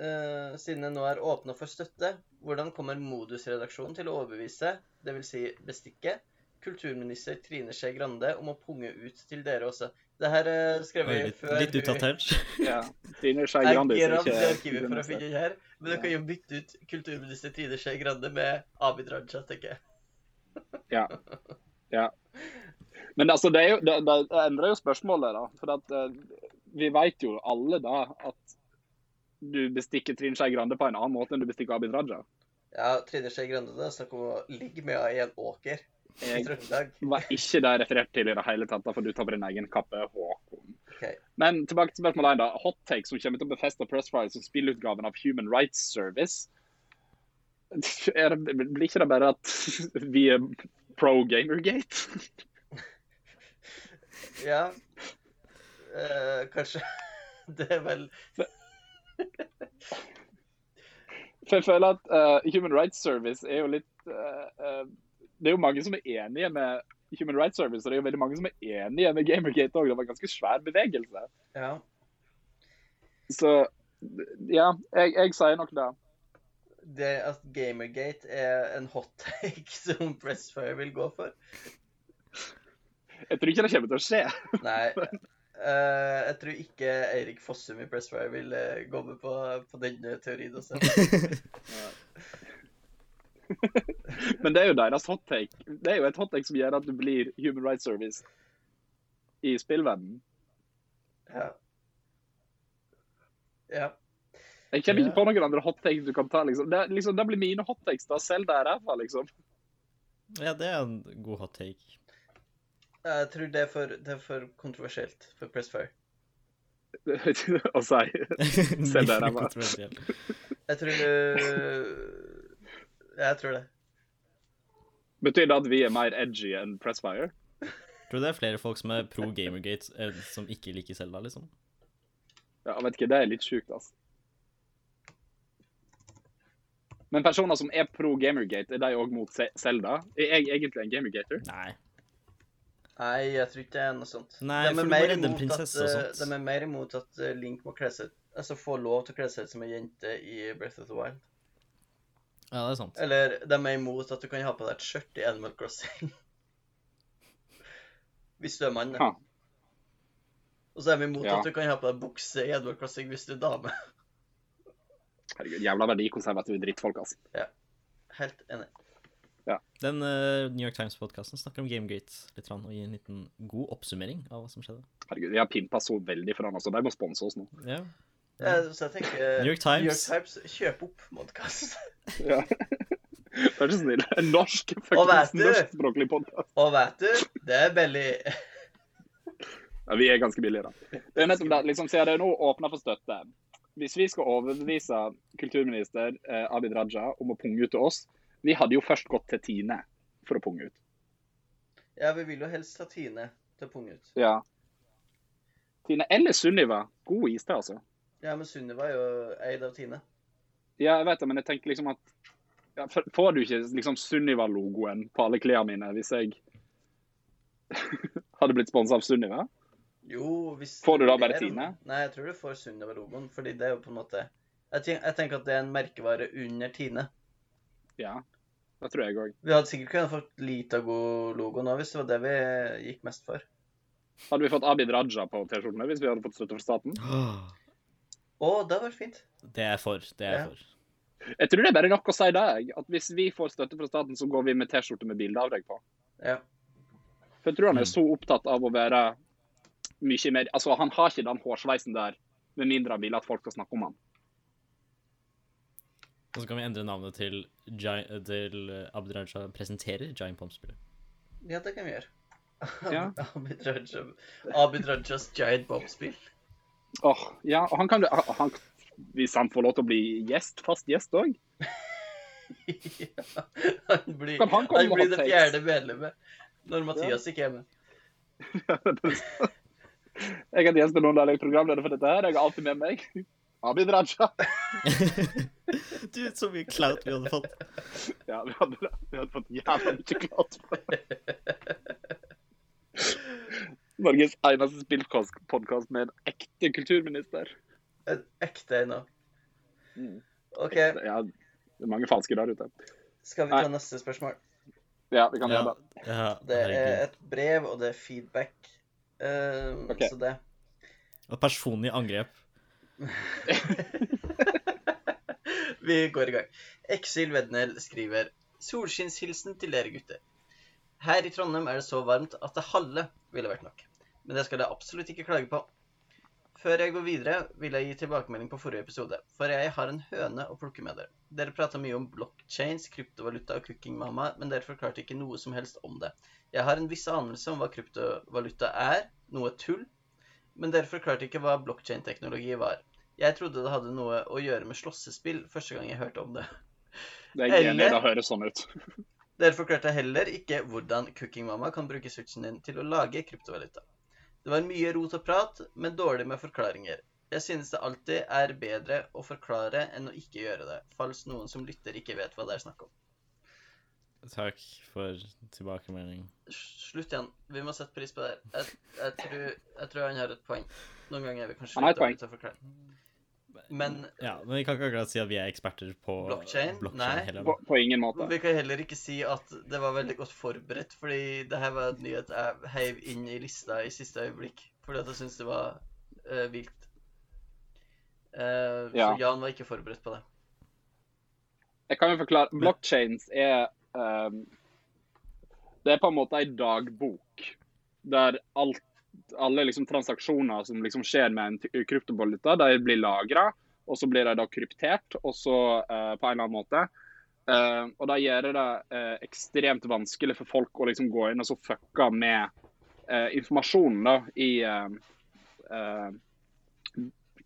Eh, siden det nå er åpna for støtte, hvordan kommer Modus-redaksjonen til å overbevise, dvs. Si bestikke, kulturminister Trine Skei Grande om å punge ut til dere også? Det her eh, er skrevet
Oi, litt,
før
litt
hun-
utdatert.
Ja. Trine Skei
Jeg
Grande
gir
er
opp det
ikke
arkivet for å finne den her, men dere kan jo bytte ut kulturminister Trine Skei Grande med Abid Raja, tenker jeg.
Ja. ja. Men altså, det, er jo, det, det endrer jo spørsmålet, da. For at, eh, vi vet jo alle da at du bestikker Trine Skei Grande på en annen måte enn du bestikker Abid Raja.
Ja, Trine Skei Grande, det er snakk om å ligge med henne i en åker i
Jeg-
Trøndelag.
Det var ikke det jeg refererte til i det hele tatt, da, for du tar på din egen kappe, Håkon.
Ok.
Men tilbake til spørsmål 1, da. Hot take som kommer til å befeste Pressfire som spillutgaven av Human Rights Service. Er det, blir ikke det bare at vi er pro Gamergate?
Ja. Eh, kanskje. Det er vel
For jeg føler at eh, Human Rights Service er jo litt eh, eh, Det er jo mange som er enige med Human Rights Service, og det er jo veldig mange som er enige med Gamergate òg. Det var en ganske svær bevegelse.
Ja.
Så ja, jeg, jeg sier nok det.
det at Gamergate er en hot take som Pressfire vil gå for.
Jeg tror ikke det kommer til å skje.
Nei. eh, jeg tror ikke Eirik Fossum i Pressfire vil eh, gå med på, på den eh, teorien også.
Men det er jo deres hot take. Det er jo et hot take som gjør at du blir Human Rights Service i spillverdenen.
Ja. ja.
Jeg kjenner ikke
Ja.
på noen andre hot takes du kan ta. liksom. Det, er- liksom, det blir mine hot takes da, selv der jeg er fra, liksom.
Ja, det er en god hot take.
Jeg tror det er for, det er for kontroversielt for Pressfire.
Å si. Se der, jeg var.
Kontroversiell.
Jeg tror du Jeg tror det.
Betyr det at vi er mer edgy enn Pressfire?
Tror du det er flere folk som er pro Gamergate eh, som ikke liker Selda, liksom?
Ja, jeg vet ikke, det er litt sjukt, altså. Men personer som er pro Gamergate, er de òg mot Se- Zelda? Er jeg egentlig en Gamergater?
Nei.
Nei, jeg tror ikke det er noe sånt.
Nei,
de,
for
er
du må
mer
redde en
imot at,
prinsesse og
eh,
sånt.
de er mer imot at eh, Link må kle seg Altså få lov til å kle seg ut som ei jente i Breath of the Wild.
Ja, det er sant.
Eller de er imot at du kan ha på deg et skjørt i Animal Crossing. hvis du er mann, da.
Ha.
Og så er de imot
Ja.
at du kan ha på deg bukse i Animal Crossing hvis du er dame.
Herregud, jævla verdikonservative drittfolk, altså.
Helt enig.
Den eh, New York Times-podkasten snakker om Gamegate litt grann, og gir en liten god oppsummering av hva som skjedde.
Herregud, vi har pimpa så veldig for han, altså. De må sponse oss nå.
Ja.
Eh, Så jeg tenker eh,
New York Times.
New York Times kjøp opp Modcast.
Ja. Vær så snill. En norsk,
vet
faktisk
du-
norskspråklig podkast.
Og vet du, det er billig.
Ja, vi er ganske billige, da. Det er nettopp det. Liksom, ser det nå åpna for støtte. Hvis vi skal overbevise kulturminister eh, Abid Raja om å punge ut til oss Vi hadde jo først gått til Tine for å punge ut.
Ja, vi vil jo helst ha Tine til å punge ut.
Ja. Tine eller Sunniva. God iste, altså.
Ja, men Sunniva er jo eid av Tine.
Ja, jeg vet det, men jeg tenker liksom at ja, f- Får du ikke liksom Sunniva-logoen på alle klærne mine hvis jeg hadde blitt sponsa av Sunniva?
Jo, hvis
Får du da
det
bare
er en-
Tine?
Nei, jeg tror du får Sunniva-logoen, fordi det er jo på en måte jeg, ten- jeg tenker at det er en merkevare under Tine.
Ja. Det tror jeg òg.
Vi hadde sikkert kunnet fått Litago-logoen òg, hvis det var det vi gikk mest for.
Hadde vi fått Abid Raja på T-skjortene hvis vi hadde fått støtte fra staten?
Å, det var fint.
Det er jeg for. Det er jeg
Ja.
for.
Jeg tror det er bare nok å si det, jeg. At hvis vi får støtte fra staten, så går vi med T-skjorte med bilde av deg på.
Ja.
For jeg tror han er så opptatt av å være mye mer Altså, han har ikke den hårsveisen der, med mindre han vil at folk skal snakke om han.
Og så kan vi endre navnet til, Gi- til Abid Raja presenterer Giant Bomb-spillet.
ja, det kan vi gjøre.
Ja.
Abid Raja Abid Rajas Giant Bomb-spill.
Åh, ja, og han kan han, Hvis han får lov til å bli gjest, fast gjest òg?
Han blir,
Kan han
han
komme
blir
og ha
det
takes?
fjerde medlemmet når Mathias ikke er med.
jeg er gjest i noen der jeg er programleder for dette her. Jeg har alltid med meg Abid Raja.
Du, så mye clout vi hadde fått.
Ja, vi hadde, vi hadde fått jævla mye klart for det. Norges eneste spillpodkast med en ekte kulturminister.
En Eh, ekte en òg.
Mm.
OK,
Ja, det er mange falske der ute.
skal vi ta neste spørsmål?
Ja, vi kan
Ja,
gjøre det.
ja,
Det er
herregud.
et brev, og det er feedback. Um,
Ok.
Så det
Og personlig angrep.
Vi går i gang. Exil Wedner skriver Solskinnshilsen til dere gutter. Her i Trondheim er det så varmt at det halve ville vært nok. Men det skal jeg absolutt ikke klage på. Før jeg går videre, vil jeg gi tilbakemelding på forrige episode, for jeg har en høne å plukke med dere. Dere prata mye om blockchains, kryptovaluta og Cooking Mama, men dere forklarte ikke noe som helst om det. Jeg har en viss anelse om hva kryptovaluta er, noe tull, men dere forklarte ikke hva blockchain-teknologi var. Jeg trodde det hadde noe å gjøre med slåssespill første gang jeg hørte om det.
Det er jeg enig i,
Eller-
det høres sånn ut.
Dere forklarte heller ikke hvordan Cooking Mama kan bruke switchen din til å lage kryptovaluta. Det var mye rot og prat, men dårlig med forklaringer. Jeg synes det alltid er bedre å forklare enn å ikke gjøre det, falls noen som lytter ikke vet hva det er snakk om.
Takk for tilbakemelding.
Slutt igjen. Vi må sette pris på det. her. Jeg, jeg, tror, jeg tror han har et poeng. Noen ganger er vi kanskje
Han har et
litt
poeng.
dårlige til å forklare. Men
Ja, men vi kan ikke akkurat si at vi er eksperter på
Blockchain? Nei.
heller.
På, på ingen måte.
vi kan heller ikke si at det var veldig godt forberedt, fordi det her var en nyhet jeg heiv inn i lista i siste øyeblikk. Fordi at jeg syntes det var eh, vilt. Eh,
Ja.
Så Jan var ikke forberedt på det.
Jeg kan jo forklare. Blockchains er ehm, Det er på en måte ei dagbok der alt, alle liksom transaksjoner som liksom skjer med en ty- kryptovaluta, de blir lagra. Og så blir de da kryptert, og så eh, på en eller annen måte. Eh, og det gjør det eh, ekstremt vanskelig for folk å liksom gå inn og så fucke med eh, informasjonen da, i eh, eh,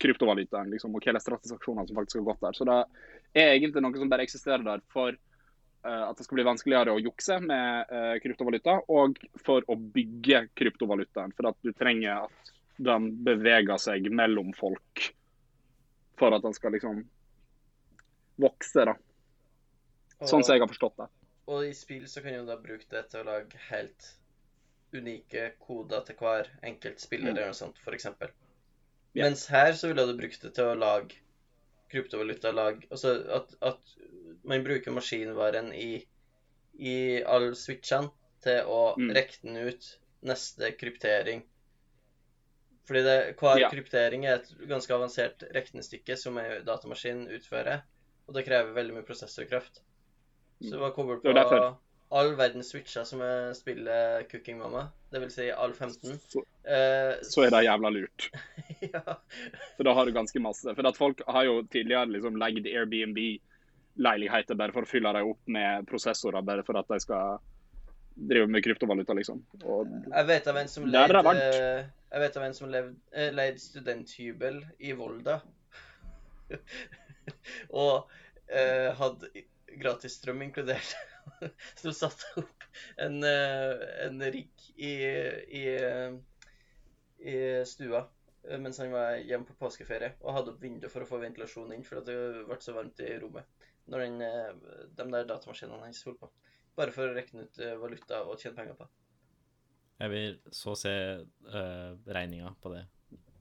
kryptovalutaen, liksom, og hva slags transaksjoner som faktisk har gått der. Så det er egentlig noe som bare eksisterer der for eh, at det skal bli vanskeligere å jukse med eh, kryptovaluta, og for å bygge kryptovalutaen. For at du trenger at den beveger seg mellom folk for at den skal liksom vokse, da.
Og,
Sånn som jeg har forstått det.
og i spill så kan du da bruke det til å lage helt unike koder til hver enkelt spiller
Mm.
eller noe sånt, f.eks.
Ja.
Mens her så ville du brukt det til å lage kryptovaluta, lage Altså at, at man bruker maskinvaren i, i alle switchene til å
Mm.
rekne ut neste kryptering. Fordi det, hver
Ja.
kryptering er et ganske avansert regnestykke som en datamaskin utfører, og det krever veldig mye prosessorkraft. Så det var
Mm.
koblet
Det
på
var derfor.
all verdens switcher som er- spiller Cooking Mama, det vil si all 15.
Så,
Eh,
så er det jævla lurt.
ja.
For da har du ganske masse. For at folk har jo tidligere liksom legget Airbnb-leiligheter bare for å fylle dem opp med prosessorer, bare for at de skal drive med kryptovaluta, liksom. Og
Jeg vet av en som
Der er det
leid,
varmt.
eh, jeg vet av en som levd, eh, leid studenthybel i Volda. og eh, hadde gratis strøm inkludert. Så hun satte opp en, eh, en rigg i, i, eh, i stua eh, mens han var hjemme på påskeferie og hadde opp vinduet for å få ventilasjon inn, for at det ble så varmt i rommet når den, eh, de der datamaskinene hans holdt på. Bare for å regne ut eh, valuta og tjene penger på.
Jeg vil så se uh, regninga på det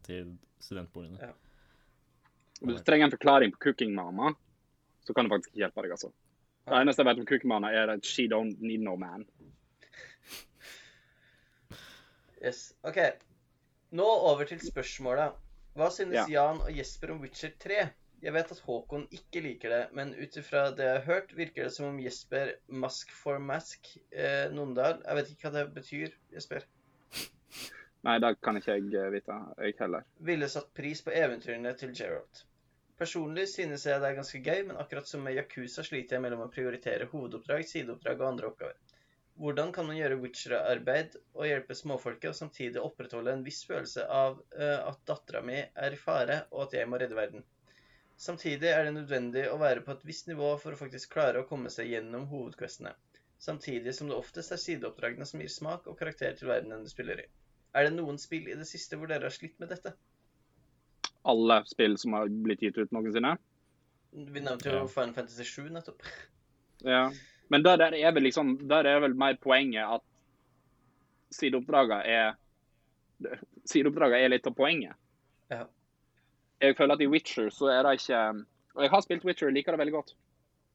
til studentboligene.
Ja.
Hvis du trenger en forklaring på Cooking Mama, så kan det faktisk ikke hjelpe deg, altså. Det eneste jeg vet om Cooking Mama, er at she don't need no man.
Yes, ok. Nå over til spørsmålet. Hva synes
Ja.
Jan og Jesper om Witcher 3? Jeg vet at Håkon ikke liker det, men ut ifra det jeg har hørt, virker det som om Jesper Mask for Mask eh, Nondal Jeg vet ikke hva det betyr, Jesper.
Nei, det kan ikke jeg eh, vite. Jeg heller.
Ville satt pris på eventyrene til Geralt. Personlig synes jeg det er ganske gøy, men akkurat som med Yakuza sliter jeg mellom å prioritere hovedoppdrag, sideoppdrag og andre oppgaver. Hvordan kan man gjøre Witcher-arbeid og hjelpe småfolket, og samtidig opprettholde en viss følelse av eh, at dattera mi er i fare, og at jeg må redde verden? Samtidig er det nødvendig å være på et visst nivå for å faktisk klare å komme seg gjennom hovedquestene, samtidig som det oftest er sideoppdragene som gir smak og karakter til verdenen du spiller i. Er det noen spill i det siste hvor dere har slitt med dette?
Alle spill som har blitt gitt ut noensinne.
Vi nevnte jo
Ja.
Final Fantasy 7 nettopp.
Ja. Men der, der, er vel liksom, der er vel mer poenget at sideoppdragene er Sideoppdragene er litt av poenget.
Ja.
Jeg føler at i Witcher så er det ikke Og jeg har spilt Witcher, jeg liker det veldig godt.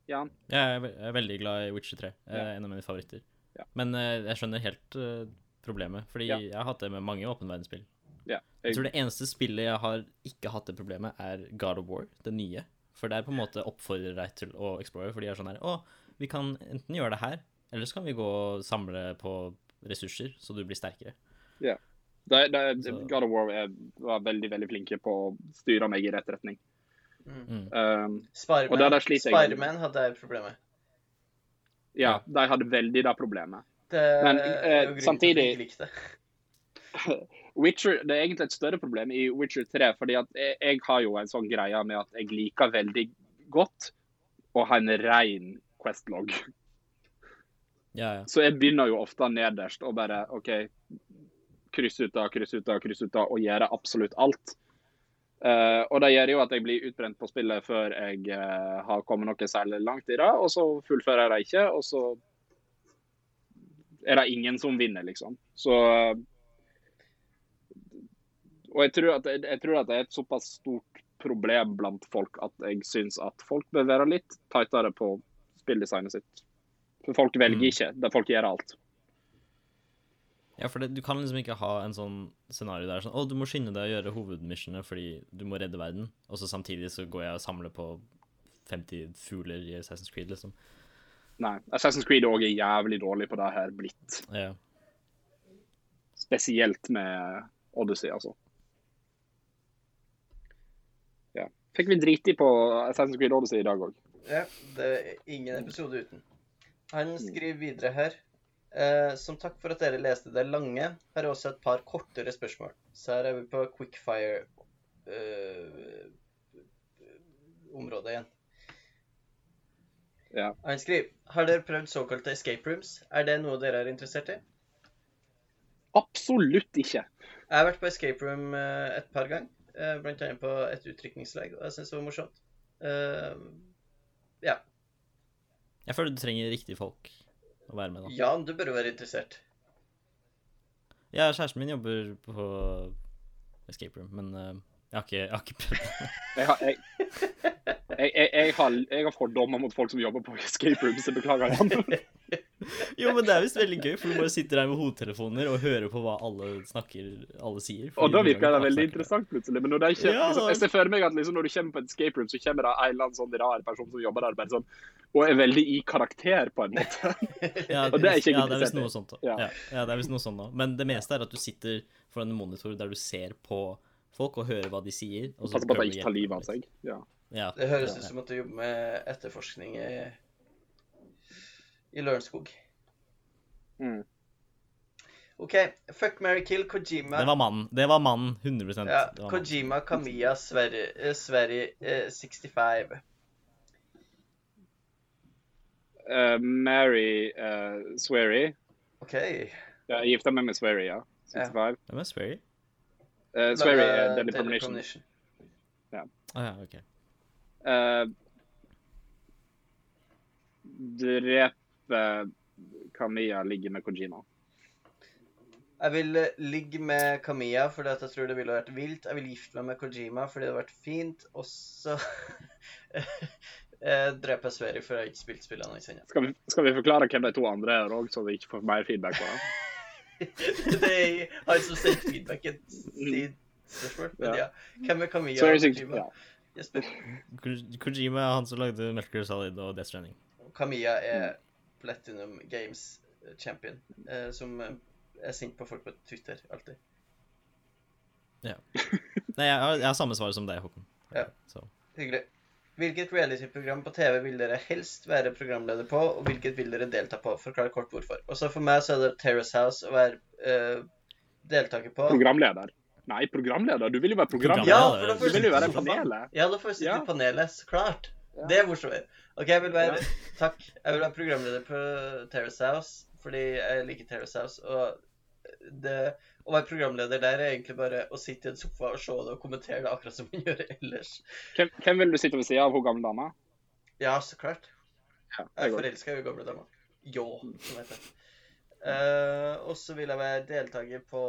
Ja.
Jeg er ve- jeg er veldig glad i Witcher 3. eh,
Ja.
En av mine favoritter.
Ja.
Men eh, jeg skjønner helt eh, problemet, fordi
Ja.
jeg har hatt det med mange åpen verdensspill.
ja.
Jeg
Jeg,
tror det eneste spillet jeg har ikke hatt det problemet, er God of War, det nye. For der på en måte oppfordrer deg til å explore, for de er sånn her Å, vi kan enten gjøre det her, eller så kan vi gå og samle på ressurser, så du blir sterkere.
det, det,
Så-
God of War er, var veldig, veldig flinke på å styre meg i rett retning.
Mm.
Um, Og der-
Spiderman
der sliter jeg.
Spiderman hadde jeg problemet.
ja, de hadde veldig det problemet.
Det
Men, eh,
er jo grunnen til at jeg
samtidig-
ikke likte det.
Witcher, Det er egentlig et større problem i Witcher 3, fordi at jeg, jeg har jo en sånn greie med at jeg liker veldig godt å ha en ren Questlog.
Ja, ja.
Så jeg begynner jo ofte nederst og bare OK, kryss ut da, kryss ut da, kryss ut da, og gjøre absolutt alt. Eh, og det gjør jo at jeg blir utbrent på spillet før jeg eh, har kommet noe særlig langt i det, og så fullfører jeg det ikke, og så er det ingen som vinner, liksom. Så Og jeg tror, at, jeg tror at det er et såpass stort problem blant folk at jeg syns at folk bør være litt tightere på spilldesignet sitt. For folk velger
Mm.
ikke, der folk gjør alt.
Ja, for det, du kan liksom ikke ha en sånn scenario der sånn Å, du må skynde deg å gjøre hovedmissionene fordi du må redde verden, og så samtidig så går jeg og samler på 50 fugler i Assassin's Creed, liksom.
Nei. Assassin's Creed òg er jævlig dårlig på det her blitt.
Ja.
Spesielt med Odyssey, altså. Ja. Fikk vi driti på Assassin's Creed Odyssey i dag òg?
Ja, det er ingen episode uten. Han
Mm.
skriver videre her. Eh, som takk for at dere leste det lange, har jeg også et par kortere spørsmål. Så her er vi på quickfire-området igjen.
Ja.
Han skriver Har dere prøvd såkalte escape rooms? Er det noe dere er interessert i?
Absolutt ikke.
Jeg har vært på escape room eh, et par ganger, eh, blant annet på et utrykningslag, og jeg syns det var morsomt. Eh, ja.
Jeg føler du trenger riktige folk å være med, da.
Jan, du bør jo være interessert.
Ja, kjæresten min jobber på escape room, men eh, jeg har ikke, jeg har ikke prøvd det.
Jeg har, jeg, jeg, jeg, jeg har, jeg har fordommer mot folk som jobber på escape rooms, jeg beklager. Jan.
Jo, men det er visst veldig gøy, for du bare sitter der med hodetelefoner og hører på hva alle snakker, alle sier.
Og da
fordi
virker det
alle
veldig
snakker.
interessant plutselig. Men når det er ikke,
Ja,
liksom, jeg ser for meg at liksom, når du kommer på et escape room, så kommer det en eller annen sånn rar person som jobber der bare sånn, og er veldig i karakter, på en måte.
Ja,
Og det er ikke jeg
ja, det er
interessert i.
visst noe sånt da.
Ja.
Ja. ja, det er visst noe sånt da. Men det meste er at du sitter foran en monitor der du ser på folk og hører hva de sier. og så
Passer på at
prøver
de
du å
ikke tar
hjelpe liksom.
livet av
dem
seg.
litt.
Ja.
Ja.
Det høres ut
Ja.
som at du jobber med etterforskning i, i Lørenskog.
Mm.
OK. Fuck Mary Kill, Kojima
Det var mannen. Det var mannen. 100 Det
ja,
var mannen.
Kojima Kamiya Sverige, eh, Sverige eh, 65.
Eh, Mary eh, Sweary.
OK.
Ja, jeg gifta meg med Sweary, ja. 65.
Hvem er Sperry?
Eh, Swery er
Eh,
Deadly Premonition.
Telecommunition.
Å ja, ok.
Eh, drepe Kamiya, ligge med Kojima.
Jeg vil eh, ligge med Kamiya fordi at jeg tror det ville vært vilt. Jeg vil gifte meg med Kojima fordi det hadde vært fint. Og så eh, dreper jeg Sverige for jeg har ikke spilt spillene hans ennå.
Skal vi, skal vi forklare hvem de to andre er òg, så vi ikke får mer feedback på det?
Det er han som sendte feedbacken. Sitt spørsmål. Men ja. Hvem er Kamiya
Swery
og
sikkert-
Kojima?
ja.
Jesper.
Ko- Kojima er han som lagde Metal Gear Solid og Death Stranding.
Kamiya er Platinum Games eh, champion, eh, som eh, er sint på folk på Twitter alltid.
Nei, jeg har, jeg har samme svar som deg, Håkon.
Ja.
Så.
Hyggelig. Hvilket reality-program på TV vil dere helst være programleder på, og hvilket vil dere delta på? Forklar kort hvorfor. Og så for meg så er det Terrace House å være eh, deltaker på.
Programleder. Nei, programleder. Du vil jo være programleder.
Ja, for da
Du
får
vil jo være i
sitte i sofaen.
panelet.
Ja, da får vi sitte
Ja.
i panelet, så klart. Det er morsommere. OK, jeg vil være Takk. Jeg vil være programleder på Terrace House fordi jeg liker Terrace House, og det å være programleder der er egentlig bare å sitte i en sofa og se det og kommentere det akkurat som man gjør ellers.
Hvem, hvem vil du sitte ved siden av, hun gamle dama?
Ja, så klart.
Ja, det
Jeg
går.
forelsker jo i gamle damer. Ljå, som heter. Uh, og så vil jeg være deltaker på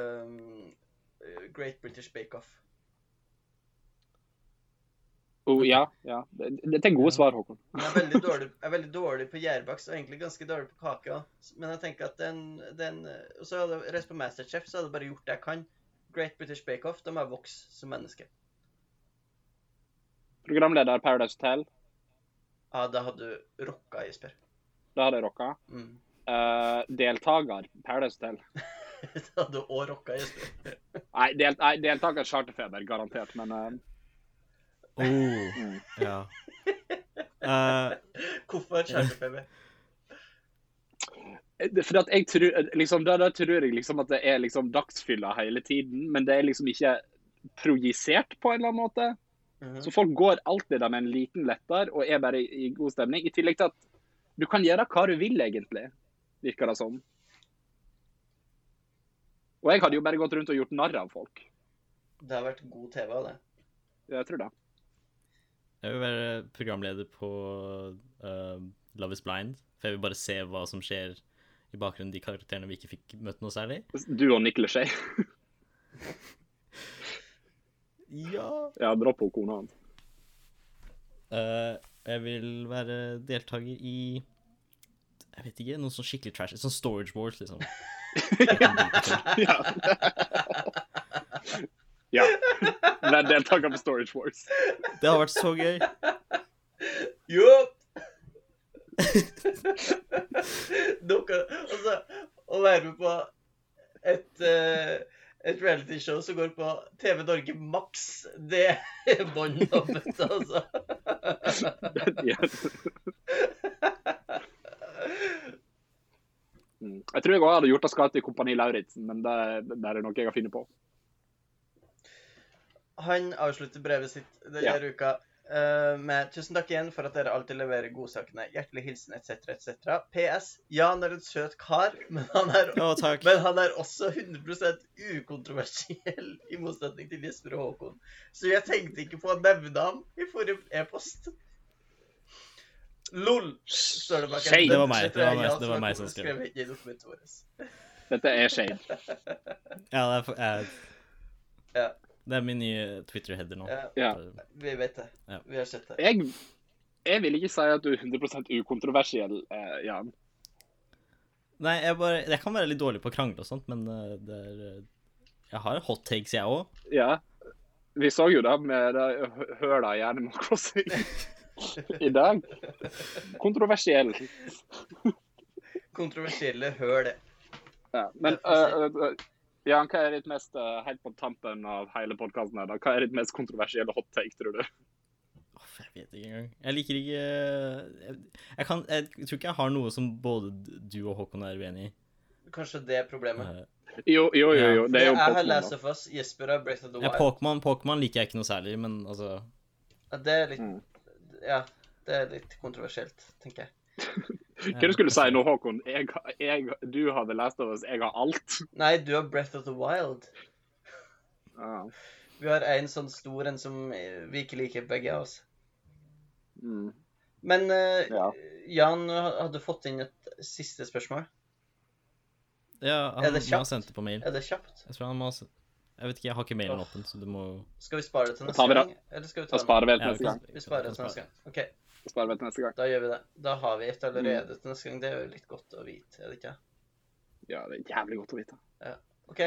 um, Great British Bake Off.
Oh, ja, ja. Det- Dette er gode svar, Håkon.
Men Jeg er veldig dårlig, jeg er veldig dårlig på gjærbakst og egentlig ganske dårlig på kake. også. Men jeg tenker at den, den Og så hadde jeg reist på Masterchef, så hadde jeg bare gjort det jeg kan. Great British Bake Off, da må jeg vokse som menneske.
Programleder Paradise Hotel.
Ja, da hadde du rocka, Jesper.
Da hadde jeg rocka.
Mm.
Eh, deltaker Paradise Hotel.
da hadde du òg rocka, Jesper.
Nei, del, nei deltaker Charterfeber, garantert. Men eh,
Oh,
mm.
ja. Eh,
Hvorfor kjærestefeber?
Det- For at jeg tror, liksom, da, da tror jeg liksom at det er liksom dagsfylla hele tiden, men det er liksom ikke projisert på en eller annen måte. Så folk går alltid der med en liten letter og er bare i, i god stemning. I tillegg til at du kan gjøre hva du vil, egentlig, virker det som. Og jeg hadde jo bare gått rundt og gjort narr av folk.
Det har vært god TV av det.
Jeg tror det.
jeg vil være programleder på eh, Love is Blind, for jeg vil bare se hva som skjer i bakgrunnen de karakterene vi ikke fikk møtt noe særlig.
Du og Nick Lechey.
Ja.
Ja, dropp henne kona hans.
Eh, jeg vil være deltaker i Jeg vet ikke, noe sånn skikkelig trash. Sånn Storage Wars, liksom.
Ja. ja. Vær deltaker på Storage Wars.
Det hadde vært så gøy.
Jopp! Dere, altså, å være med på et, eh, et realityshow som går på TV Norge Max, det er bånn av bøtta, altså.
Ja. Mm. Jeg tror jeg også hadde gjort det skal til Kompani Lauritzen, men det, det er noe jeg har funnet på.
Han avslutter brevet sitt denne
Ja.
uka eh, med Tusen takk igjen for at dere alltid leverer godsakene. Hjertelig hilsen etc. etc. PS. Ja, han er en søt kar, men han er
Å, takk.
Men han er også 100 ukontroversiell, i motsetning til Jesper og Håkon. Så jeg tenkte ikke på å nevne ham i forrige e-post. LOL, står det bak.
Shame.
Det var meg, det var
Jeg
meg,
har
det var meg som skrev.
skrevet i dokumentet vårt.
Dette er shame.
Ja, det er, for, eh,
Ja.
det er min nye Twitter-header nå.
Ja,
Ja.
vi vet det.
Ja.
Vi har sett det.
Jeg, jeg vil ikke si at du er 100 ukontroversiell, eh, Jan.
Nei, jeg, bare, jeg kan være litt dårlig på å krangle og sånt, men eh, det er eh, Jeg har hot takes, jeg òg.
Ja. Vi så jo det med det hø- høla i Animal Crossing i dag. Kontroversiell.
Kontroversielle høl.
Ja. Men eh, eh, Jan, hva er ditt mest eh, helt på tampen av hele podkasten her, da? Hva er ditt mest kontroversielle hot take, tror du?
Åh, Jeg vet ikke engang. Jeg liker ikke jeg, jeg, kan, jeg tror ikke jeg har noe som både du og Håkon er uenig i.
Kanskje det er problemet.
Eh,
Jo, jo, jo. jo. Det er jo
jeg har
Pokémon,
Last
da.
of Us, Jesper har Breath of the
ja,
Wild.
Pokémon Pokémon liker jeg ikke noe særlig, men altså
Ja, det er litt
Mm.
Ja, det er litt kontroversielt, tenker jeg.
Hva du skulle si nå, Håkon? Jeg, jeg, du hadde lest av oss, jeg har alt.
Nei, du har Breath of the Wild.
Ja.
Vi har en sånn stor en som eh, vi ikke liker begge av oss.
Mm.
Men eh,
Ja.
Jan, du hadde fått inn et siste spørsmål.
Ja,
Er
han må
det
ha
kjapt?
sendt det på mail.
Er det kjapt?
Jeg tror han må ha sen- Jeg vet ikke, jeg har ikke mailen
Åh.
åpen, så du må
Skal vi spare det til
Da
neste
tar vi det.
gang? Eller skal vi
Da
ta det?
sparer vi helt
Ja,
neste gang.
Vi sparer det til neste gang. OK,
Sparer vi helt neste gang.
da gjør vi det. Da har vi et allerede til neste gang. Det er jo litt godt å vite, er det ikke?
Ja, det er jævlig godt å vite.
OK.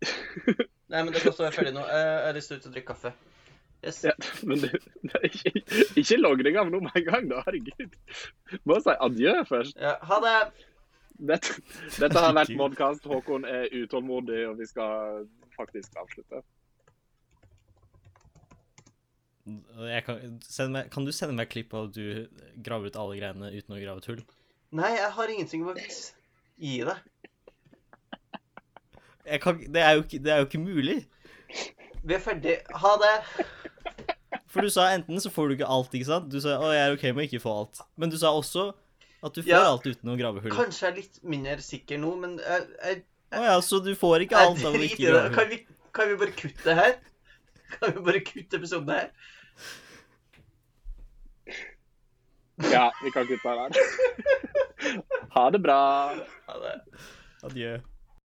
Nei, men det kan også være ferdig nå. Eh, Jeg har lyst til å ut og drikke kaffe. Yes.
Ja, men det, det er ikke, ikke logring av noe med en gang, da. Herregud. Må si adjø først.
Ja, ha det!
Dette, dette har vært
Herregud.
Modcast. Håkon er utålmodig, og vi skal faktisk avslutte.
jeg kan, send meg, kan du sende meg klipp av at du graver ut alle greiene uten å grave et hull?
Nei, jeg har ingenting å bevise. Gi deg.
Jeg kan, det, er jo ikke, det er jo ikke mulig!
Vi er ferdig. Ha det!
For du sa enten så får du ikke alt, ikke sant? Du sa å, jeg er ok med å ikke få alt. Men du sa også at du får
Ja.
alt uten å grave hull. Å
Kanskje jeg er litt mindre sikker nå, men jeg, jeg,
ja, så du får ikke
jeg
alt av å
driter i
ikke
det.
grave hull.
Kan vi, kan vi bare kutte det her? Kan vi bare kutte episoden her?
Ja, vi kan kutte her. Ha det bra.
Ha det.
Adjø.